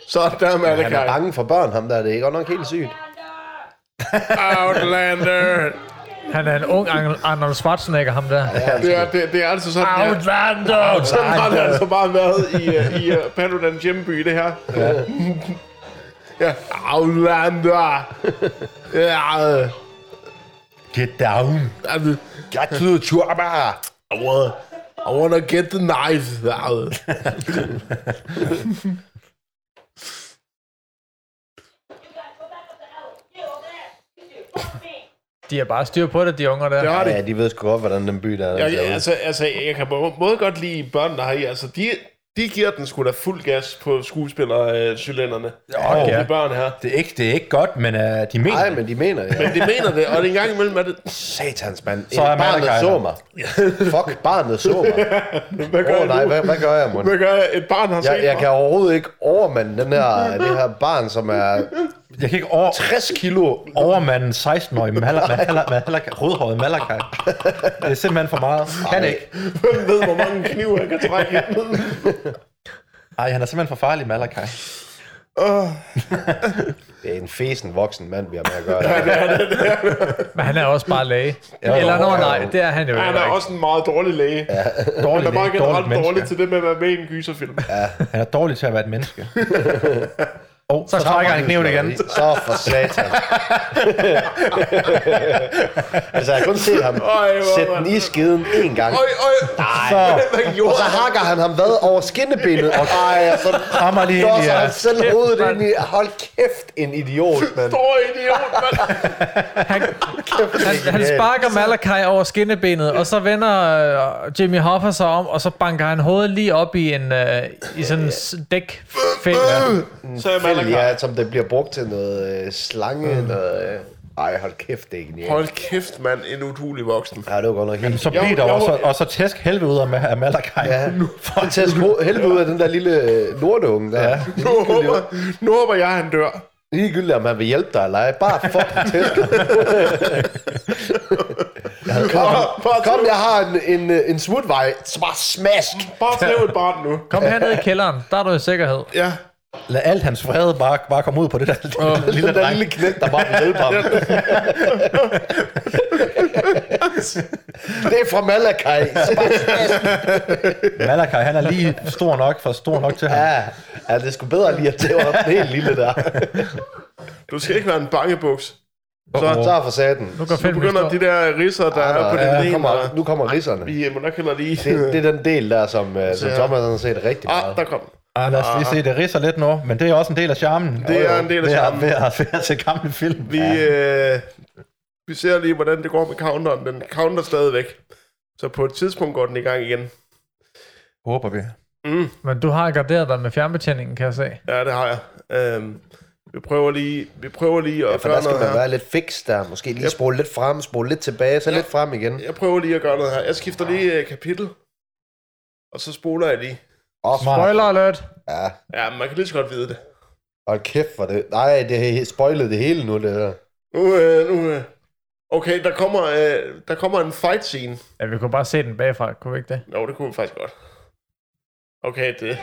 Speaker 1: Så der er
Speaker 3: han er
Speaker 1: Malakai.
Speaker 3: bange for børn, ham der. Det er godt nok helt sygt.
Speaker 1: Outlander.
Speaker 2: Han er en ung Arnold- Arnold Schwarzenegger, ham der.
Speaker 1: Det er, det, det er altså sådan, ja.
Speaker 2: Outlander!
Speaker 1: Sådan har det altså bare været i, øh, i uh, Paludan Hjemby, det her. Ja. ja. Outlander. Ja. øh,
Speaker 4: Get down.
Speaker 1: altså,
Speaker 3: Jeg tyder turba.
Speaker 1: I wanna- I wanna get the knife. Ja, øh.
Speaker 2: De er bare styr på det, de unger der.
Speaker 1: Det har det.
Speaker 3: Ja, de ved sgu godt, hvordan den by der er.
Speaker 1: Ja,
Speaker 3: Ja,
Speaker 1: ja, altså, altså, jeg kan på en måde godt lide børn, der har i. Altså, de, de giver den sgu da fuld gas på skuespillercylinderne.
Speaker 4: Jo,
Speaker 1: Ja.
Speaker 4: ja.
Speaker 1: De børn her.
Speaker 4: Det er ikke, det er ikke godt, men uh, de mener
Speaker 3: Nej,
Speaker 4: det.
Speaker 3: men de mener det.
Speaker 1: Men de mener det, og en gang imellem er det...
Speaker 3: Satans, mand.
Speaker 4: Så er
Speaker 3: barnet
Speaker 4: Malakai
Speaker 3: så
Speaker 4: her.
Speaker 3: mig. Fuck, barnet så mig.
Speaker 1: Hvad gør
Speaker 3: Åh,
Speaker 1: jeg
Speaker 3: oh, nej,
Speaker 1: nu?
Speaker 3: hvad, hvad gør jeg, mon?
Speaker 1: Hvad gør jeg? Et barn har set
Speaker 3: Jeg, jeg
Speaker 1: mig.
Speaker 3: kan overhovedet ikke overmande den her, det her barn, som er
Speaker 4: Jeg kan ikke over,
Speaker 3: 60 kilo.
Speaker 4: overmanden 16-årige Malak, Malak, Malak, rødhåret Malakai. Det er simpelthen for meget. Kan ikke.
Speaker 1: Hvem ved, hvor mange knive han kan trække ind?
Speaker 4: Nej, han er simpelthen for farlig, Malakai.
Speaker 3: Det er en fesen voksen mand, vi har med at gøre. Det.
Speaker 2: Men han er også bare læge.
Speaker 3: Ja,
Speaker 2: Eller
Speaker 3: jo,
Speaker 2: nå,
Speaker 3: jo.
Speaker 2: nej, det er han jo
Speaker 1: Han
Speaker 2: heller
Speaker 1: er
Speaker 2: ikke.
Speaker 1: også en meget dårlig læge. Ja,
Speaker 4: Dårlig,
Speaker 1: han er bare
Speaker 4: læge,
Speaker 1: generelt dårlig,
Speaker 4: menneske.
Speaker 1: dårlig til det med at være med i en gyserfilm. Ja.
Speaker 4: Han er dårlig til at være et menneske. oh, så, så trækker han kniven igen.
Speaker 3: Så for satan. altså, jeg har kun set ham
Speaker 1: Øj, hvor
Speaker 3: sætte den
Speaker 1: mand.
Speaker 3: i skiden én gang.
Speaker 1: Øj, øj.
Speaker 3: Nej.
Speaker 1: Hvad
Speaker 3: Og
Speaker 1: gjorde
Speaker 3: så
Speaker 1: han?
Speaker 3: hakker han ham hvad over skinnebenet. Og ej, og så
Speaker 4: Rammer lige ind i
Speaker 3: dosser han
Speaker 4: jeres.
Speaker 3: selv hovedet
Speaker 2: mand.
Speaker 3: ind i... Hold kæft, en idiot, mand.
Speaker 1: Stor idiot, mand.
Speaker 2: Han,
Speaker 3: Kæft,
Speaker 2: han, han sparker Malakai over skinnebenet, og så vender øh, Jimmy Hoffa sig om, og så banker han hovedet lige op i en øh, i sådan en s- dækfælde.
Speaker 1: Så er man
Speaker 3: Fælde, ja, som det bliver brugt til noget øh, slange, mm. noget... Øh. Ej, hold kæft, det er genialt.
Speaker 1: Hold kæft, mand. En udulig voksen.
Speaker 3: Ja, det var godt nok helt...
Speaker 4: Så bliv
Speaker 1: Jo,
Speaker 4: der,
Speaker 1: jo.
Speaker 4: og så, og så tæsk helvede ud af Ma- af Malakai.
Speaker 3: Ja, han tager sko- helvede ud af den der lille øh, lorteunge der. Ja. Det er
Speaker 1: Nu
Speaker 3: ligegyldigt,
Speaker 1: håber,
Speaker 3: om-
Speaker 1: nu håber jeg, han dør.
Speaker 3: ligegyldigt, om han vil hjælpe dig eller ej. Bare fuck tæsk. ja, kom,
Speaker 1: Bare-
Speaker 3: kom, jeg har en, en, øh, en smutvej. Så Bare smask.
Speaker 1: Bare tæv et barn nu.
Speaker 2: Kom herned i kælderen, der er du i sikkerhed.
Speaker 1: Ja.
Speaker 4: Lad alt hans vrede bare, bare komme ud på det der lille, lille
Speaker 3: Den der
Speaker 4: dreng.
Speaker 3: lille knæk, der bare vil hjælpe ham. det er fra Malakai. Så bare smask.
Speaker 4: Malakai, han er lige stor nok, for stor nok til ham.
Speaker 3: Ja, ja, det er sgu bedre lige at tæve ham helt lille der.
Speaker 1: Du skal ikke være en bangebuks.
Speaker 3: Så, så for satan.
Speaker 2: Nu går
Speaker 1: Nu
Speaker 2: filmen i
Speaker 1: begynder
Speaker 2: stå.
Speaker 1: de der ridser, der er på din
Speaker 3: Ja, nu
Speaker 1: ben.
Speaker 3: kommer,
Speaker 1: og
Speaker 3: nu kommer ridserne.
Speaker 1: Vi øh, må nok heller lige...
Speaker 3: Det, det er den del der, som, øh, som
Speaker 1: Ja.
Speaker 3: Thomas har set rigtig
Speaker 1: Ah,
Speaker 3: meget.
Speaker 1: der kom den.
Speaker 4: Ah, lad os lige se, det ridser lidt nu, men det er også en del af charmen.
Speaker 1: Det er en del af
Speaker 4: Ved at-
Speaker 1: charmen.
Speaker 4: Ved at, ved at se gamle film.
Speaker 1: Vi, ja. øh, vi ser lige, hvordan det går med counteren. Den counter stadigvæk. Så på et tidspunkt går den i gang igen.
Speaker 4: Håber vi.
Speaker 2: Men du har garderet dig med fjernbetjeningen, kan jeg se.
Speaker 1: Ja, det har jeg. Øhm, vi prøver lige, vi prøver lige at
Speaker 3: For der
Speaker 1: gøre
Speaker 3: skal
Speaker 1: noget
Speaker 3: man
Speaker 1: her.
Speaker 3: være lidt fix der. Måske lige spole lidt frem, spole lidt tilbage, så lidt frem igen.
Speaker 1: Jeg prøver lige at gøre noget her. Jeg skifter lige øh, kapitel. Og så spoler jeg lige.
Speaker 3: Åh, spoil.
Speaker 2: Spoiler alert!
Speaker 3: Ja,
Speaker 1: Ja, man kan lige så godt vide det.
Speaker 3: hold kæft for det. Nej, det har spoilet det hele nu, det der.
Speaker 1: Nu, øh, nu, øh, Okay, der kommer, øh, der kommer en fight scene.
Speaker 2: Ja, vi kunne bare se den bagfra, kunne vi ikke det?
Speaker 1: Nå, det kunne vi faktisk godt. Okay, det...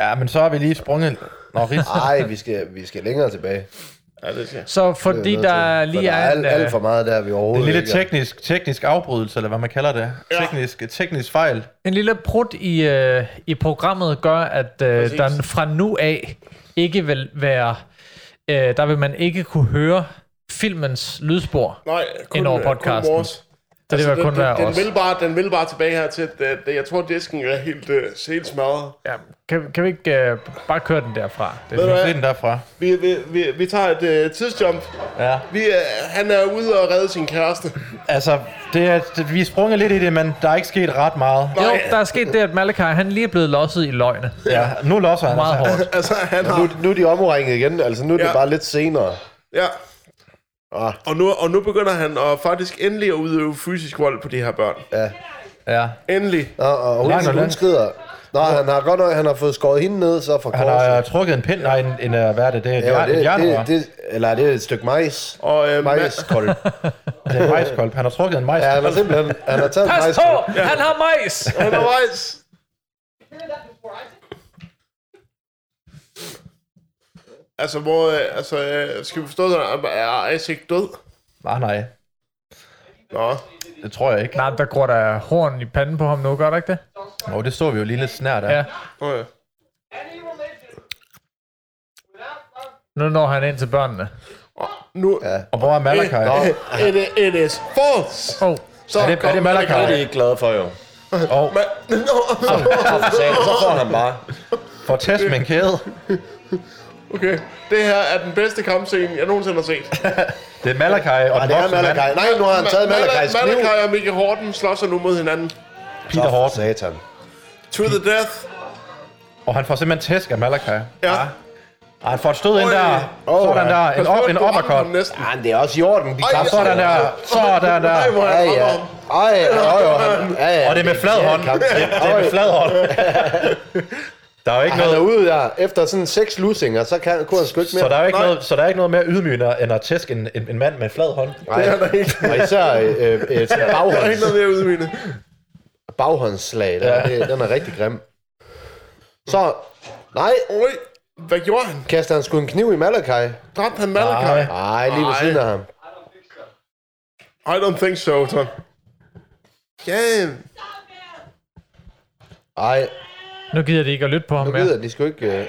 Speaker 4: Ja, men så har vi lige sprunget... Nå, rigtigt.
Speaker 3: Nej, vi skal, vi skal længere tilbage.
Speaker 1: Ja, det skal
Speaker 2: Så fordi
Speaker 3: Det er nødt
Speaker 2: der
Speaker 3: til. For
Speaker 2: lige
Speaker 3: der
Speaker 2: er
Speaker 3: er
Speaker 2: en...
Speaker 3: alt, alt
Speaker 2: øh,
Speaker 3: for meget der, vi
Speaker 4: Det er
Speaker 3: overhovedet
Speaker 4: en lille
Speaker 3: ikke er-
Speaker 4: teknisk, teknisk afbrydelse, eller hvad man kalder det.
Speaker 1: Ja.
Speaker 4: Ja. Teknisk, teknisk fejl.
Speaker 2: En lille prut i, øh, i programmet gør, at øh,
Speaker 1: Præcis.
Speaker 2: der fra nu af ikke vil være... Øh, der vil man ikke kunne høre filmens lydspor.
Speaker 1: Nej, kun,
Speaker 2: Ind over
Speaker 1: øh, kun
Speaker 2: podcasten.
Speaker 1: vores.
Speaker 2: Så
Speaker 3: Altså,
Speaker 2: det vil
Speaker 1: den,
Speaker 2: kun
Speaker 1: den,
Speaker 2: være
Speaker 1: den,
Speaker 2: os.
Speaker 1: vil bare, den vil bare tilbage her til, at øh, det- jeg tror, disken er helt, øh, helt smadret.
Speaker 2: Ja, kan, kan vi ikke øh, bare køre den derfra? Det
Speaker 1: Ved
Speaker 2: er
Speaker 1: du
Speaker 4: Vi
Speaker 1: hvad?
Speaker 4: ser den derfra.
Speaker 1: Vi, vi, vi, vi tager et øh, tidsjump.
Speaker 4: Ja.
Speaker 1: Vi, øh, han er ude og redde sin kæreste.
Speaker 4: Altså, det er, det, vi er sprunget lidt i det, men der er ikke sket ret meget.
Speaker 2: jo, der er sket det, at Malakai, han lige er blevet losset i løgne.
Speaker 4: Ja, nu losser han.
Speaker 2: Meget
Speaker 4: altså.
Speaker 2: hårdt.
Speaker 1: Altså, han
Speaker 3: Nu,
Speaker 1: har...
Speaker 3: nu er de omringet igen, altså nu er det
Speaker 1: Ja.
Speaker 3: bare lidt senere.
Speaker 1: Ja.
Speaker 3: Ah.
Speaker 1: Og, nu, og nu begynder han at faktisk endelig at udøve fysisk vold på de her børn.
Speaker 4: Ja.
Speaker 1: Endelig.
Speaker 3: Nå, og hun,
Speaker 4: Langt og
Speaker 3: hun, hun
Speaker 4: langt.
Speaker 3: skrider. Nå, han har godt nok, han har fået skåret hende ned, så fra
Speaker 4: Han
Speaker 3: korset.
Speaker 4: har øh, trukket en pind, nej, en, en, øh, hvad er det, det er et
Speaker 3: Ja,
Speaker 4: jern- et
Speaker 3: det,
Speaker 4: jernrør.
Speaker 3: det, det, eller er det et stykke majs?
Speaker 1: Og, øh,
Speaker 3: Majskold.
Speaker 4: Det er en majskolb. Han har trukket en
Speaker 3: Ja, han
Speaker 4: majskolb.
Speaker 3: har simpelthen han har taget en
Speaker 2: Pas
Speaker 3: majskold.
Speaker 2: på! Han har majs!
Speaker 1: Undervejs. Altså, hvor, øh, altså, øh, skal vi forstå det, er Isaac død?
Speaker 4: Nej, Ah, nej.
Speaker 1: Nå,
Speaker 4: Det tror jeg ikke.
Speaker 2: Nej, der går der horn i panden på ham nu, gør der ikke det?
Speaker 4: Nå, det så vi jo lige lidt snært af.
Speaker 2: Ja.
Speaker 4: Ja.
Speaker 1: okay.
Speaker 6: Any religion without
Speaker 2: Nu
Speaker 6: love
Speaker 2: når han ind til børnene.
Speaker 1: Nu,
Speaker 3: Ja.
Speaker 4: Og hvor er Malakai?
Speaker 1: Nå. It, it is false.
Speaker 2: Åh, oh,
Speaker 1: Så
Speaker 4: Er det- er
Speaker 1: kom
Speaker 4: det Malachi?
Speaker 1: Malachi.
Speaker 4: Det er de
Speaker 8: ikke glade for, jo.
Speaker 4: Og
Speaker 1: Men, nå,
Speaker 8: Så får han bare.
Speaker 4: for test med en kæde.
Speaker 1: okay, det her er den bedste kampscene, jeg nogensinde har set.
Speaker 4: Det er Malakai og
Speaker 3: Nej,
Speaker 4: den
Speaker 3: det er
Speaker 4: voksne
Speaker 3: Malakai.
Speaker 4: mand,
Speaker 3: Nej, nu har han taget Malakais kniv.
Speaker 1: Malachi og Mickey Horton slår sig nu mod hinanden.
Speaker 4: Peter
Speaker 3: Åh,
Speaker 4: Horton.
Speaker 3: Satan.
Speaker 1: To the death.
Speaker 4: Og han får simpelthen tæsk af Malakai.
Speaker 1: Ja.
Speaker 4: Og han får et stød ind der.
Speaker 3: Åh,
Speaker 4: Sådan
Speaker 3: ja.
Speaker 4: der. En,
Speaker 1: Pas på,
Speaker 4: op, en
Speaker 1: du rammer
Speaker 4: uppercut.
Speaker 1: ham Næsten.
Speaker 3: Ja, men det er også i orden. De
Speaker 4: Og
Speaker 3: klarer
Speaker 4: sådan der. Sådan der.
Speaker 1: Nej, hvor
Speaker 3: Ja,
Speaker 1: han rammer
Speaker 3: ja.
Speaker 1: ham.
Speaker 3: Ej, jo, jo, han, ja, ja.
Speaker 4: Og det er med flad hånd.
Speaker 3: kamp.
Speaker 4: Det det er med flad hånd. Der er jo ikke
Speaker 3: Han er
Speaker 4: noget...
Speaker 3: ude der. Efter sådan seks lusinger, så kan, kunne han sgu ikke mere.
Speaker 4: Så der er jo ikke
Speaker 1: Nej.
Speaker 4: noget, så der er ikke noget mere ydmygende end at tæske en, en, en mand med en flad hånd.
Speaker 3: Nej,
Speaker 1: Det er der ikke.
Speaker 3: og især øh, øh, sådan
Speaker 1: Der er
Speaker 3: baghånds,
Speaker 1: ikke noget mere ude i mine.
Speaker 3: baghåndsslag, der, ja. det, den er rigtig grim. Så, nej,
Speaker 1: Oj, hvad gjorde han?
Speaker 3: kaster han sgu en kniv i Malakai.
Speaker 1: Dræbte han Malachi?
Speaker 3: Nej, lige ved
Speaker 1: Ej.
Speaker 3: siden af ham.
Speaker 1: I don't think so, Tom. Yeah.
Speaker 3: Ej,
Speaker 2: nu gider de ikke at lytte på ham
Speaker 3: nu
Speaker 2: mere.
Speaker 3: gider de sgu ikke... Øh...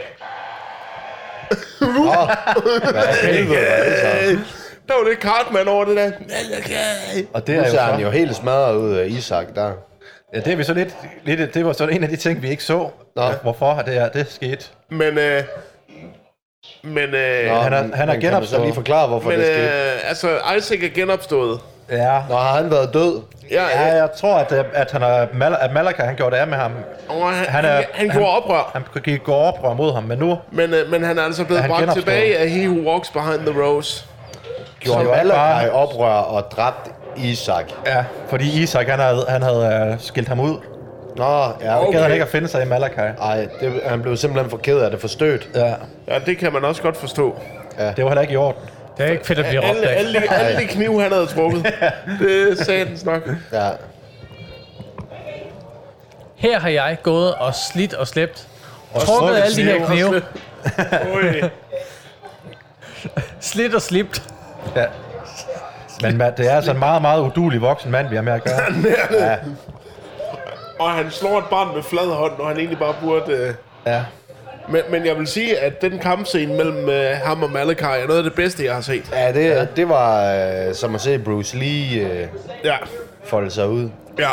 Speaker 3: Nå, hvad helvede var det så?
Speaker 1: Der var lidt Cartman over det der. Malachi.
Speaker 4: Og det
Speaker 3: Nu
Speaker 4: er jo
Speaker 3: ser han jo
Speaker 4: så,
Speaker 3: helt smadret ud af Isak der.
Speaker 4: ja, det er vi så lidt, lidt, det var så en af de ting, vi ikke så,
Speaker 3: Nå.
Speaker 4: hvorfor det er, det skete.
Speaker 1: Men, øh, men, øh,
Speaker 3: Nå,
Speaker 4: han er-
Speaker 3: men-
Speaker 4: han er
Speaker 3: men Kan du så
Speaker 4: genopstået.
Speaker 3: lige forklare, hvorfor
Speaker 1: men
Speaker 3: det skete?
Speaker 1: øh, altså, Isaac er genopstået.
Speaker 4: Ja.
Speaker 3: Nå, har han været død?
Speaker 1: Ja,
Speaker 4: Ja, jeg tror, at, øh, at, han er, Mal- at Malaka, han gjorde det af med ham.
Speaker 1: Og han, han,
Speaker 4: Han er-
Speaker 1: han, han gjorde oprør,
Speaker 4: Han kunne give gå oprør mod ham, men nu
Speaker 1: men, øh, men han er altså blevet
Speaker 4: Han
Speaker 1: bragt
Speaker 4: genopstår.
Speaker 1: tilbage af He Who Walks Behind the Rose.
Speaker 3: Gjorde
Speaker 4: Så
Speaker 3: Malakai
Speaker 4: bare-
Speaker 3: oprør og dræbt Isak.
Speaker 4: Ja, fordi Isak, han havde, han havde uh, skilt ham ud. Det
Speaker 3: Nå, ja, okay.
Speaker 4: gad han ikke at finde sig i Malakai.
Speaker 3: Ej, det, han blev simpelthen for ked af det, forstødt.
Speaker 4: Ja,
Speaker 1: Ja, det kan man også godt forstå.
Speaker 4: det var heller ikke i orden.
Speaker 2: Det er ikke fedt at blive råbt
Speaker 1: Alle,
Speaker 2: af.
Speaker 1: alle, de- alle de knive, han havde trukket, det sagde den nok.
Speaker 3: Ja.
Speaker 2: Her har jeg gået og slidt og slæbt. Og
Speaker 4: trukket
Speaker 2: trukket alle de her knive.
Speaker 1: Oj.
Speaker 2: Slidt og slibt.
Speaker 4: Ja. Men man, det er altså en meget, meget udulig voksen mand, vi har med at gøre.
Speaker 1: Og han slår et barn med flad hånd, når han egentlig bare burde... Øh...
Speaker 4: Ja.
Speaker 1: Men, men jeg vil sige, at den kampscene mellem øh, ham og Malakai er noget af det bedste, jeg har set.
Speaker 3: Ja, det, det var øh, som at se Bruce Lee øh,
Speaker 1: Ja,
Speaker 3: folde sig ud.
Speaker 1: ja.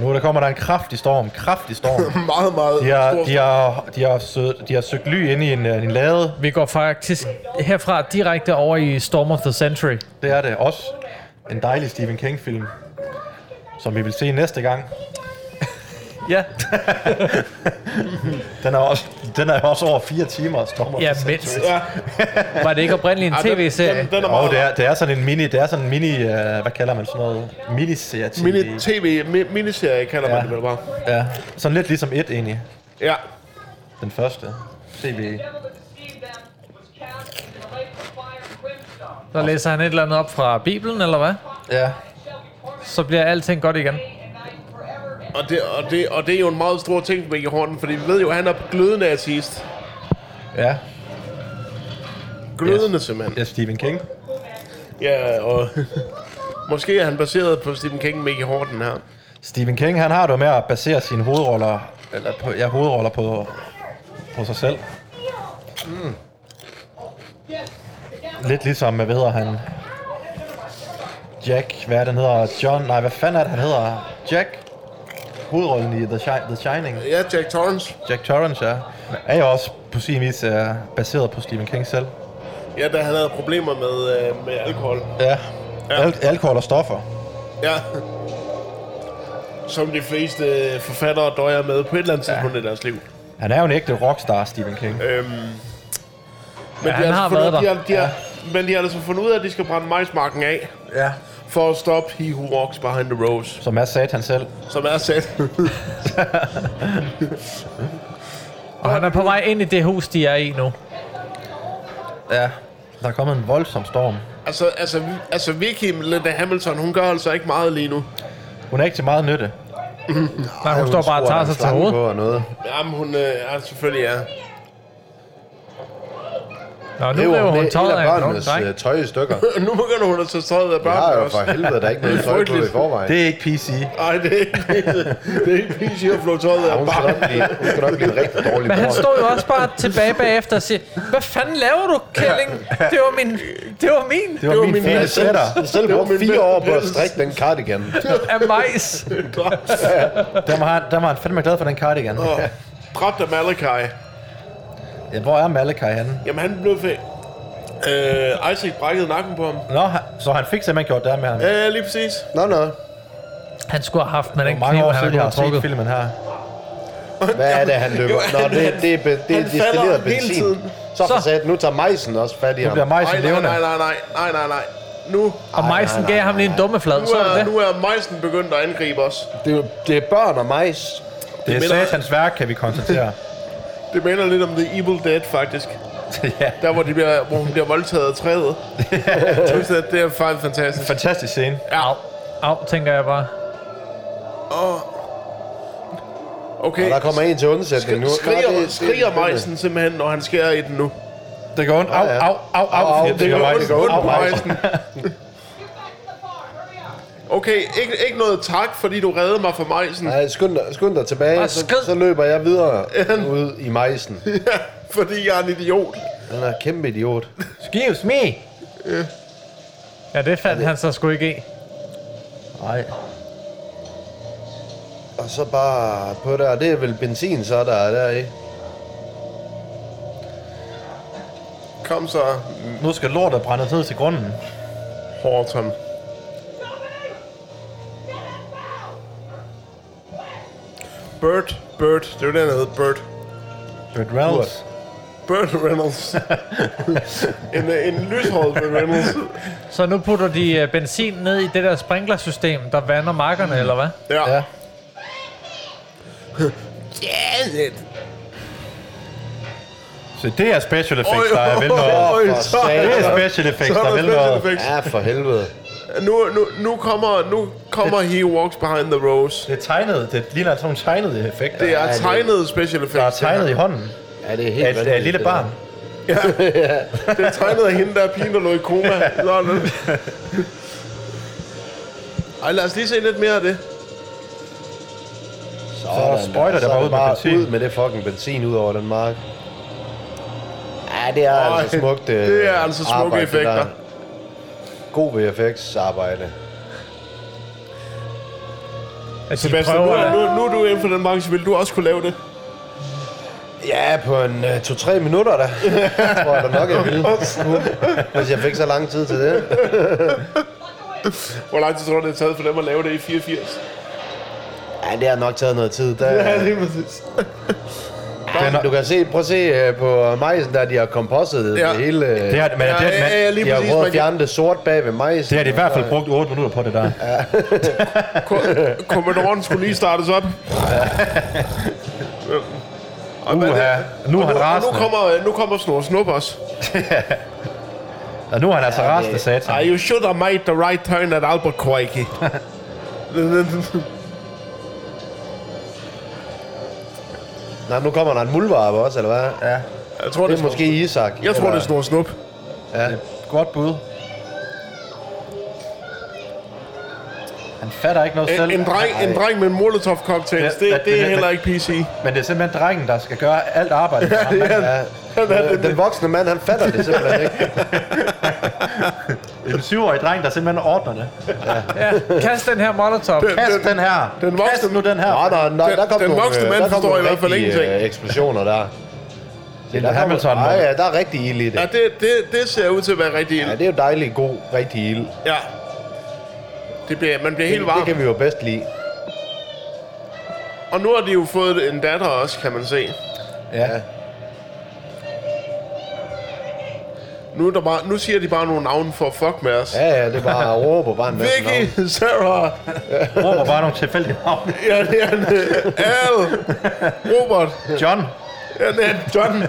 Speaker 4: Nu der kommer der en kraftig storm, kraftig storm.
Speaker 1: Meget, meget
Speaker 4: De har,
Speaker 1: stor-
Speaker 4: de har, de har, sø, de har søgt ly ind i en, øh, en lade.
Speaker 2: Vi går faktisk herfra direkte over i Storm of the Century.
Speaker 4: Det er det også. En dejlig Stephen King-film, som vi vil se næste gang.
Speaker 2: Ja,
Speaker 4: Den er også, den er også over fire timer, Storm of
Speaker 2: ja
Speaker 4: the
Speaker 2: mindst.
Speaker 1: Ja.
Speaker 2: Var det ikke oprindeligt en
Speaker 1: Ej, den-
Speaker 2: tv-serie?
Speaker 1: Den, den er
Speaker 4: Og
Speaker 1: meget
Speaker 4: det er, det er sådan en mini, det er sådan en mini, uh, hvad kalder man sådan noget? Miniserie TV.
Speaker 1: Mini tv, mi, miniserie kalder ja. man
Speaker 4: Ja.
Speaker 1: det vel bare.
Speaker 4: Ja, sådan lidt ligesom et egentlig,
Speaker 1: Ja.
Speaker 4: den første. TV.
Speaker 6: devil that deceived them was cast in the lake of fire and
Speaker 2: Så
Speaker 6: brimstone.
Speaker 2: læser han et eller andet op fra Bibelen, eller hvad?
Speaker 4: Ja.
Speaker 2: Så bliver alting godt igen.
Speaker 1: Og det, og, det, og det er jo en meget stor ting med i hånden, fordi vi ved jo, at han er glødende artist.
Speaker 4: Ja.
Speaker 1: Glødende yes. simpelthen.
Speaker 4: Ja, Stephen King.
Speaker 1: Ja, og måske er han baseret på Stephen King med i hånden her.
Speaker 4: Stephen King, han har det jo med at basere sine hovedroller, eller på, ja, hovedroller på, på sig selv. Mm. Lidt ligesom, hvad hedder han? Jack, hvad er den hedder? John, nej, hvad fanden er det, han hedder? Jack? Hovedrollen i The, Shi- The Shining.
Speaker 1: Ja, Jack Torrance.
Speaker 4: Jack Torrance, ja. Er jo også på sin vis uh, baseret på Stephen King selv.
Speaker 1: Ja, da han havde problemer med, øh, med alkohol.
Speaker 4: Ja. Al- alkohol og stoffer.
Speaker 1: Ja. Som de fleste øh, forfattere døjer med på et eller andet tidspunkt ja. i deres liv.
Speaker 4: Han er jo en ægte rockstar, Stephen King.
Speaker 1: Øhm, men de
Speaker 2: han
Speaker 1: altså
Speaker 2: har
Speaker 1: fundet-
Speaker 2: været
Speaker 1: de
Speaker 2: der.
Speaker 1: har, de har, Men de har altså fundet ud af, at de skal brænde majsmarken af,
Speaker 4: Ja.
Speaker 1: for at stoppe He Who Walks Behind the Rose,
Speaker 4: Som Mads sagde han selv.
Speaker 1: som er sat.
Speaker 2: Og han er på vej ind i det hus, de er i nu.
Speaker 4: Ja. Der er kommet en voldsom storm.
Speaker 1: altså, altså, altså Vicky Linda Hamilton, hun gør altså ikke meget lige nu.
Speaker 4: Hun er ikke til meget nytte.
Speaker 2: Nej, hun står bare og tager sig til hovedet.
Speaker 3: Og noget.
Speaker 1: Jamen, hun øh, er selvfølgelig er.
Speaker 2: Nå, nu
Speaker 3: Det var
Speaker 2: river
Speaker 3: hun
Speaker 2: hun tøjet
Speaker 3: hele
Speaker 2: af en ung
Speaker 3: børnenes
Speaker 2: dreng.
Speaker 3: øh, tøj i stykker.
Speaker 1: nu begynder hun at tage tøjet af
Speaker 3: Jeg har
Speaker 1: børnene
Speaker 3: jo for
Speaker 1: også.
Speaker 3: helvede, der er ikke noget
Speaker 1: Det er
Speaker 3: tøj på i
Speaker 1: frygteligt.
Speaker 3: forvejen.
Speaker 4: Det er ikke PC.
Speaker 1: Nej, det er ikke, det er ikke PC at flå tøjet af
Speaker 3: Hun skal
Speaker 1: børnene.
Speaker 3: nok blive, hun skal nok blive en rigtig dårlig
Speaker 2: Men han
Speaker 3: mor.
Speaker 2: stod jo også bare tilbage bagefter og siger, hvad fanden laver du, Kælling? Det var min, det var min
Speaker 4: Det var, det var min, min fine
Speaker 1: næste-
Speaker 4: sætter.
Speaker 3: Jeg har selv
Speaker 1: Det var
Speaker 3: brugt
Speaker 1: min
Speaker 3: fire år på at
Speaker 1: bedste.
Speaker 3: strikke den cardigan.
Speaker 2: af majs.
Speaker 4: Der var, han, der var han fandme glad for den cardigan.
Speaker 1: Åh, Dræbt af Malachi.
Speaker 4: Ja, hvor er Malakai henne?
Speaker 1: Jamen, han blev fed. Øh, Isaac brækkede nakken på ham.
Speaker 4: Nå, han- så han fik simpelthen gjort det her med ham. Det
Speaker 1: Ja, lige præcis.
Speaker 3: Nå, nå.
Speaker 2: Han skulle have haft med den
Speaker 4: er mange
Speaker 2: kniv,
Speaker 4: år
Speaker 2: han havde
Speaker 4: siden, jeg
Speaker 2: gået
Speaker 4: har
Speaker 2: og
Speaker 4: set
Speaker 2: trukket.
Speaker 4: filmen her.
Speaker 3: Hvad er det, han løber?
Speaker 1: Jo,
Speaker 3: Nå,
Speaker 1: han-
Speaker 3: det, det, er be, det er
Speaker 1: han
Speaker 3: destilleret
Speaker 1: falder hele
Speaker 3: benzin.
Speaker 1: tiden.
Speaker 3: Så for
Speaker 2: Så-
Speaker 3: sat, nu tager majsen også fat i
Speaker 4: Nu
Speaker 3: ham.
Speaker 4: bliver Majsen
Speaker 1: Nej, nej,
Speaker 4: levende.
Speaker 1: nej, nej, nej, nej, nej, nej. Nu,
Speaker 2: Og majsen gav ham lige en dumme flad,
Speaker 1: nu,
Speaker 2: så
Speaker 1: er,
Speaker 2: det.
Speaker 1: nu er Mejsen begyndt at angribe os.
Speaker 3: Det, er- det er børn og majs.
Speaker 4: Det er
Speaker 1: minder-
Speaker 4: satans værk, kan vi konstatere.
Speaker 1: Det minder lidt om The Evil Dead, faktisk.
Speaker 4: ja.
Speaker 1: Der, hvor, de bliver, hvor hun bliver voldtaget af træet. Synes jeg, det er faktisk fantastisk.
Speaker 4: Fantastisk scene.
Speaker 1: Ja.
Speaker 2: Au, tænker jeg bare.
Speaker 1: Okay.
Speaker 3: Og der kommer en til undsætning nu. Nå, det-
Speaker 1: Skriger,
Speaker 3: det-
Speaker 1: skriger
Speaker 3: det-
Speaker 1: Mejsen simpelthen, når han skærer i den nu.
Speaker 4: Det går ondt. Au,
Speaker 3: Ja, ja.
Speaker 4: au, au,
Speaker 3: Au, au,
Speaker 4: au. Ja,
Speaker 3: det
Speaker 4: gør
Speaker 3: gør
Speaker 4: ondt.
Speaker 3: ondt. Det gør
Speaker 4: Au,
Speaker 3: ondt.
Speaker 4: au.
Speaker 1: Mejsen. Okay, ikke, ikke noget tak, fordi du reddede mig fra Mejsen.
Speaker 3: Nej, skynd dig, skynd dig tilbage,
Speaker 2: Bare
Speaker 3: så,
Speaker 2: skrid.
Speaker 3: så løber jeg videre ud i majsen.
Speaker 1: Ja, fordi jeg er en idiot.
Speaker 3: Han er kæmpe idiot.
Speaker 4: Excuse me.
Speaker 2: Ja, det fandt han så sgu ikke i.
Speaker 4: Nej.
Speaker 3: Og så bare på der, det er vel benzin, så der er der i.
Speaker 1: Kom så,
Speaker 4: Nu skal lortet brændes ned til grunden.
Speaker 1: Horton. Bert, Bert, det er jo den, der hedder Bert.
Speaker 4: Burt Reynolds.
Speaker 1: Bert Reynolds. en, øh, en lyshåret Bert Reynolds.
Speaker 2: Så nu putter de øh, benzin ned i det der sprinklersystem, der vander markerne,
Speaker 4: Mm.
Speaker 2: eller hvad?
Speaker 1: Ja.
Speaker 4: Ja.
Speaker 1: ja. Janet.
Speaker 4: Så det er special effects, der er vel
Speaker 1: Øj,
Speaker 4: noget.
Speaker 1: øj, så er
Speaker 4: Det
Speaker 1: der-
Speaker 4: er special effects,
Speaker 1: så
Speaker 4: der
Speaker 1: er
Speaker 4: er
Speaker 1: der
Speaker 4: vel
Speaker 1: special
Speaker 4: noget.
Speaker 1: effects.
Speaker 3: Ja, for helvede.
Speaker 1: Nu, nu, nu kommer, nu kommer He Walks Behind the Rose.
Speaker 4: Det er tegnet. Det ligner sådan nogle tegnede effekter.
Speaker 1: Det er tegnet special effects.
Speaker 4: der er tegnet i hånden
Speaker 3: Ja, det er helt
Speaker 4: af et- af et
Speaker 3: vanvittigt,
Speaker 4: lille
Speaker 3: det der.
Speaker 4: barn.
Speaker 1: Det er tegnet af hende, der er pigen, der lå i koma. Sådan. Ej, lad os lige se lidt mere af det.
Speaker 3: Sådan,
Speaker 4: Så sprøjter
Speaker 3: og
Speaker 4: der
Speaker 3: så er
Speaker 4: bare ud med benzin.
Speaker 3: ud med det fucking benzin ud over den mark. Ja, det er
Speaker 1: Øj,
Speaker 3: altså smukt øh,
Speaker 1: det er altså smukke
Speaker 3: arbejde, det der.
Speaker 1: effekter.
Speaker 3: God VFX-arbejde.
Speaker 2: At Altså, de
Speaker 1: Sebastian, nu,
Speaker 2: prøver
Speaker 1: er- nu,
Speaker 2: at...
Speaker 1: nu er du inden for den branche. Vil du også kunne lave det?
Speaker 3: Ja, på en øh, to-tre minutter da. tror jeg da nok, jeg ville. Hvis jeg fik så lang tid til det.
Speaker 1: Hvor lang tid tror du, det har taget for dem at lave det i 84?
Speaker 3: Ja, det har nok taget noget tid. Der,
Speaker 1: Ja, lige præcis.
Speaker 3: ja, du kan se, prøv at se øh, på majsen, der de har kompostet det
Speaker 1: Ja.
Speaker 3: hele. øh,
Speaker 4: Det har, men
Speaker 1: Ja,
Speaker 4: det,
Speaker 1: ja, ja,
Speaker 4: man,
Speaker 1: lige
Speaker 3: de har
Speaker 1: præcis.
Speaker 3: prøvet
Speaker 1: Man
Speaker 3: at fjerne det sort bag ved majsen.
Speaker 4: det har de i hvert fald brugt 8 minutter på det der.
Speaker 1: kan- ko- Kommandoren skulle lige startes op. Og hvad det-
Speaker 4: Uha, nu er
Speaker 1: og
Speaker 4: han
Speaker 1: nu, øh, og nu
Speaker 4: rasende.
Speaker 1: kommer, nu kommer Snor Snup også.
Speaker 8: Og nu er han altså rasende sat.
Speaker 1: Ah, you should have made the right turn at Albuquerque.
Speaker 3: Nej, nu kommer der en muldvarp også, eller hvad? Ja.
Speaker 1: jeg tror,
Speaker 3: Det er måske Isak.
Speaker 1: Jeg tror, det er Snor Snup.
Speaker 3: Ja.
Speaker 8: Godt bud. Han fatter ikke noget
Speaker 1: En,
Speaker 8: selv.
Speaker 1: en, dreng, en dreng med en Molotov-cocktail,
Speaker 8: Ja,
Speaker 1: det,
Speaker 8: men-
Speaker 1: det er
Speaker 8: men-
Speaker 1: heller ikke PC.
Speaker 8: Men det er simpelthen drengen, der skal gøre alt arbejdet. for ham.
Speaker 3: ja. øh, Den, den voksne mand, han fatter det simpelthen ikke.
Speaker 8: En syvårig dreng, der simpelthen ordner det.
Speaker 2: Ja, kast den her molotov.
Speaker 8: Kast den her.
Speaker 1: den voksne-
Speaker 8: Kast nu den her.
Speaker 3: Nå, der, der, der
Speaker 1: Den-
Speaker 3: kom
Speaker 1: den
Speaker 3: nogle,
Speaker 1: voksne
Speaker 3: øh,
Speaker 1: mand
Speaker 3: der kom
Speaker 1: forstår
Speaker 3: nogle
Speaker 1: i hvert fald
Speaker 3: rigtige,
Speaker 1: ingenting.
Speaker 3: øh, eksplosioner der.
Speaker 8: Det er Hamilton.
Speaker 3: Nej, ja, der er rigtig ild i det.
Speaker 1: Ja, det, det, det ser ud til at være rigtig
Speaker 3: Ja,
Speaker 1: ild.
Speaker 3: det er jo dejligt god, rigtig ild.
Speaker 1: Ja. Det bliver, man bliver
Speaker 3: Det,
Speaker 1: helt varm.
Speaker 3: det kan vi jo bedst lide.
Speaker 1: Og nu har de jo fået en datter også, kan man se.
Speaker 3: Ja.
Speaker 1: Nu, er der bare, nu siger de bare nogle navne for at fuck med os.
Speaker 3: Ja, ja, det er bare at råbe og bare en masse navne.
Speaker 1: Vicky, Sarah,
Speaker 8: Råber bare nogle tilfældige navne.
Speaker 1: ja, det er en, øh, Al, Robert,
Speaker 8: John.
Speaker 1: ja, det er en John.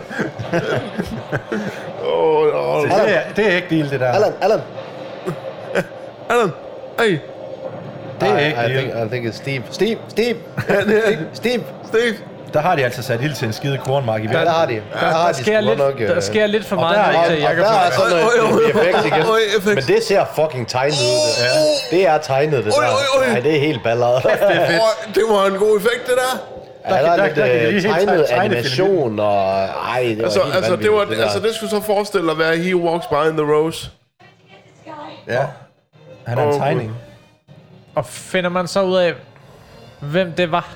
Speaker 1: Åh, oh, oh,
Speaker 8: Det er, det er ikke deal, det der.
Speaker 3: Allan, Allan.
Speaker 1: Allan, hey,
Speaker 8: Det er
Speaker 3: Nej,
Speaker 8: ikke
Speaker 3: I
Speaker 8: deal.
Speaker 3: think, I think it's Steve. Steve, Steve, Steve, Steve.
Speaker 1: Steve.
Speaker 8: Der har de altså sat ild til en skide kornmark i
Speaker 3: Ja,
Speaker 8: verden.
Speaker 3: der har de. Der, har
Speaker 2: Der
Speaker 3: de
Speaker 2: sker,
Speaker 3: sgu
Speaker 2: lidt,
Speaker 3: godt nok,
Speaker 2: der
Speaker 3: øh,
Speaker 2: sker lidt for
Speaker 8: og der
Speaker 2: meget
Speaker 8: er-
Speaker 2: nu
Speaker 3: og-
Speaker 2: til, at jeg
Speaker 3: og
Speaker 2: kan
Speaker 3: der er
Speaker 2: få
Speaker 3: sådan noget
Speaker 1: Øj, øj, øj,
Speaker 3: effekt igen.
Speaker 1: øj, effekt.
Speaker 3: Men det ser fucking tegnet ud. Det, der. det er tegnet, det
Speaker 1: Øj, øj,
Speaker 3: der.
Speaker 1: øj.
Speaker 3: Nej, det er helt balleret. Ja,
Speaker 1: Oh, det var en god effekt, det der.
Speaker 3: der
Speaker 8: der-
Speaker 3: er
Speaker 8: der
Speaker 3: lidt
Speaker 8: kan de
Speaker 3: øh,
Speaker 8: lige tegne
Speaker 3: tegnet
Speaker 8: tegnefilm.
Speaker 3: animation, og ej, det var
Speaker 1: Altså,
Speaker 3: helt
Speaker 1: altså, det,
Speaker 3: vanvittigt,
Speaker 1: var, det
Speaker 3: der.
Speaker 1: altså, det skulle så forestille at være He Walks Behind the Rose.
Speaker 8: Ja. Han er en
Speaker 1: Åh,
Speaker 8: tegning.
Speaker 2: Og finder man så ud af, hvem det var?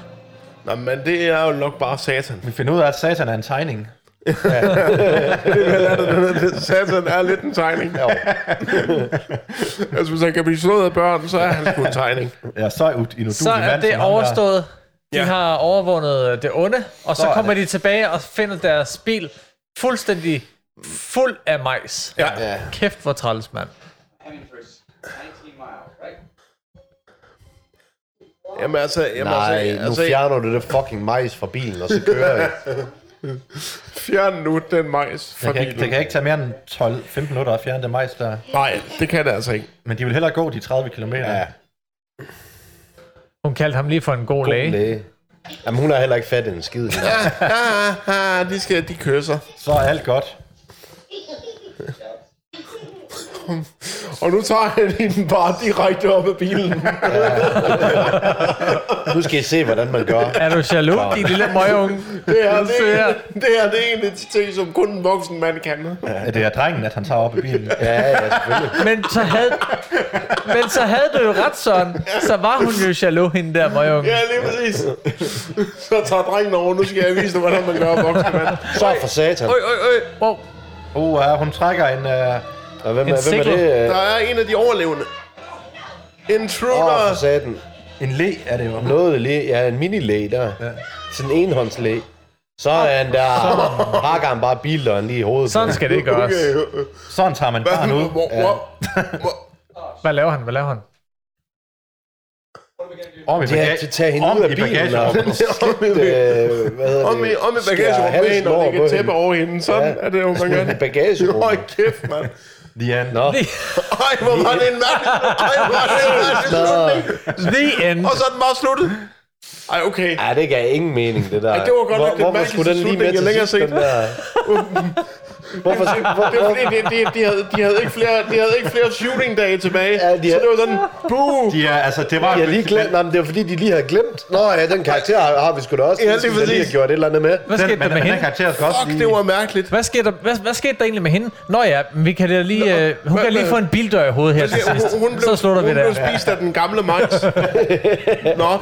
Speaker 1: Nå, men det er jo nok bare satan.
Speaker 8: Vi finder ud af, at satan er en tegning.
Speaker 1: Satan er lidt en tegning. altså, hvis han kan blive slået af børn, så er han sgu en tegning.
Speaker 8: Ja, så ud i
Speaker 2: Så er det overstået. De
Speaker 1: Ja.
Speaker 2: har overvundet øh, det onde, og så
Speaker 8: er
Speaker 2: kommer de tilbage og finder deres bil fuldstændig fuld af majs.
Speaker 1: Ja.
Speaker 2: Kæft, hvor træls, mand.
Speaker 6: Heading for s- 19 miles, right?
Speaker 1: Jamen altså, jamen,
Speaker 3: Nej,
Speaker 1: altså,
Speaker 3: nu
Speaker 1: altså
Speaker 3: fjerner du det fucking majs fra bilen, og så kører jeg.
Speaker 1: fjern nu den majs fra
Speaker 8: Det kan, ikke,
Speaker 1: bilen.
Speaker 8: det kan ikke tage mere end 12-15 minutter at fjerne det majs der.
Speaker 1: Nej, det kan det altså ikke.
Speaker 8: Men de vil hellere gå de 30 km. Ja.
Speaker 2: Hun kaldte ham lige for en god, læge.
Speaker 3: Læge. Jamen, hun har heller ikke fat i en skid. hende der.
Speaker 1: Ah, ah, de skal, de kysser.
Speaker 8: Så er alt godt.
Speaker 1: Og nu tager han hende bare direkte op af bilen.
Speaker 3: Nu skal I se, hvordan man gør.
Speaker 2: Er du jaloux, din lille møgeunge?
Speaker 1: Det er
Speaker 2: Nu ser jeg.
Speaker 1: det, det er det ene ting, som kun en voksen mand kan.
Speaker 8: Ja. Det er drengen, at han tager op i bilen.
Speaker 3: Ja, ja, selvfølgelig.
Speaker 2: Men så havde, men så havde du jo ret, sådan. Så var hun jo jaloux, hende der møgeunge.
Speaker 1: Ja, lige præcis. Så tager drengen over, nu skal jeg vise dig, hvordan man gør voksen mand.
Speaker 3: Så for satan.
Speaker 1: Øj, øj, øj.
Speaker 2: Wow.
Speaker 8: Uh, ja, hun trækker en... Uh,
Speaker 3: Og hvem, er,
Speaker 2: En
Speaker 3: hvem er det? øh?
Speaker 1: Der er en af de overlevende.
Speaker 3: Åh,
Speaker 1: Intruder.
Speaker 3: oh, for satan.
Speaker 8: en le er det jo.
Speaker 3: Noget læ. Ja, en mini-læ der. Ja. Sådan en enhåndslæ. Så er han der. Hakker han bare bildøren lige i hovedet.
Speaker 2: Sådan skal det gøres.
Speaker 1: Okay.
Speaker 8: Sådan tager man barn ud.
Speaker 1: Hvor, hvor, hvor,
Speaker 2: Hvad laver han? Hvad laver han?
Speaker 8: Om i
Speaker 3: Ja,
Speaker 8: bagage.
Speaker 3: til at tage hende
Speaker 8: Om
Speaker 3: ud af
Speaker 8: i
Speaker 3: bilen. Og,
Speaker 8: bagagerummet.
Speaker 3: øh, hvad hedder
Speaker 1: om i,
Speaker 3: det?
Speaker 1: om i bagagerummet med hende, og lægge et tæppe over hende. Sådan
Speaker 3: Ja.
Speaker 1: er det jo, man gør det. Nå,
Speaker 3: Bagagerummet.
Speaker 1: kæft, mand.
Speaker 8: The end.
Speaker 3: Nå.
Speaker 1: Ej, hvor var det en mand. Ej, hvor var det en mand.
Speaker 2: The end.
Speaker 1: Og så er den bare sluttet. Ej, okay.
Speaker 3: Ja, det gav ingen mening, det der.
Speaker 1: Ej, det var godt nok den
Speaker 3: hvorfor
Speaker 1: mærkeligste
Speaker 3: skulle den lige med
Speaker 1: slutning, jeg
Speaker 3: til
Speaker 1: længere
Speaker 3: sidst, den
Speaker 1: set.
Speaker 3: der? hvorfor, hvor,
Speaker 1: Det var fordi, de, de, de, havde, de, havde ikke flere, de havde ikke flere shooting dage tilbage.
Speaker 3: Ja, de
Speaker 1: så
Speaker 3: havde-
Speaker 1: det var sådan, buh.
Speaker 8: De er, altså, det var...
Speaker 3: jeg lige glemt, nej, men det var fordi, de lige havde glemt. Nå ja, den karakter har, har vi sgu da også.
Speaker 1: Ja,
Speaker 3: Den skal
Speaker 1: lige
Speaker 3: vi da lige
Speaker 1: præcis.
Speaker 3: have gjort et eller andet med.
Speaker 8: Den,
Speaker 2: Hvad skete der
Speaker 8: men
Speaker 2: med
Speaker 8: den her
Speaker 2: hende?
Speaker 8: karakter skal også
Speaker 1: Fuck,
Speaker 8: lige...
Speaker 1: det var mærkeligt.
Speaker 2: Hvad skete, der, hvad, hvad skete der egentlig med hende? Nå ja, men vi kan da lige, øh, hun
Speaker 1: hvad-
Speaker 2: kan lige få en bildør i hovedet her til
Speaker 1: Ja,
Speaker 2: sidst.
Speaker 1: Altså, hun, hun blev,
Speaker 2: Så slutter vi
Speaker 1: hun blev
Speaker 2: der.
Speaker 1: spist af den gamle majs. Nå,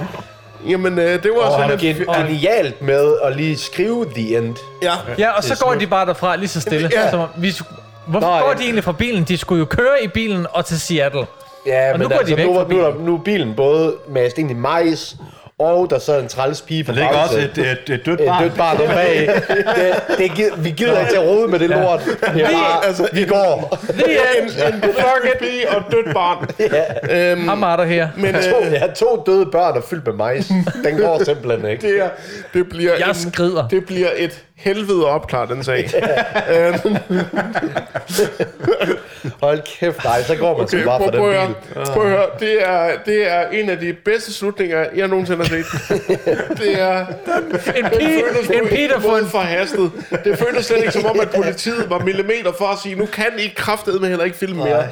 Speaker 1: jamen øh, det var
Speaker 3: Og
Speaker 1: sådan
Speaker 3: han
Speaker 1: lidt...
Speaker 3: gen- genialt med at lige skrive The End.
Speaker 1: Ja,
Speaker 2: Ja, og så går de bare derfra lige så stille.
Speaker 1: Ja.
Speaker 2: Som om vi, sku- hvorfor
Speaker 3: Nå,
Speaker 2: går
Speaker 3: ja.
Speaker 2: de egentlig fra bilen? De skulle jo køre i bilen og til Seattle.
Speaker 3: Ja,
Speaker 2: Og
Speaker 3: men
Speaker 2: nu går de
Speaker 3: altså,
Speaker 2: væk
Speaker 3: nu,
Speaker 2: fra
Speaker 3: var, nu, er der- nu er bilen både mast ind i majs, og der sad en træls pige på
Speaker 8: Der ligger også
Speaker 3: bagsædet.
Speaker 8: et, et, et dødt
Speaker 3: et
Speaker 8: barn.
Speaker 3: dødt barn om bag. Det, det, gi- vi gider ikke til at rode med det lort. Det er bare, altså, vi går.
Speaker 2: The end.
Speaker 1: en fucking pige og et dødt barn. Øhm,
Speaker 2: I'm out of here.
Speaker 1: men
Speaker 3: To,
Speaker 1: øh,
Speaker 3: ja, to døde børn og fyldt med majs. Den går simpelthen ikke.
Speaker 1: det, er, det bliver...
Speaker 2: Jeg
Speaker 1: en,
Speaker 2: skrider.
Speaker 1: det bliver et helvede at opklare den sag.
Speaker 3: Hold kæft, nej, så går man okay, så bare
Speaker 1: Øh, prøv,
Speaker 3: for
Speaker 1: prøv, at høre.
Speaker 3: den bil.
Speaker 1: prøv at høre. Det er, det er en af de bedste slutninger, jeg nogensinde har set. det er...
Speaker 2: En,
Speaker 1: Den
Speaker 2: pi,
Speaker 1: føles
Speaker 2: en pige, der får en...
Speaker 1: forhastet. Det føltes slet ikke som om, at politiet var millimeter for at sige, nu kan I kraftedeme heller ikke filme mere.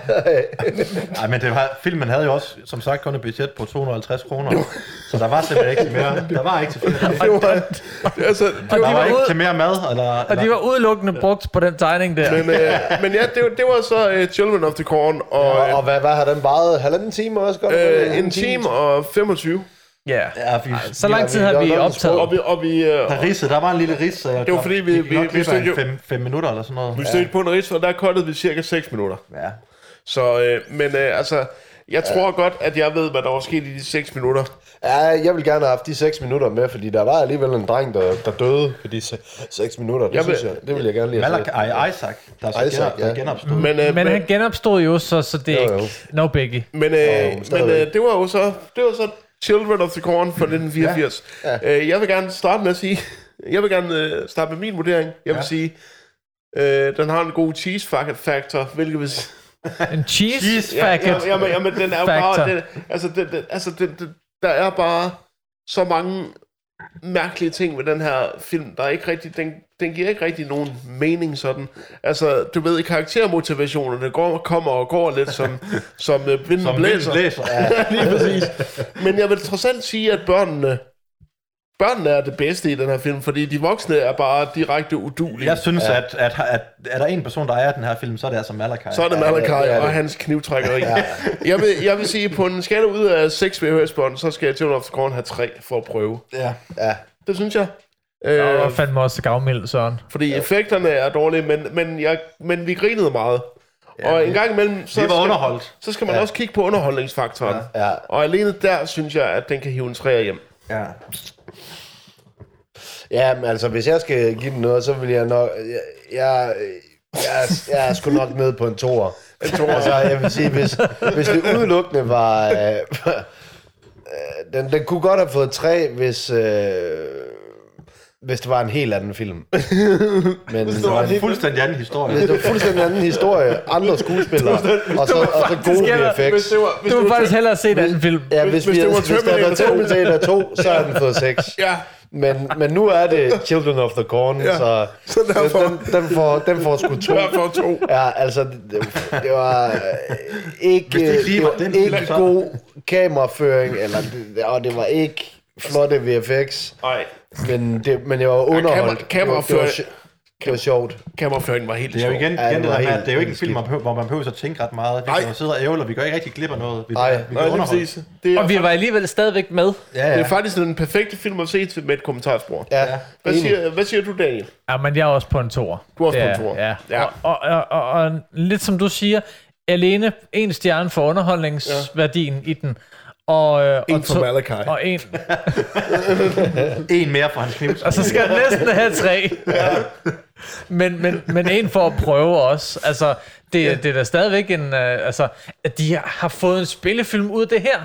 Speaker 4: Nej, men det var, filmen havde jo også, som sagt, kun et budget på 250 kroner. Så der var simpelthen ikke til mere. Der var ikke til flere.
Speaker 1: Det var, det, altså, det var,
Speaker 4: Der
Speaker 2: var
Speaker 4: var ikke
Speaker 2: ude-
Speaker 4: til mere mad, eller...
Speaker 2: Og de var udelukkende brugt på den tegning der.
Speaker 1: men, øh, men ja, det, var- det var så øh, Children of the Corn, og
Speaker 3: Og, og hvad, hvad har den varet? Halvanden time også? Godt,
Speaker 1: øh, en time og 25.
Speaker 2: Ja.
Speaker 4: Ja, vi,
Speaker 2: Så lang tid har vi optaget.
Speaker 1: Og vi, og vi, øh,
Speaker 4: Der ridsede, der var en lille ris, så jeg
Speaker 1: Det var fordi, vi- vi- vi stod jo-
Speaker 4: 5, 5 minutter eller sådan noget.
Speaker 1: vi stødte på en ris, og der kottede vi cirka 6 minutter.
Speaker 4: Ja.
Speaker 1: Så, øh, men øh, altså, jeg tror godt, at jeg ved, hvad der var sket i de 6 minutter.
Speaker 3: Ja, jeg vil gerne have haft de 6 minutter med, fordi der var alligevel en dreng, der, der døde for de 6 minutter. Det,
Speaker 1: Jeg
Speaker 3: jeg
Speaker 1: vil-
Speaker 3: synes jeg, det vil jeg gerne lige have
Speaker 4: Malak,
Speaker 3: set.
Speaker 4: ej, Isaac, der er så
Speaker 3: Altså- Isaac,
Speaker 4: Isaac, gener,
Speaker 3: ja.
Speaker 4: ja. genopstod.
Speaker 1: Men, øh,
Speaker 2: Men han genopstod jo, så, så det er
Speaker 3: Jo, jo.
Speaker 2: ikke no biggie.
Speaker 1: Men, øh, men
Speaker 3: stadigvæk.
Speaker 1: øh, det var jo så, det var så Children of the Corn fra 1984. Ja. Ja. Øh, jeg vil gerne starte med at sige, jeg vil gerne øh, starte med min vurdering. Jeg vil ja. sige, øh, den har en god cheese fac- factor, hvilket vil sige...
Speaker 2: En cheese,
Speaker 4: Cheese,
Speaker 1: Ja,
Speaker 2: packet.
Speaker 1: jamen, jamen, jamen, den er jo
Speaker 2: factor.
Speaker 1: bare... Den, altså, den, den, altså den, den, der er bare så mange mærkelige ting ved den her film, der er ikke rigtig, den, den giver ikke rigtig nogen mening sådan. Altså, du ved, karaktermotivationerne går, kommer og går lidt som, som øh, vinden
Speaker 4: Som
Speaker 1: blæser.
Speaker 4: læser. læser. Ja.
Speaker 1: Ja, lige præcis. Men jeg vil trods alt sige, at børnene, børnene er det bedste i den her film, fordi de voksne er bare direkte udulige.
Speaker 4: Jeg synes, ja. at, at, at, er der en person, der ejer den her film, så er det altså Malakai.
Speaker 1: Så er det Malakai
Speaker 3: ja,
Speaker 1: ja,
Speaker 3: ja,
Speaker 1: ja,
Speaker 3: ja.
Speaker 1: og hans knivtrækkeri. Ja. Jeg, vil, jeg vil sige, at på en skala ud af 6 VHS-bånd, så skal jeg til of the Corn have 3 for at prøve.
Speaker 4: Ja.
Speaker 3: Ja.
Speaker 1: Det synes jeg.
Speaker 2: Og
Speaker 1: Øh,
Speaker 2: var fandme også gavmild, Søren.
Speaker 1: fordi effekterne er dårlige, men, men, jeg, men vi grinede meget. og en gang imellem... Så
Speaker 4: Vi var
Speaker 1: skal-
Speaker 4: underholdt.
Speaker 1: Så skal man ja. også kigge på underholdningsfaktoren.
Speaker 3: Ja.
Speaker 1: Og alene der synes jeg, at den kan hive en træer hjem.
Speaker 4: Ja.
Speaker 3: ja, men altså, hvis jeg skal give den noget, så vil jeg nok... Jeg, jeg, jeg, jeg er sgu nok ned på en toer. En toer. Altså, jeg vil sige, hvis, hvis det udelukkende var... Øh, øh, den, den kunne godt have fået tre, hvis... Øh, hvis det var en helt anden film. Men,
Speaker 4: Det var en fuldstændig anden historie.
Speaker 3: Hvis det var fuldstændig anden historie, andre skuespillere, og så, og så gode
Speaker 2: heller-
Speaker 1: Hvis
Speaker 3: VFX.
Speaker 1: det var, hvis
Speaker 2: Du
Speaker 1: det
Speaker 2: vil
Speaker 1: var
Speaker 2: faktisk hellere se den anden film.
Speaker 3: Ja, hvis,
Speaker 1: hvis
Speaker 3: vi,
Speaker 1: det var
Speaker 3: hvis der havde været
Speaker 1: Terminator
Speaker 3: Terminator 2, så har den fået 6.
Speaker 1: Ja,
Speaker 3: Men, men nu er det Children of the Corn, ja. så,
Speaker 1: Så derfor-
Speaker 3: den, den, får, den får sgu to.
Speaker 1: derfor to.
Speaker 3: Ja, altså, det, det var øh, ikke,
Speaker 4: Hvis det ikke lige
Speaker 3: det
Speaker 4: var
Speaker 3: var
Speaker 4: den
Speaker 3: ikke
Speaker 4: film, så-
Speaker 3: god kameraføring, eller, det- og det var ikke flotte VFX,
Speaker 1: Nej,
Speaker 3: men, det, men jeg var underholdt.
Speaker 1: kamera- kameraføring-
Speaker 3: Det var- det var sj- Det var sjovt.
Speaker 1: kameraføringen var helt
Speaker 4: Det er jo
Speaker 1: sjov.
Speaker 4: igen,
Speaker 3: Ja,
Speaker 4: igen
Speaker 3: det
Speaker 4: det,
Speaker 3: var
Speaker 4: der med,
Speaker 3: helt-
Speaker 4: at det er jo ikke en
Speaker 3: helt
Speaker 4: film, man behøver, hvor man behøver at tænke ret meget. Vi
Speaker 1: Nej.
Speaker 4: kan jo sidde og ævle, og vi går ikke rigtig glip af noget. Vi,
Speaker 3: Nej.
Speaker 4: bliver- vi
Speaker 1: Nej,
Speaker 4: bliver
Speaker 1: lige
Speaker 4: underholdt.
Speaker 1: præcis. Det er,
Speaker 2: Og vi var alligevel stadigvæk med.
Speaker 4: Ja, ja.
Speaker 1: det er faktisk den perfekte film at se til- med et kommentarspor.
Speaker 3: Ja,
Speaker 1: Hvad
Speaker 3: enig.
Speaker 1: siger, hvad siger du, Daniel?
Speaker 2: Ja, men jeg er også på en toer.
Speaker 1: Du er også
Speaker 2: Det
Speaker 1: på en toer.
Speaker 2: Ja.
Speaker 1: Ja.
Speaker 2: ja. Og, og, og, og, lidt som du siger, alene en stjerne for underholdningsværdien ja. i den. Og, øh,
Speaker 1: En
Speaker 2: og
Speaker 1: for
Speaker 2: to-
Speaker 1: Malakai.
Speaker 2: Og en.
Speaker 4: En mere fra hans kniv.
Speaker 3: Altså-
Speaker 2: Og så skal jeg næsten have tre. Ja. Men, men, men en for at prøve også. Altså, det, ja. det er da stadigvæk en... Øh, altså, at de har fået en spillefilm ud af det her.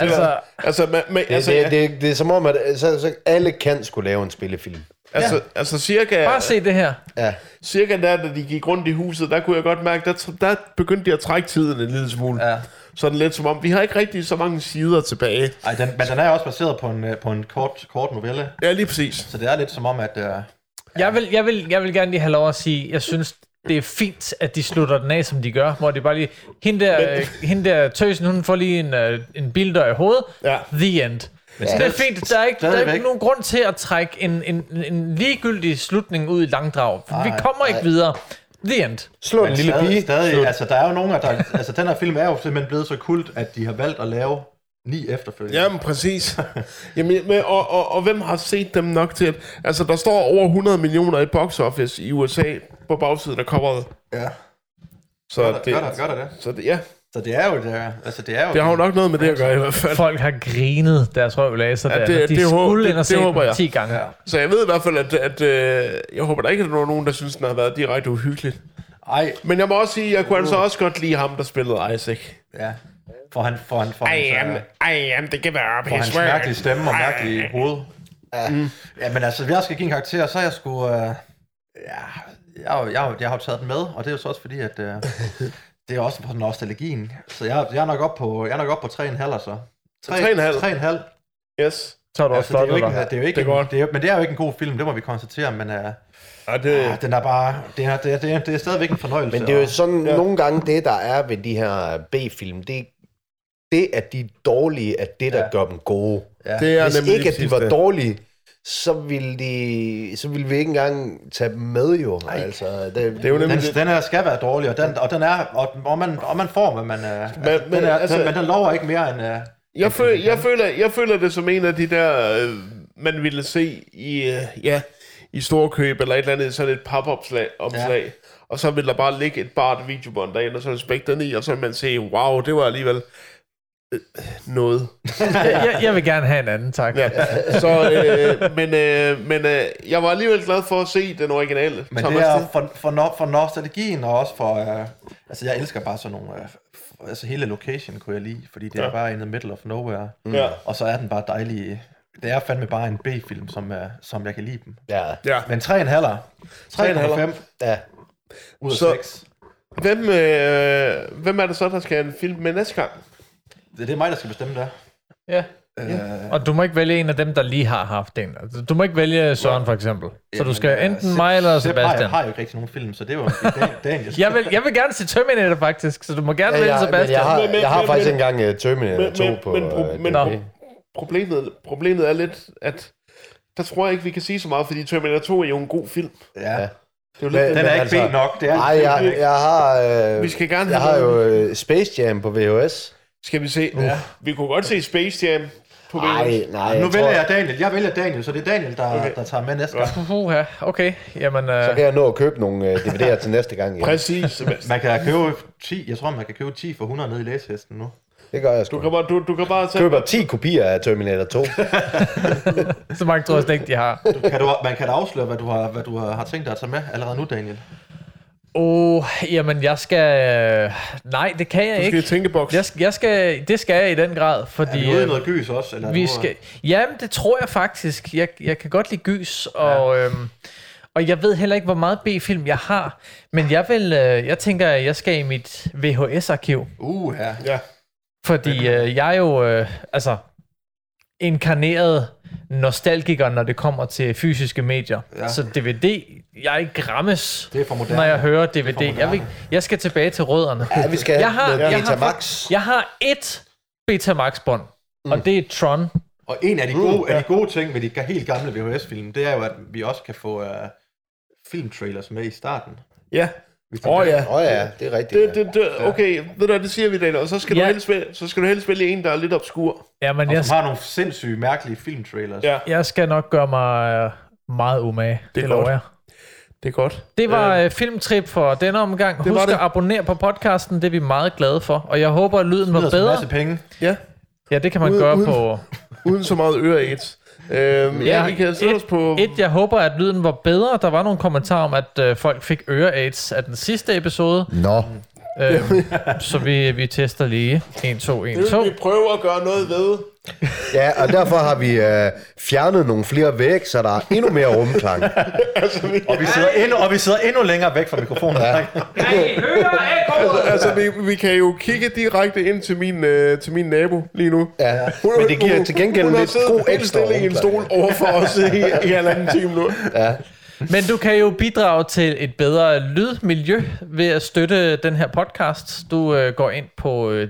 Speaker 2: Altså, ja.
Speaker 1: Altså, man, man,
Speaker 3: Det,
Speaker 1: altså,
Speaker 3: det, det, det er som om, at så, så alle kan skulle lave en spillefilm.
Speaker 1: altså, altså cirka,
Speaker 2: bare se det her.
Speaker 3: Ja.
Speaker 1: cirka der, da de gik rundt i huset, der kunne jeg godt mærke, der, tr- der begyndte de at trække tiden en lille smule.
Speaker 4: Ja.
Speaker 1: Sådan lidt som om, vi har ikke rigtig så mange sider tilbage.
Speaker 4: Ej, den, men den er også baseret på en, øh, på en kort, kort novelle.
Speaker 1: Ja, lige præcis.
Speaker 4: Så det er lidt som om, at... Øh,
Speaker 2: Jeg vil, jeg, vil, jeg vil gerne lige have lov at sige, jeg synes, det er fint, at de slutter den af, som de gør, hvor det bare lige, hende der, øh, hende der tøsen, hun får lige en, øh, en bildør i hovedet,
Speaker 1: Ja.
Speaker 2: the end. Men det er fint, der er, ikke, der er ikke
Speaker 4: stadigvæk.
Speaker 2: nogen grund til at trække en, en, en ligegyldig slutning ud i langdrag. Ej, vi kommer ikke videre. The end.
Speaker 3: Slå en
Speaker 4: men
Speaker 3: lille
Speaker 4: stadig,
Speaker 3: pige.
Speaker 4: Stadig, altså, der er jo nogen, af der... Altså, den her film er jo simpelthen blevet så kult, at de har valgt at lave ni efterfølgende.
Speaker 1: Jamen, præcis. Jamen, men, og, og, og hvem har set dem nok til? at- Altså, der står over 100 millioner i box office i USA på bagsiden af coveret.
Speaker 4: ja.
Speaker 1: Så
Speaker 4: Gør, det,
Speaker 1: det,
Speaker 4: gør, der, gør der det.
Speaker 1: så det, ja,
Speaker 4: Så det er jo det er, altså det er jo...
Speaker 1: det har jo nok noget med det at gøre i hvert fald.
Speaker 2: Folk har grinet deres røv af sig ja, der.
Speaker 1: det-
Speaker 2: Det, de
Speaker 1: det
Speaker 2: det,
Speaker 1: håber-
Speaker 2: skulle
Speaker 1: det-
Speaker 2: ind og
Speaker 1: det
Speaker 2: se
Speaker 1: håber
Speaker 2: den
Speaker 1: jeg.
Speaker 2: 10 gange. Ja.
Speaker 1: Så jeg ved i hvert fald, at, at øh, jeg håber der ikke, at der er nogen, der synes, den har været direkte uhyggelig.
Speaker 4: Ej,
Speaker 1: Men jeg må også sige, at jeg kunne altså også godt lide ham, der spillede Isaac.
Speaker 4: ja. For han, for han, for
Speaker 1: I
Speaker 4: han,
Speaker 1: am, I am the giver of
Speaker 4: for
Speaker 1: his
Speaker 4: hans
Speaker 1: word.
Speaker 4: mærkelige stemme og mærkelige hoved. Ja. Mm. ja, men altså, hvis jeg skal give en karakter, så er jeg sgu... Øh, ja, jeg, har jo- jeg, har jo- jeg har jo taget den med, og det er jo så også fordi, at... Øh, Det er også på nostalgien. Så jeg, jeg er nok op på, jeg er nok op på 3,5 så. altså. Tre-
Speaker 1: 3,5.
Speaker 4: 3,5.
Speaker 1: Yes.
Speaker 2: Så har du også
Speaker 4: Altså, det er jo
Speaker 2: stoppet
Speaker 4: ikke, en-
Speaker 2: dig.
Speaker 4: det er jo ikke,
Speaker 1: Det
Speaker 4: det
Speaker 1: er
Speaker 4: er
Speaker 1: godt.
Speaker 4: en, det er, men det er jo ikke en god film, det må vi konstatere, men uh,
Speaker 1: Ja, det,
Speaker 4: ah, den er bare, det er, det, er, det, er, det er stadigvæk en fornøjelse.
Speaker 3: Men det er jo
Speaker 4: og-
Speaker 3: sådan
Speaker 1: Ja.
Speaker 3: ja. nogle gange det, der er ved de her B-film, det, det at de er dårlige, er det, der ja. gør dem gode. Ja.
Speaker 1: Det er
Speaker 3: Hvis
Speaker 1: nemlig
Speaker 3: ikke,
Speaker 1: lige
Speaker 3: at de
Speaker 1: præcis
Speaker 3: var
Speaker 1: det.
Speaker 3: dårlige, så ville, de, så ville vi ikke engang tage dem med jo. Ej. Altså, det, det
Speaker 1: det er jo nemlig
Speaker 4: den,
Speaker 1: det.
Speaker 4: den her skal være dårlig, og den, og den er, og, og, man, og man får, hvad man... Uh, men,
Speaker 1: men
Speaker 4: den er,
Speaker 1: altså-
Speaker 4: altså, den, men den lover ikke mere end... Uh,
Speaker 1: Jeg, føl, jeg, føler, jeg føler det som en af de der, øh, man ville se i, øh, ja, i Storkøb eller et eller andet, sådan et papopslag omslag. Ja. Og så ville der bare ligge et bart videobånd derinde, og så ville spække den i, og så ville man se, wow, det var alligevel øh, noget.
Speaker 2: Jeg, jeg vil gerne have en anden, tak.
Speaker 1: Ja. Så, øh, men øh, men øh, jeg var alligevel glad for at se den originale.
Speaker 4: men
Speaker 1: Thomas,
Speaker 4: det er for, for, no, for nostalgien, og også for... Uh, altså, jeg elsker bare sådan nogle... Uh, f- altså, hele location kunne jeg lide, fordi det
Speaker 1: Ja. Mm.
Speaker 4: er bare in the middle of nowhere.
Speaker 1: Ja.
Speaker 4: Og så er den bare dejlig... Det er fandme bare en B-film, som, uh, som jeg kan lide dem.
Speaker 3: Ja,
Speaker 1: Ja.
Speaker 4: Men 3,5. 3,5
Speaker 3: ja.
Speaker 4: ud af
Speaker 1: Så-
Speaker 4: 6.
Speaker 1: Hvem, øh, hvem er det så, der skal have en film med næste gang?
Speaker 4: Det, det er mig, der skal bestemme det.
Speaker 2: Ja.
Speaker 4: Ja.
Speaker 2: Og du må ikke vælge en af dem, der lige har haft en. Altså, Du må ikke vælge Søren, for eksempel. Så du skal enten mig eller Sebastian.
Speaker 4: Jeg øh, har jo ikke rigtig nogen film, så det er jo Dan- Daniel.
Speaker 2: Jeg vil, jeg vil gerne se Terminator, faktisk, så du må gerne
Speaker 3: Ja,
Speaker 2: vælge
Speaker 3: jeg, men
Speaker 2: Sebastian.
Speaker 3: jeg har,
Speaker 1: Men- men-
Speaker 3: jeg har
Speaker 1: men-
Speaker 3: faktisk
Speaker 1: men-
Speaker 3: engang uh, Terminator 2 på...
Speaker 1: men,
Speaker 3: øh,
Speaker 1: pro- men
Speaker 3: DVD.
Speaker 1: pro- problemet, problemet er lidt, at der tror jeg ikke, vi kan sige så meget, fordi Terminator 2 er jo en god film. Det
Speaker 4: Ja.
Speaker 1: er jo lidt,
Speaker 3: Hvad-
Speaker 1: den,
Speaker 4: Den
Speaker 1: der- Altså,
Speaker 4: er
Speaker 3: Men altså-
Speaker 4: ikke B nok. Det er
Speaker 3: Nej, jeg, jeg har... Øh,
Speaker 1: Vi skal gerne
Speaker 3: jeg
Speaker 1: have
Speaker 3: har jo øh, Space Jam på VHS.
Speaker 1: skal vi se. Ja. Vi kunne godt se Space Jam på Venus.
Speaker 3: Nej, nej. Jeg
Speaker 4: nu
Speaker 3: tror,
Speaker 4: vælger jeg Daniel. Jeg vælger Daniel, så det er Daniel, der,
Speaker 1: Okay.
Speaker 4: okay. der tager med næste gang.
Speaker 2: Uha, okay. Jamen, øh,
Speaker 3: Så kan jeg nå at købe nogle øh, DVD'er til næste gang. Ja.
Speaker 1: Præcis, Sebastian.
Speaker 4: Man kan købe 10, jeg tror, man kan købe 10 for 100 nede i læshesten nu.
Speaker 3: Det gør jeg sgu.
Speaker 1: Du kan bare, du, du kan bare tage...
Speaker 3: køber 10 kopier af Terminator 2.
Speaker 2: så mange tror jeg slet ikke, de har.
Speaker 4: Du, kan du, man kan da afsløre, hvad du, har, hvad du har, har tænkt dig at tage med allerede nu, Daniel.
Speaker 2: Åh, oh, jamen, jeg skal... Nej, det kan jeg
Speaker 1: Du skal i
Speaker 2: ikke.
Speaker 1: tænkeboks.
Speaker 2: Jeg, skal- jeg skal, det skal jeg i den grad,
Speaker 4: Er
Speaker 2: fordi...
Speaker 4: vi ude i
Speaker 2: øh,
Speaker 4: noget gys også? Eller er
Speaker 2: Vi
Speaker 4: du-
Speaker 2: skal... Jamen, det tror jeg faktisk. Jeg, jeg kan godt lide gys, og, ja. øhm, og jeg ved heller ikke, hvor meget B-film jeg har. Men jeg vil, øh, jeg tænker, at jeg skal i mit VHS-arkiv.
Speaker 4: Uh, ja.
Speaker 1: Ja.
Speaker 2: Fordi øh, jeg er jo øh, altså, inkarneret nostalgiker, når det kommer til fysiske medier. Ja.
Speaker 4: Ja.
Speaker 2: Så DVD, jeg er ikke grammes,
Speaker 4: Det er for moderne.
Speaker 2: når jeg hører DVD.
Speaker 4: moderne.
Speaker 2: Jeg, vil, jeg skal tilbage til rødderne.
Speaker 3: Ja, vi skal have
Speaker 2: Jeg har-
Speaker 3: noget
Speaker 2: jeg har
Speaker 3: Betamax.
Speaker 2: Jeg har ét Betamax-bånd, mm. og det er Tron.
Speaker 4: Og en af de gode, af de gode ting ved de ga- helt gamle VHS-film, det er jo, at vi også kan få uh, filmtrailers med i starten.
Speaker 1: Ja.
Speaker 4: Hvis de
Speaker 1: Åh oh, ja.
Speaker 3: Åh ja, det er rigtigt.
Speaker 1: Det, det, det, okay, ved du hvad, det siger vi, Daniel. Og så skal, ja.
Speaker 2: Ja.
Speaker 1: du helst vælge, så skal du helst vælge en, der er lidt obskur.
Speaker 2: Ja, men
Speaker 4: Og
Speaker 2: jeg,
Speaker 4: som har nogle sindssyge, mærkelige filmtrailers.
Speaker 1: Ja.
Speaker 2: jeg skal nok gøre mig øh, meget umage. Det, det
Speaker 1: er
Speaker 2: lover
Speaker 1: godt.
Speaker 2: jeg.
Speaker 1: Det er godt.
Speaker 2: Det var øh, filmtrip for denne omgang.
Speaker 1: var
Speaker 2: Husk
Speaker 1: det.
Speaker 2: at abonnere på podcasten, det er vi meget glade for. Og jeg håber, at lyden
Speaker 4: Det
Speaker 2: var
Speaker 4: lyder som en
Speaker 2: bedre.
Speaker 4: masse penge.
Speaker 1: Ja.
Speaker 2: Ja, det kan man
Speaker 1: Ude-
Speaker 2: gøre
Speaker 1: ude-
Speaker 2: på...
Speaker 1: Uden så meget øre et. Øhm, ja,
Speaker 2: Ja,
Speaker 1: I kan sætte os
Speaker 2: et-
Speaker 1: på...
Speaker 2: Et, jeg håber, at lyden var bedre. Der var nogle kommentarer om, at øh, folk fik øre-aids af den sidste episode.
Speaker 3: Nå.
Speaker 2: Øh, så vi, vi tester lige. 1, 2, 1,
Speaker 1: Det
Speaker 2: 2.
Speaker 1: vil vi prøve at gøre noget ved.
Speaker 3: Ja, og derfor har vi øh, fjernet nogle flere væg, så der er endnu mere rumklang.
Speaker 4: Og vi sidder endnu, og vi sidder endnu længere væk fra mikrofonen. Ja.
Speaker 1: Altså, vi, vi kan jo kigge direkte ind til min, øh, til min nabo lige nu.
Speaker 3: Ja,
Speaker 1: Hun,
Speaker 3: men det giver
Speaker 1: hun-
Speaker 3: til gengæld
Speaker 1: hun har
Speaker 3: lidt
Speaker 1: siddet
Speaker 3: god
Speaker 1: helt
Speaker 3: ekstra
Speaker 1: stille i en stol
Speaker 3: rumklang.
Speaker 1: over for os i, i halvanden time nu.
Speaker 2: Men du kan jo bidrage til et bedre lydmiljø ved at støtte den her podcast. Du øh, går ind på øh,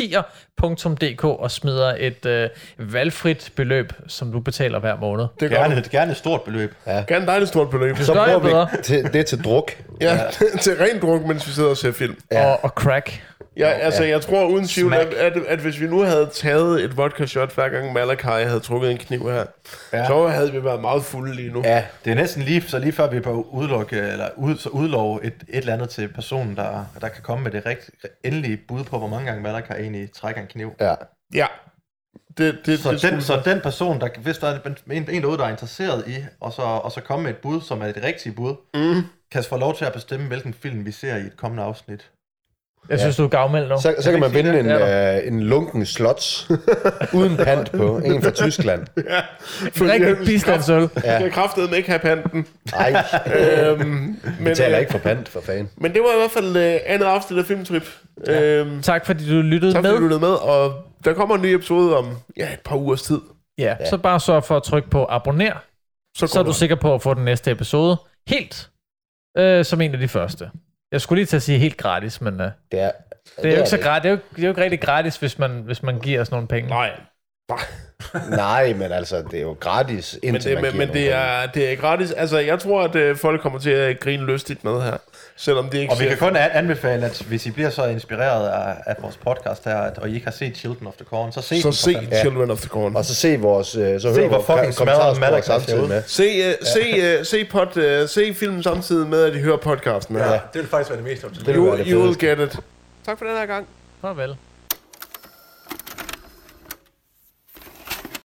Speaker 2: vibefm.tier.dk og smider et øh, valgfrit beløb, som du betaler hver måned.
Speaker 1: Det gør
Speaker 4: Gerne,
Speaker 1: du.
Speaker 4: et- gerne et stort beløb.
Speaker 1: Gerne dejligt stort beløb.
Speaker 3: Så
Speaker 2: gør jeg
Speaker 3: bruger
Speaker 2: bedre.
Speaker 3: vi til, det til druk.
Speaker 1: Ja, til ren druk, mens vi sidder og ser film.
Speaker 2: Ja. Og, og crack.
Speaker 1: Ja, altså, jeg tror uden tvivl, at,
Speaker 4: Smack.
Speaker 1: at, at hvis vi nu havde taget et vodka-shot, hver gang Malakai havde trukket en kniv her, ja. så havde vi været meget fulde lige nu. Ja.
Speaker 4: Det er næsten lige, så lige før vi bør udelukke, eller ud, så udlove et, et eller andet til personen, der, der kan komme med det rigt, endelige bud på, hvor mange gange Malakai egentlig trækker en kniv.
Speaker 3: Ja.
Speaker 1: ja. Det, det,
Speaker 4: Så
Speaker 1: det
Speaker 4: den,
Speaker 1: skulle-
Speaker 4: så den person, der, hvis der er en, en derude, der er interesseret i, og så, og så komme med et bud, som er det rigtige bud, mm. kan få lov til at bestemme, hvilken film vi ser i et kommende afsnit.
Speaker 2: Jeg synes, du er gavmild nu.
Speaker 3: Så, så kan man vinde en,
Speaker 2: Det er
Speaker 3: øh, en lunken slots uden pant på. En fra Tyskland.
Speaker 1: Ja,
Speaker 2: Rigtig bistandsøl.
Speaker 1: Ja. Jeg kraftede ikke have panten.
Speaker 3: Nej,
Speaker 1: øhm,
Speaker 3: vi
Speaker 1: men,
Speaker 3: taler
Speaker 1: øh,
Speaker 3: ikke for pant, for fanden.
Speaker 1: men det var i hvert fald øh, andet afsnit af Filmtrip. Ja. Øhm,
Speaker 2: Tak fordi du lyttede
Speaker 1: tak fordi
Speaker 2: med.
Speaker 1: du lyttede med, og der kommer en ny episode om ja, et par ugers tid.
Speaker 2: Ja, så bare sørg for at trykke på abonner, så er
Speaker 1: kommer
Speaker 2: du
Speaker 1: der.
Speaker 2: sikker på at få den næste episode helt øh, som en af de første. Jeg skulle lige til at sige helt gratis, men øh,
Speaker 3: Det er,
Speaker 2: det er jo ikke så gratis. Det er jo, ikke- det er jo ikke rigtig gratis, hvis man, hvis man giver os nogle penge.
Speaker 1: Nej,
Speaker 3: Nej, men altså, det er jo gratis, indtil
Speaker 1: men, det,
Speaker 3: man
Speaker 1: men,
Speaker 3: giver
Speaker 1: men det,
Speaker 3: nogle
Speaker 1: er, det er gratis. Altså, jeg tror, at øh, folk kommer til at grine lystigt med her. Selvom det ikke
Speaker 8: Og vi
Speaker 1: siger-
Speaker 8: kan kun an- anbefale, at hvis I bliver så inspireret af, af vores podcast her, at, og I ikke har set Children of the Corn, så se
Speaker 1: så
Speaker 8: den.
Speaker 1: se Children of the Corn.
Speaker 3: penge. Og så se vores... øh, Så hør
Speaker 8: hvor
Speaker 3: vores
Speaker 8: fucking smadret
Speaker 3: ka- kommentarspor
Speaker 8: Malakas ser
Speaker 3: samtidig
Speaker 8: ud.
Speaker 3: med.
Speaker 1: Se, uh, se, uh, se, pod, uh, se filmen samtidig med, at I hører podcasten. Ja.
Speaker 8: det vil faktisk være det mest optimale.
Speaker 3: Det vil
Speaker 1: You,
Speaker 3: være det
Speaker 1: you will
Speaker 3: fedeste.
Speaker 1: get it. Tak for den her gang.
Speaker 2: Farvel.